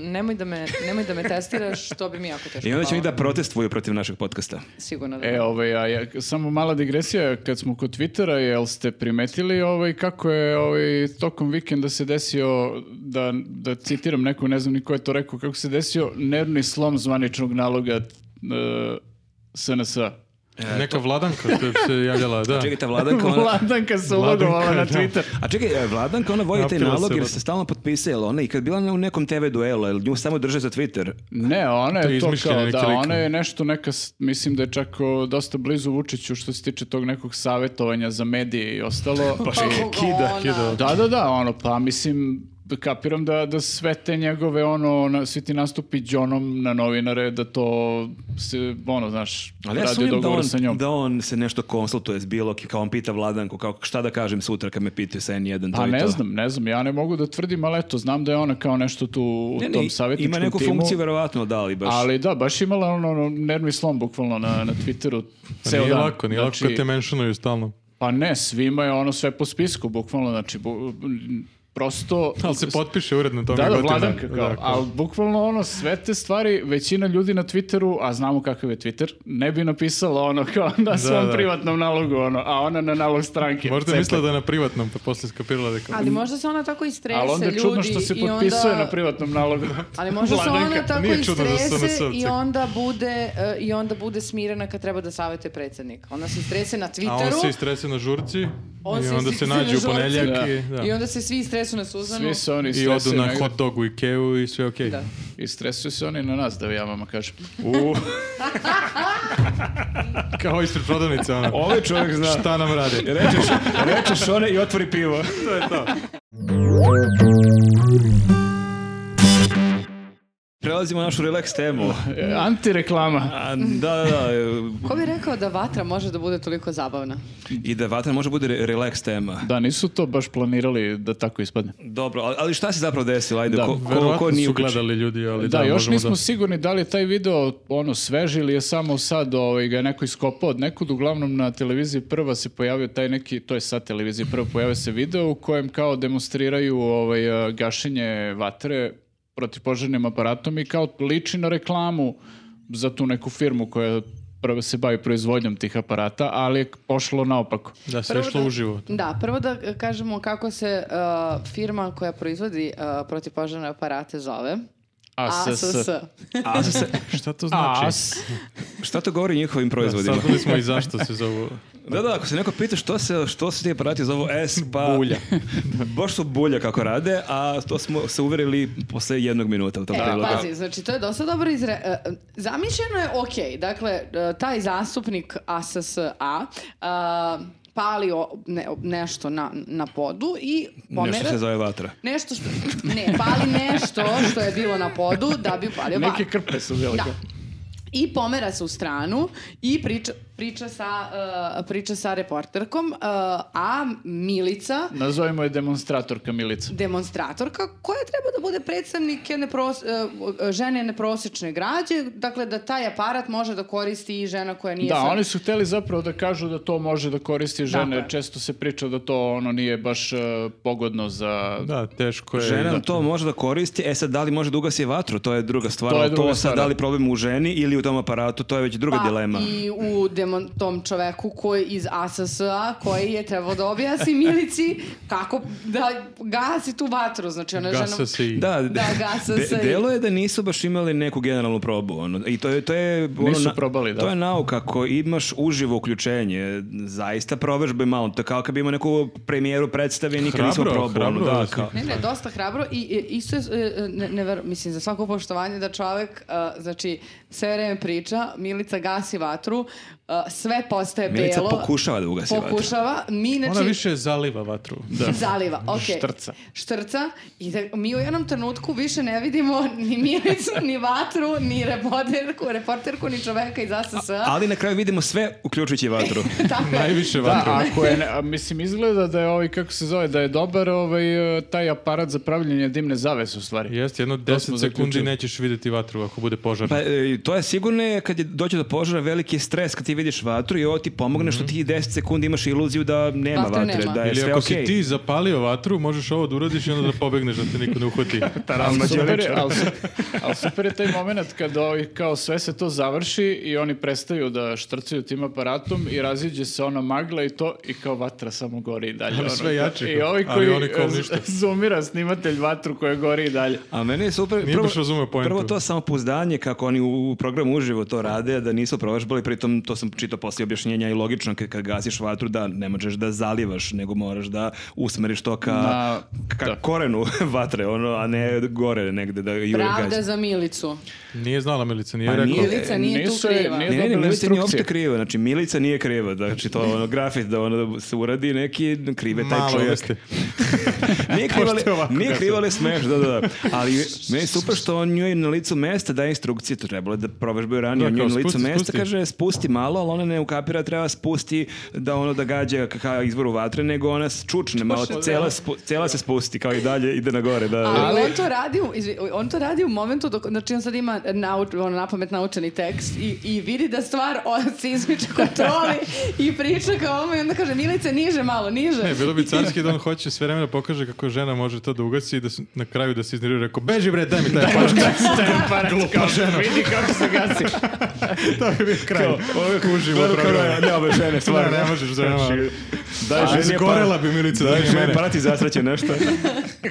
[SPEAKER 4] Mm, Nemoj da me, nemoj da me testiraš, to bi mi jako teško
[SPEAKER 3] I onda ćemo i
[SPEAKER 4] palo.
[SPEAKER 3] da protestvuju protiv našeg podcasta.
[SPEAKER 4] Sigurno da.
[SPEAKER 1] E, ovaj, a ja, samo mala digresija, kad smo kod Twittera, jel ste primetili ovaj, kako je ovaj, tokom vikenda se desio, da, da citiram neku, ne znam ni ko je to rekao, kako se desio nervni slom zvaničnog naloga e, SNS-a.
[SPEAKER 2] Neka vladanka koja se javljala,
[SPEAKER 1] Pa
[SPEAKER 2] da.
[SPEAKER 3] Čekajte, Vladanka, ona...
[SPEAKER 1] Vladanka se ulogovala na
[SPEAKER 2] Vladanka, da.
[SPEAKER 1] Twitter.
[SPEAKER 3] A čekaj, e, Vladanka, ona vodi taj
[SPEAKER 2] Napila
[SPEAKER 3] nalog
[SPEAKER 2] se,
[SPEAKER 3] jer
[SPEAKER 2] Vlad-
[SPEAKER 3] se stalno potpisuje, jel ona i kad bila na- u nekom TV duelu, jel nju samo drže za Twitter?
[SPEAKER 1] Ne, ona je to,
[SPEAKER 2] izmišljeni
[SPEAKER 1] kao,
[SPEAKER 2] neki
[SPEAKER 1] da,
[SPEAKER 2] lik.
[SPEAKER 1] ona je nešto neka, s- mislim da je čak o, dosta blizu Vučiću što se tiče tog nekog savjetovanja za medije i ostalo.
[SPEAKER 4] Pa koga
[SPEAKER 2] kida,
[SPEAKER 4] ona-
[SPEAKER 2] kida.
[SPEAKER 1] Da, da, da, ono, pa mislim, kapiram da, da sve te njegove, ono, na, svi ti nastupi džonom na novinare, da to se, ono, znaš,
[SPEAKER 3] Ali ja
[SPEAKER 1] radio
[SPEAKER 3] sumnjam da
[SPEAKER 1] dogovor
[SPEAKER 3] on,
[SPEAKER 1] sa njom.
[SPEAKER 3] da on se nešto konsultuje s bilo kim, kao on pita Vladanku, kao šta da kažem sutra kad me pitaju sa N1, to
[SPEAKER 1] Pa
[SPEAKER 3] i
[SPEAKER 1] ne
[SPEAKER 3] to.
[SPEAKER 1] znam, ne znam, ja ne mogu da tvrdim, ali eto, znam da je ona kao nešto tu u
[SPEAKER 3] Ne, ne,
[SPEAKER 1] tom savjetničkom
[SPEAKER 3] Ima neku
[SPEAKER 1] timu.
[SPEAKER 3] funkciju verovatno da li baš.
[SPEAKER 1] Ali da, baš je imala ono, ono nervni slom bukvalno na, na Twitteru ceo
[SPEAKER 2] Pa
[SPEAKER 1] dan.
[SPEAKER 2] nije
[SPEAKER 1] Znači,
[SPEAKER 2] lako, nije lako kad te mentionuju stalno.
[SPEAKER 1] Pa ne, svima je ono sve po spisku bukvalno, znači bu- prosto...
[SPEAKER 2] Ali se potpiše uredno tome
[SPEAKER 1] Da, da,
[SPEAKER 2] gotivno.
[SPEAKER 1] vladanka kao,
[SPEAKER 2] Da,
[SPEAKER 1] ali bukvalno ono, sve te stvari, većina ljudi na Twitteru, a znamo kakav je Twitter, ne bi napisala ono kao na svom
[SPEAKER 2] da.
[SPEAKER 1] privatnom nalogu, ono, a ona na nalog stranke.
[SPEAKER 2] Možda je
[SPEAKER 1] Cepaj.
[SPEAKER 2] mislila da je na privatnom, pa posle skapirala da je kao...
[SPEAKER 4] Ali možda se ona tako i strese
[SPEAKER 1] Ali onda je
[SPEAKER 4] ljudi
[SPEAKER 1] čudno što se
[SPEAKER 4] i onda-
[SPEAKER 1] potpisuje na privatnom nalogu.
[SPEAKER 4] Ali možda se ona
[SPEAKER 1] Vladanka,
[SPEAKER 4] tako
[SPEAKER 2] nije
[SPEAKER 4] i
[SPEAKER 2] čudno da su
[SPEAKER 4] strese i
[SPEAKER 2] SNS-ovci.
[SPEAKER 4] onda bude e, i onda bude smirena kad treba da savjetuje predsjednik. Ona se strese na
[SPEAKER 2] A on
[SPEAKER 4] Twitteru.
[SPEAKER 2] se istrese na žurci
[SPEAKER 4] on
[SPEAKER 2] i onda se
[SPEAKER 4] strese na
[SPEAKER 2] nađe u
[SPEAKER 4] žurci
[SPEAKER 2] ponedjeljak
[SPEAKER 1] Da.
[SPEAKER 2] i, da.
[SPEAKER 4] I onda se svi stresu na Suzanu.
[SPEAKER 1] Svi se oni
[SPEAKER 2] I odu
[SPEAKER 1] stresuju
[SPEAKER 2] na
[SPEAKER 1] negde.
[SPEAKER 2] hot dog u Ikeu i sve okej.
[SPEAKER 4] Da.
[SPEAKER 1] I stresuju se oni na nas, da ja vama kažem.
[SPEAKER 2] Kao ispred prodavnice, ono.
[SPEAKER 3] Ovaj čovjek zna.
[SPEAKER 2] Šta nam rade?
[SPEAKER 3] Rečeš, rečeš one i otvori pivo.
[SPEAKER 2] to je to.
[SPEAKER 3] Prelazimo na našu relax temu.
[SPEAKER 1] E, Antireklama.
[SPEAKER 3] A, da, da, da. e,
[SPEAKER 4] Ko bi rekao da vatra može da bude toliko zabavna?
[SPEAKER 3] I da vatra može bude re- relax tema.
[SPEAKER 1] Da, nisu to baš planirali da tako ispadne. Dobro.
[SPEAKER 3] Ali, ali šta se zapravo desilo? Ajde,
[SPEAKER 1] Da,
[SPEAKER 3] ko, ko, ko
[SPEAKER 2] Verovatno
[SPEAKER 3] nije
[SPEAKER 2] su
[SPEAKER 3] uključen?
[SPEAKER 2] gledali ljudi, ali da,
[SPEAKER 1] Da, još
[SPEAKER 2] možemo
[SPEAKER 1] nismo
[SPEAKER 2] da...
[SPEAKER 1] sigurni da li je taj video ono sveži ili je samo sad ovaj, ga je neko iskopao od nekud. Uglavnom na televiziji prva se pojavio taj neki, to je sad televiziji prva, pojavio se video u kojem kao demonstriraju ovaj, eh, gašenje vatre protivpožarnim aparatom i kao liči na reklamu za tu neku firmu koja prvo se bavi proizvodnjom tih aparata, ali je pošlo naopako.
[SPEAKER 2] Da se
[SPEAKER 4] Prvo
[SPEAKER 2] išlo
[SPEAKER 4] da-
[SPEAKER 2] uživo.
[SPEAKER 4] Da, prvo da e, kažemo kako se e, firma koja proizvodi e, protivpožarne aparate zove. ASS.
[SPEAKER 3] A, se-
[SPEAKER 2] Šta to znači?
[SPEAKER 1] ASS.
[SPEAKER 3] šta to govori o njihovim proizvodima?
[SPEAKER 2] Saznali smo i zašto se zovu.
[SPEAKER 3] Da, da, ako se neko pita što se što su ti aparati zovu S, pa... Bulja. Baš su bulja kako rade, a to smo se uverili posle jednog minuta u tom
[SPEAKER 4] E,
[SPEAKER 3] prilogu.
[SPEAKER 4] pazi, znači to je dosta dobro izre... e, e, Zamišljeno je ok, dakle, e, taj zastupnik ASSA e, pali o- ne- o- nešto na, na podu i pomera...
[SPEAKER 3] Nešto se zove vatra.
[SPEAKER 4] Nešto što... Ne, pali nešto što je bilo na podu da bi upalio
[SPEAKER 1] Neke
[SPEAKER 4] vatru.
[SPEAKER 1] krpe su bile.
[SPEAKER 4] Da. I pomera se u stranu i priča, priča, sa, e, priča sa reporterkom, e, a Milica
[SPEAKER 1] Nazovimo je demonstratorka Milica.
[SPEAKER 4] demonstratorka koja treba da bude predstavnik jedne pros- e, e, žene neprosečne građe, dakle da taj aparat može da koristi i žena koja nije...
[SPEAKER 1] Da,
[SPEAKER 4] sa-
[SPEAKER 1] oni su hteli zapravo da kažu da to može da koristi žene.
[SPEAKER 4] Dakle.
[SPEAKER 1] Često se priča da to ono nije baš e, pogodno za...
[SPEAKER 2] Da, teško
[SPEAKER 1] E,
[SPEAKER 2] je.
[SPEAKER 3] Žena
[SPEAKER 1] dakle.
[SPEAKER 2] da.
[SPEAKER 3] to može da koristi, e sad da li može da ugasi vatru, to je druga stvar.
[SPEAKER 1] To je
[SPEAKER 3] ali
[SPEAKER 1] druga
[SPEAKER 3] sad
[SPEAKER 1] stvar,
[SPEAKER 3] da
[SPEAKER 1] da.
[SPEAKER 3] li problem u ženi ili u tom aparatu, to je već druga
[SPEAKER 4] Pa,
[SPEAKER 3] dilema.
[SPEAKER 4] I u demon, tom čoveku koji iz ASSA koji je trebao da objasni Milici kako da gasi tu vatru. Znači ona je žena...
[SPEAKER 2] Gasa se i...
[SPEAKER 3] Da,
[SPEAKER 4] Da, gasa
[SPEAKER 3] de-
[SPEAKER 4] se i-
[SPEAKER 3] delo je da nisu baš imali neku generalnu probu. Ono. I to je, to je, ono,
[SPEAKER 1] Nisu
[SPEAKER 3] na-
[SPEAKER 1] probali, da.
[SPEAKER 3] To je nauka ako imaš uživo uključenje. Zaista provežbe malo. To je kao kad bi imao neku premijeru predstave, nikad nismo
[SPEAKER 2] Hrabro,
[SPEAKER 3] probali. ono,
[SPEAKER 2] hrabro,
[SPEAKER 3] da,
[SPEAKER 2] da,
[SPEAKER 3] kao-
[SPEAKER 4] Ne, ne, dosta hrabro i, i isto je, e, ne, ne ver- mislim, za svako poštovanje da čovek, e, znači, sve vreme priča, Milica gasi vatru, e, sve postaje
[SPEAKER 3] Milica
[SPEAKER 4] belo.
[SPEAKER 3] pokušava da ugasi vatru.
[SPEAKER 4] Pokušava, mi, znači,
[SPEAKER 2] Ona više zaliva vatru. Da.
[SPEAKER 4] zaliva, okej.
[SPEAKER 1] Štrca.
[SPEAKER 4] Štrca i da, mi u jednom trenutku više ne vidimo ni Milicu, ni vatru, ni reporterku, reporterku, ni čoveka iz ASS.
[SPEAKER 3] Ali na kraju vidimo sve, uključujući vatru.
[SPEAKER 4] Tako je.
[SPEAKER 2] Najviše
[SPEAKER 1] Da,
[SPEAKER 2] vatru.
[SPEAKER 1] ako je, ne- a, mislim, izgleda da je ovaj, kako se zove, da je dobar ovaj, e, taj aparat za pravljenje dimne zavese u stvari.
[SPEAKER 2] Jeste, jedno 10 sekundi
[SPEAKER 1] zaključili.
[SPEAKER 2] nećeš vidjeti vatru ako bude požar.
[SPEAKER 3] Pa e, to je sigurno je kad je dođe do požara veliki je stres kad ti vidiš vatru i ovo ti pomogne što ti 10 sekundi imaš iluziju da nema
[SPEAKER 4] Vatre
[SPEAKER 3] vatre,
[SPEAKER 4] nema.
[SPEAKER 3] da je
[SPEAKER 2] Mhm. Ili
[SPEAKER 3] sve
[SPEAKER 2] ako
[SPEAKER 3] okej.
[SPEAKER 2] si ti zapalio vatru, možeš ovo da uradiš i onda da pobegneš da te niko ne uhvati.
[SPEAKER 1] Ali super, je, ali, su- ali super je taj moment kad ovaj, kao sve se to završi i oni prestaju da štrcaju tim aparatom i raziđe se ona magla i to i kao vatra samo gori i dalje. ono.
[SPEAKER 2] sve jače,
[SPEAKER 1] I ovaj
[SPEAKER 2] ali
[SPEAKER 1] koji
[SPEAKER 2] oni kao
[SPEAKER 1] z-
[SPEAKER 2] ništa.
[SPEAKER 1] zoomira snimatelj vatru koja gori i dalje.
[SPEAKER 3] A meni je super,
[SPEAKER 2] Nije baš razumeo poentu.
[SPEAKER 3] prvo to samopouzdanje kako oni u u programu uživo to rade, da nisu provežbali, pritom to sam čitao poslije objašnjenja i logično kad, kad gasiš vatru da ne možeš da zalivaš, nego moraš da usmeriš to ka,
[SPEAKER 1] Na-
[SPEAKER 3] ka
[SPEAKER 1] da.
[SPEAKER 3] korenu vatre, ono, a ne gore negde da jure
[SPEAKER 4] Pravda
[SPEAKER 3] gazi.
[SPEAKER 4] za Milicu.
[SPEAKER 2] Nije znala Milica, nije
[SPEAKER 3] Pa
[SPEAKER 2] rekla.
[SPEAKER 3] nije-
[SPEAKER 4] Milica nije tu
[SPEAKER 1] Nisu je-
[SPEAKER 4] kriva.
[SPEAKER 1] nije-
[SPEAKER 3] Ne, ne, ne,
[SPEAKER 1] dobila
[SPEAKER 3] Milica nije
[SPEAKER 1] instrukcije.
[SPEAKER 3] uopšte kriva, znači Milica nije kriva, znači to ono grafit da ono se uradi neki krive taj
[SPEAKER 2] Malo
[SPEAKER 3] čovjek.
[SPEAKER 2] jeste.
[SPEAKER 3] Nije krivali,
[SPEAKER 1] Pošto je ovako
[SPEAKER 3] nije
[SPEAKER 1] kasno.
[SPEAKER 3] krivali smeš, da, da, da. Ali meni je super što on njoj na licu mesta daje instrukcije, to trebalo je da provežbaju ranije,
[SPEAKER 2] Da,
[SPEAKER 3] on njoj
[SPEAKER 2] kao
[SPEAKER 3] na licu
[SPEAKER 2] spusti,
[SPEAKER 3] mesta
[SPEAKER 2] spusti.
[SPEAKER 3] kaže spusti malo, ali ona ne ukapira, treba spusti da ono da gađa k- ka izvoru vatre, nego ona s- čučne malo,
[SPEAKER 2] ono,
[SPEAKER 3] cela, spu- cela se spusti, kao i dalje ide na gore, da, da.
[SPEAKER 4] Ali, on to radi u, izvi- on to radi u momentu dok, znači on sad ima nauč, ono, napamet naučeni tekst i, i vidi da stvar on se izmiče kontroli i priča kao ovo i onda kaže Milice niže malo, niže.
[SPEAKER 2] Ne, bilo bi carski da on hoće sve vremena pokaže kako žena može to da ugasi i da se- na kraju da se iznervira rekao, beži bre, daj mi taj par.
[SPEAKER 1] Glupa žena. Vidi kako se gasi. to je bio kraj.
[SPEAKER 2] Ono Užimo
[SPEAKER 3] Gledam Ono kao,
[SPEAKER 2] program.
[SPEAKER 3] ne, ove žene, stvarno.
[SPEAKER 2] Ne možeš, žena.
[SPEAKER 3] Znači,
[SPEAKER 2] Daj,
[SPEAKER 3] ženi je
[SPEAKER 2] Zgorela
[SPEAKER 3] par-
[SPEAKER 2] bi Milica da
[SPEAKER 3] Daj,
[SPEAKER 2] nije
[SPEAKER 3] žene,
[SPEAKER 2] mene.
[SPEAKER 3] prati zasreće nešto.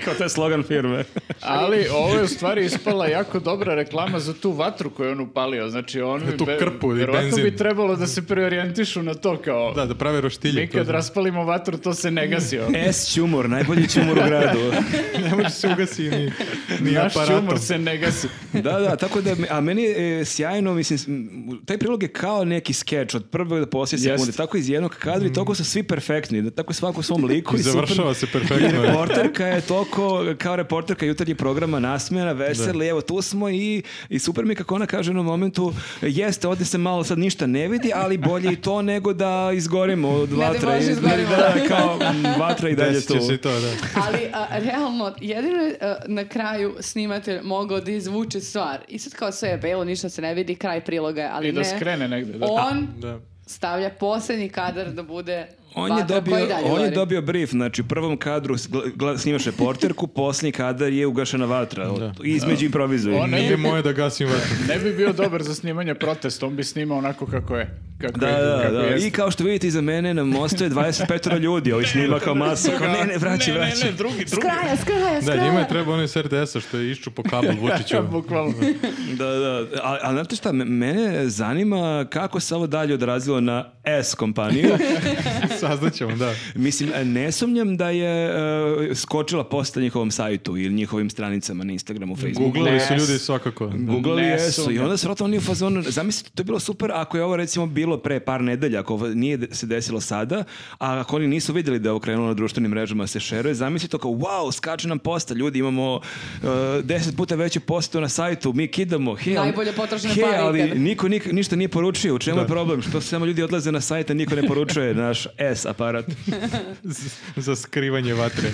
[SPEAKER 3] kao to je slogan firme.
[SPEAKER 1] Ali ovo je u stvari ispala jako dobra reklama za tu vatru koju je on upalio. Znači on bi,
[SPEAKER 2] tu krpu i
[SPEAKER 1] verovatno
[SPEAKER 2] benzin.
[SPEAKER 1] bi trebalo da se preorijentišu na to kao
[SPEAKER 2] Da, da prave roštilje.
[SPEAKER 1] mi kad
[SPEAKER 2] to-
[SPEAKER 1] raspalimo vatru to se ne gasi. ono. ovo.
[SPEAKER 3] S ćumor, najbolji ćumor u gradu.
[SPEAKER 2] Ne može se ugasi ni, ni
[SPEAKER 1] Naš
[SPEAKER 2] aparatom.
[SPEAKER 1] humor se ne gasi.
[SPEAKER 3] da, da, tako da, a meni je e, sjajno, mislim, s- m, taj prilog je kao neki skeč od prve do poslije
[SPEAKER 1] Jest.
[SPEAKER 3] sekunde, tako iz jednog kadra i toliko su svi perfektni, da tako svako u svom liku.
[SPEAKER 2] I
[SPEAKER 3] super-
[SPEAKER 2] završava se
[SPEAKER 3] I
[SPEAKER 2] perfektno.
[SPEAKER 3] reporterka je toliko, kao reporterka jutarnjih programa nasmjena, veseli, evo tu smo i, i super mi je kako ona kaže u jednom momentu, jeste, ovdje se malo sad ništa ne vidi, ali bolje i to nego da izgorimo od
[SPEAKER 4] Ne daj
[SPEAKER 3] vatre.
[SPEAKER 4] Bože,
[SPEAKER 3] Ne,
[SPEAKER 4] izgorimo.
[SPEAKER 3] da, kao mm, vatra i dalje
[SPEAKER 2] Desit
[SPEAKER 3] tu.
[SPEAKER 2] će se i to, da.
[SPEAKER 4] Ali a, realno, jedino je a, na kraju snimatelj mogao da izvuče stvar. I sad kao sve je belo, ništa se ne vidi, kraj priloga je, ali
[SPEAKER 1] I da
[SPEAKER 4] ne.
[SPEAKER 1] skrene negde. Da.
[SPEAKER 4] On
[SPEAKER 2] da.
[SPEAKER 4] stavlja posljednji kadar da bude
[SPEAKER 3] On je,
[SPEAKER 4] vatra koja
[SPEAKER 3] dobio,
[SPEAKER 4] i dalje
[SPEAKER 3] on je
[SPEAKER 4] gori.
[SPEAKER 3] dobio brief, znači u prvom kadru s- gla- gla- snimaš reporterku, posljednji kadar je ugašena vatra, od- između improvizuje.
[SPEAKER 1] On-
[SPEAKER 2] Ne bi moje da gasim vatru.
[SPEAKER 1] Ne bi bio dobar za snimanje protesta, on bi snimao onako kako je. Kako
[SPEAKER 3] Da,
[SPEAKER 1] je,
[SPEAKER 3] da,
[SPEAKER 1] kako
[SPEAKER 3] da.
[SPEAKER 1] jeste.
[SPEAKER 3] I kao što vidite iza mene na mostu je 25 ljudi, ovi snima kao masu. Kao, ne, ne, vraći,
[SPEAKER 1] Ne,
[SPEAKER 3] vraći.
[SPEAKER 1] ne, ne, drugi,
[SPEAKER 4] S
[SPEAKER 1] drugi.
[SPEAKER 4] kraja, s kraja, s
[SPEAKER 2] Da, njima
[SPEAKER 4] kraja.
[SPEAKER 2] je trebao onaj SRDS-a što je iščupo kabel Vučiću.
[SPEAKER 1] Bukvalno.
[SPEAKER 3] Da, da. A, a znate šta, me- mene zanima kako se ovo dalje odrazilo na S kompaniju.
[SPEAKER 2] Saznaćemo, da.
[SPEAKER 3] Mislim, ne sumnjam da je e, skočila posta njihovom sajtu ili njihovim stranicama na Instagramu, Facebooku.
[SPEAKER 2] Googlali su
[SPEAKER 1] Ne.
[SPEAKER 2] ljudi svakako.
[SPEAKER 3] Googlali
[SPEAKER 1] Ne
[SPEAKER 3] jesu i
[SPEAKER 1] sumnjam.
[SPEAKER 3] onda se vratno oni u fazonu, zamislite, to je bilo super ako je ovo recimo bilo pre par nedelja, ako ovo nije de- se desilo sada, a ako oni nisu vidjeli da je ovo krenulo na društvenim mrežama da se šeruje, zamislite to kao, wow, skače nam posta, ljudi, imamo uh, deset puta veću postu na sajtu, mi kidamo, hej, ali-
[SPEAKER 4] Najbolje potrošene
[SPEAKER 3] hej,
[SPEAKER 4] pare
[SPEAKER 3] ali
[SPEAKER 4] ikada.
[SPEAKER 3] niko nik- ništa nije poručio, u čemu je problem, što samo ljudi odlaze na sajt, a niko ne poručuje naš S aparat.
[SPEAKER 2] Z- za skrivanje vatre.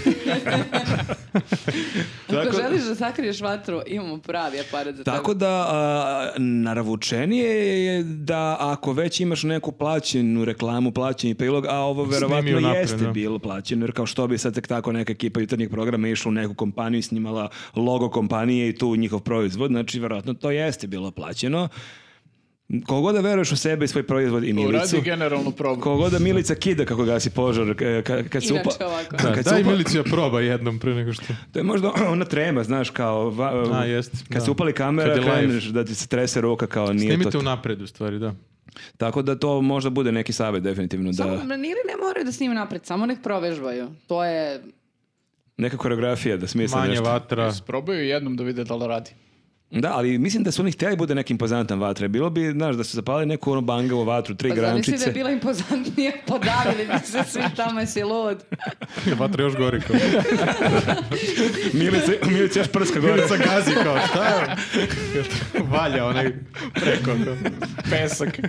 [SPEAKER 4] Ako
[SPEAKER 3] Tako-
[SPEAKER 4] želiš da sakriješ vatru, imamo pravi aparat za
[SPEAKER 3] Tako
[SPEAKER 4] tebe.
[SPEAKER 3] da, a, naravučenije je da ako već imaš neku plaćenu reklamu, plaćeni prilog, a ovo verovatno
[SPEAKER 2] unapred,
[SPEAKER 3] jeste
[SPEAKER 2] da.
[SPEAKER 3] bilo plaćeno, jer kao što bi sad tek tako neka ekipa jutarnjeg programa išla u neku kompaniju i snimala logo kompanije i tu njihov proizvod, znači verovatno to jeste bilo plaćeno. Kogo da veruješ u sebe i svoj proizvod i Milicu,
[SPEAKER 1] Uradi generalnu probu.
[SPEAKER 3] kogo da Milica kida kako gasi požar e, ka- kad se
[SPEAKER 4] Inače
[SPEAKER 3] upa-
[SPEAKER 4] ovako.
[SPEAKER 2] Da,
[SPEAKER 3] kad se
[SPEAKER 2] daj
[SPEAKER 3] upa-
[SPEAKER 2] Milicija proba jednom pre nego što...
[SPEAKER 3] to je možda ona trema, znaš, kao... va-
[SPEAKER 2] A, jest,
[SPEAKER 3] Kad
[SPEAKER 2] da.
[SPEAKER 3] se upali kamera,
[SPEAKER 2] Kad je live.
[SPEAKER 3] kreneš da ti se trese ruka kao nije
[SPEAKER 2] Snimite
[SPEAKER 3] to.
[SPEAKER 2] u u stvari, da.
[SPEAKER 3] Tako da to možda bude neki savjet, definitivno,
[SPEAKER 4] Samo,
[SPEAKER 3] da
[SPEAKER 4] ne- ili ne moraju da snime napred, samo nek provežbaju. To je...
[SPEAKER 3] neka koreografija, da smisle
[SPEAKER 2] Manje
[SPEAKER 3] nešto.
[SPEAKER 2] vatra.
[SPEAKER 1] Probaju jednom da vide da li radi.
[SPEAKER 3] Da, ali mislim da su oni htjeli bude neki impozantan vatre. Bilo bi, znaš, da su zapali neku ono bangavu vatru, tri
[SPEAKER 4] Pa zamisli da
[SPEAKER 3] grančice.
[SPEAKER 4] je bila impozantnija, podavili bi se svi tamo, jesi lud.
[SPEAKER 2] Vatra još gori kao.
[SPEAKER 3] Milica, Milica još prska gore.
[SPEAKER 2] Milica gazi kao, šta je? Valja onaj preko.
[SPEAKER 1] Pesak.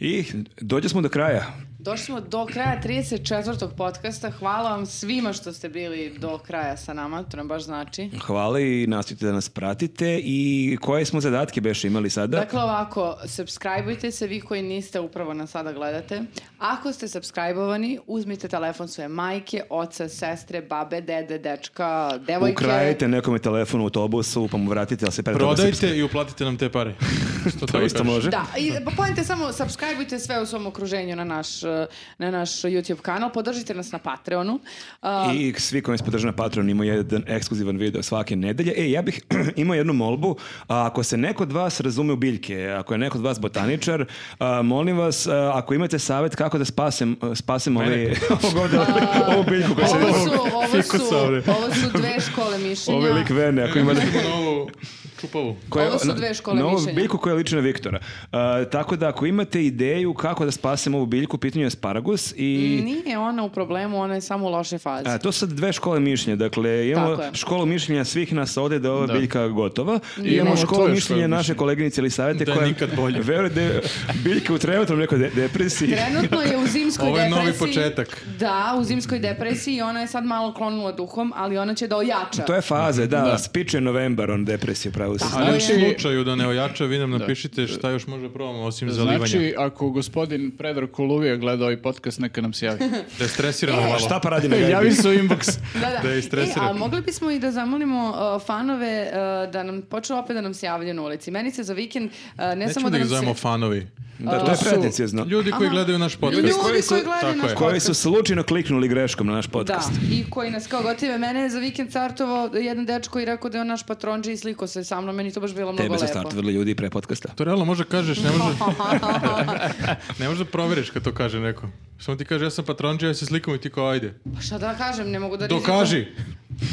[SPEAKER 3] I dođe smo do kraja.
[SPEAKER 4] Došli smo do kraja 34. podcasta. Hvala vam svima što ste bili do kraja sa nama. To nam baš znači.
[SPEAKER 3] Hvala i nastavite da nas pratite. I koje smo zadatke beš imali sada?
[SPEAKER 4] Dakle ovako, subscribeujte se vi koji niste upravo nas sada gledate. Ako ste subscribeovani, uzmite telefon svoje majke, oca, sestre, babe, dede, dečka, devojke.
[SPEAKER 3] Ukrajite nekome telefon u autobusu, pa mu vratite, ali se pre toga
[SPEAKER 2] Prodajte i uplatite nam te pare. Što
[SPEAKER 3] To isto može.
[SPEAKER 4] Da, i pa pojente samo, subscribeujte sve u svom okruženju na naš, eh, na naš YouTube kanal, podržite nas na Patreonu. E, A,
[SPEAKER 3] I svi koji nas podrže na Patreon imaju jedan ekskluzivan video svake nedelje. E, ja bih imao jednu molbu. A, ako se neko od vas razume u biljke, ako je neko od vas botaničar, a, molim vas, a, ako imate savjet kako da spasem, spasem ove, ovog ovde- ovu biljku koja se...
[SPEAKER 4] Ovo su, ovo su,
[SPEAKER 2] Fikusa, bre.
[SPEAKER 4] ovo su dve škole mišljenja.
[SPEAKER 3] Ovaj lik Vene, ako ima...
[SPEAKER 2] Imamo novu Čupavu.
[SPEAKER 4] Ovo su dve škole
[SPEAKER 3] na, na ovu
[SPEAKER 4] mišljenja.
[SPEAKER 3] biljku koja liči na Viktora. Uh, tako da ako imate ideju kako da spasemo ovu biljku, u pitanju je asparagus i...
[SPEAKER 4] Nije ona u problemu, ona je samo u lošoj fazi.
[SPEAKER 3] A, to su sad dve škole mišljenja. Dakle, imamo
[SPEAKER 4] Tako je.
[SPEAKER 3] školu mišljenja svih nas ovdje da je ova
[SPEAKER 1] Da.
[SPEAKER 3] biljka gotova. I
[SPEAKER 1] imamo
[SPEAKER 3] imamo
[SPEAKER 1] tvoje
[SPEAKER 3] školu
[SPEAKER 1] škole
[SPEAKER 3] mišljenja naše
[SPEAKER 1] mišljenja.
[SPEAKER 3] koleginice ili savjete
[SPEAKER 2] Da je
[SPEAKER 3] koja
[SPEAKER 2] nikad bolje.
[SPEAKER 3] veruje da je biljka u trenutnom nekoj de- depresiji.
[SPEAKER 4] Trenutno je u zimskoj
[SPEAKER 2] Ovo je novi
[SPEAKER 4] depresiji.
[SPEAKER 2] početak.
[SPEAKER 4] Da, u zimskoj depresiji i ona je sad malo klonula duhom, ali ona će da ojača.
[SPEAKER 3] To je faze, da,
[SPEAKER 1] Da.
[SPEAKER 3] spiče novembar, on depresija pravo se.
[SPEAKER 2] Ali u
[SPEAKER 1] Znači-
[SPEAKER 2] slučaju da ne ojača, vi nam napišite šta još može probamo osim zalivanja.
[SPEAKER 1] Znači, ako gospodin Predrag Kuluvija gleda ovaj podcast, neka nam se javi.
[SPEAKER 2] Da je stresiramo malo.
[SPEAKER 3] Šta pa radi na
[SPEAKER 1] javi
[SPEAKER 3] Verdi?
[SPEAKER 1] se u inbox.
[SPEAKER 4] Da, da.
[SPEAKER 2] Da je istresira.
[SPEAKER 4] E, a mogli bismo i da zamolimo uh, fanove uh, da nam počnu opet da nam se javljaju na ulici. Meni se za vikend uh, ne
[SPEAKER 2] Nećemo
[SPEAKER 4] samo
[SPEAKER 2] da
[SPEAKER 4] da
[SPEAKER 2] ih
[SPEAKER 4] nam se...
[SPEAKER 2] zovemo fanovi.
[SPEAKER 3] Da, to je pretenciozno.
[SPEAKER 2] Ljudi koji
[SPEAKER 4] Aha.
[SPEAKER 2] gledaju naš podcast.
[SPEAKER 4] Ljudi
[SPEAKER 3] koji
[SPEAKER 4] koji,
[SPEAKER 3] su-
[SPEAKER 4] gledaju
[SPEAKER 2] tako
[SPEAKER 4] naš
[SPEAKER 2] je.
[SPEAKER 3] Koji su slučajno kliknuli greškom na naš
[SPEAKER 4] Da,
[SPEAKER 3] podcast.
[SPEAKER 4] i koji nas kao gotive. Mene je za vikend startovao jedan dečko i rekao da je on naš patronđe i sliko se sa mnom. Meni je to baš bilo mnogo
[SPEAKER 3] Tebe su
[SPEAKER 4] lepo.
[SPEAKER 3] startovali ljudi pre podcasta.
[SPEAKER 2] To realno može kažeš, ne može, ne može da proveriš kad to kaže neko. Samo ti kaže ja sam patronđija, ja se slikam i ti kao ajde.
[SPEAKER 4] Pa šta da kažem, ne mogu da rizikujem.
[SPEAKER 2] Dokaži.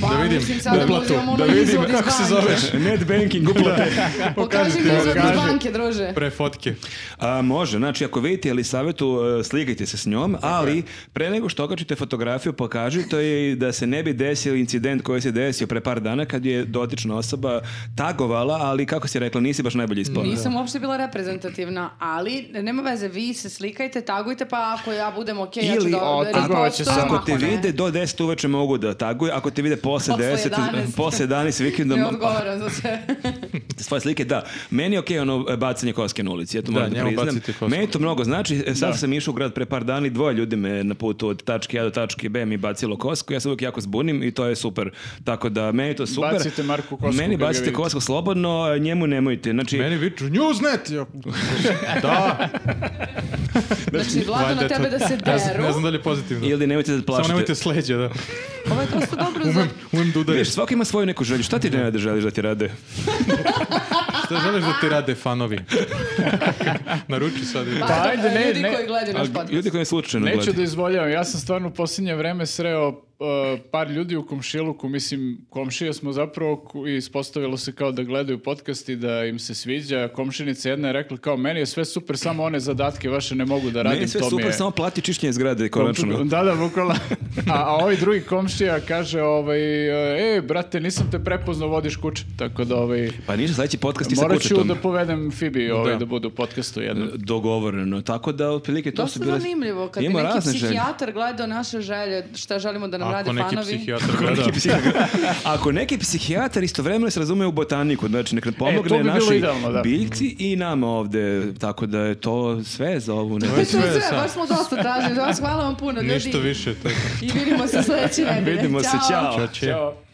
[SPEAKER 4] Pa,
[SPEAKER 2] da vidim
[SPEAKER 4] mislim sad da
[SPEAKER 2] uplatu,
[SPEAKER 4] uzimam ono
[SPEAKER 2] da vidim
[SPEAKER 4] izvod iz
[SPEAKER 2] kako se
[SPEAKER 4] banke.
[SPEAKER 2] zoveš.
[SPEAKER 3] Net banking uplate.
[SPEAKER 4] Pokaži mi izvod iz
[SPEAKER 1] Dokaži.
[SPEAKER 4] banke, druže.
[SPEAKER 2] Pre fotke.
[SPEAKER 3] A, može, znači ako vidite ili savjetu, slikajte se s njom, ali pre nego što okačite fotografiju, pokažite je da se ne bi desio incident koji se desio pre par dana kad je dotična osoba tagovala, ali kako si rekla, nisi baš najbolje ispala.
[SPEAKER 4] Nisam uopšte bila reprezentativna, ali nema veze, vi se slikajte, tagujte, pa ako ja budem okej, ja ću
[SPEAKER 3] Ili
[SPEAKER 4] da
[SPEAKER 1] o,
[SPEAKER 4] da
[SPEAKER 1] trgovac će
[SPEAKER 4] ripostujem,
[SPEAKER 1] samo-
[SPEAKER 3] Ako te
[SPEAKER 4] ne.
[SPEAKER 3] vide do 10 uveče mogu da taguju, ako te vide posle
[SPEAKER 4] Posle
[SPEAKER 3] 10,
[SPEAKER 4] 11.
[SPEAKER 3] posle 11 vikendom,
[SPEAKER 4] Ne odgovaram za sve.
[SPEAKER 3] svoje slike, da. Meni je okej ono e, bacanje koske na ulici, ja to
[SPEAKER 2] Da,
[SPEAKER 3] moram da
[SPEAKER 2] njemu
[SPEAKER 3] priznam.
[SPEAKER 2] bacite kosku.
[SPEAKER 3] Meni to mnogo znači, e, sad sam išao u grad pre par dana i dvoje ljudi me na putu od tačke A do tačke B mi bacilo kosku, ja se uvijek jako zbunim i to je super. Tako da, meni je to super.
[SPEAKER 1] Bacite Marku kosku
[SPEAKER 3] Meni
[SPEAKER 1] kad ga
[SPEAKER 3] bacite
[SPEAKER 1] vidite.
[SPEAKER 3] kosku slobodno, a njemu nemojte. Znači,
[SPEAKER 2] Meni viču Newsnet. Ja, da.
[SPEAKER 4] Znači, vlado na
[SPEAKER 2] Valjda
[SPEAKER 4] tebe
[SPEAKER 2] to-
[SPEAKER 4] da se
[SPEAKER 2] Ne znam-
[SPEAKER 4] deru.
[SPEAKER 2] Ne znam da li je pozitivno.
[SPEAKER 3] ili nemojte da plašite.
[SPEAKER 2] Samo nemojte sleđa, da.
[SPEAKER 4] Ovo je dosta dobro za...
[SPEAKER 2] Umem, umem da udariš.
[SPEAKER 3] Viš, svako ima svoju neku želju. Šta ti ne da želiš da ti rade?
[SPEAKER 2] Šta želiš da ti rade fanovi? Naruči sad.
[SPEAKER 4] Pa,
[SPEAKER 1] Pa, ajde, ne,
[SPEAKER 4] ljudi
[SPEAKER 1] ne.
[SPEAKER 4] koji gledaju naš
[SPEAKER 3] A,
[SPEAKER 4] podcast.
[SPEAKER 3] ljudi koji me slučajno
[SPEAKER 1] Neću
[SPEAKER 3] gledaju.
[SPEAKER 1] da izvoljavam, ja sam stvarno u posljednje vreme sreo uh, par ljudi u komšiluku, mislim, komšija smo zapravo ku- i ispostavilo se kao da gledaju podcast i da im se sviđa. Komšinica jedna je rekla kao, meni je sve super, samo one zadatke vaše ne mogu da radim,
[SPEAKER 3] Meni je sve
[SPEAKER 1] to mi
[SPEAKER 3] super,
[SPEAKER 1] je...
[SPEAKER 3] samo plati čišćenje zgrade, konačno.
[SPEAKER 1] Da, da, bukvalno. A, a ovaj drugi komšija kaže, ovaj, e, brate, nisam te prepoznao, vodiš kuće, tako da, ovaj,
[SPEAKER 3] Pa ništa, sledeći podcast ti sa
[SPEAKER 1] morat ću
[SPEAKER 3] kućetom.
[SPEAKER 1] da povedem Fibi ovaj, da. bude u podcastu jednom.
[SPEAKER 3] dogovoreno. Tako da, otprilike, to su
[SPEAKER 4] Dosta
[SPEAKER 3] bile...
[SPEAKER 4] zanimljivo, kad je
[SPEAKER 3] Ima
[SPEAKER 4] neki
[SPEAKER 3] razne želje.
[SPEAKER 4] psihijatar gledao naše želje, šta želimo da nam rade
[SPEAKER 2] Ako neki
[SPEAKER 4] fanovi.
[SPEAKER 2] psihijatar
[SPEAKER 3] Ako
[SPEAKER 2] gleda.
[SPEAKER 3] neki psihijatar- Ako neki psihijatar istovremeno se razume u botaniku, znači nek nam
[SPEAKER 1] E, to
[SPEAKER 3] pomogne
[SPEAKER 1] bi bilo
[SPEAKER 3] našoj
[SPEAKER 1] idealno, da.
[SPEAKER 3] biljci i nama ovde, tako da je to sve za ovu
[SPEAKER 4] To je
[SPEAKER 3] nedelju.
[SPEAKER 2] sve
[SPEAKER 4] sve,
[SPEAKER 2] sad.
[SPEAKER 4] baš smo dosta tražili. Vas hvala vam puno, ljudi.
[SPEAKER 2] Ništa više. Tako.
[SPEAKER 4] I vidimo se sledeće nedelje.
[SPEAKER 3] Vidimo se,
[SPEAKER 4] Ćao.
[SPEAKER 3] čao.
[SPEAKER 2] Čače.
[SPEAKER 1] Ćao.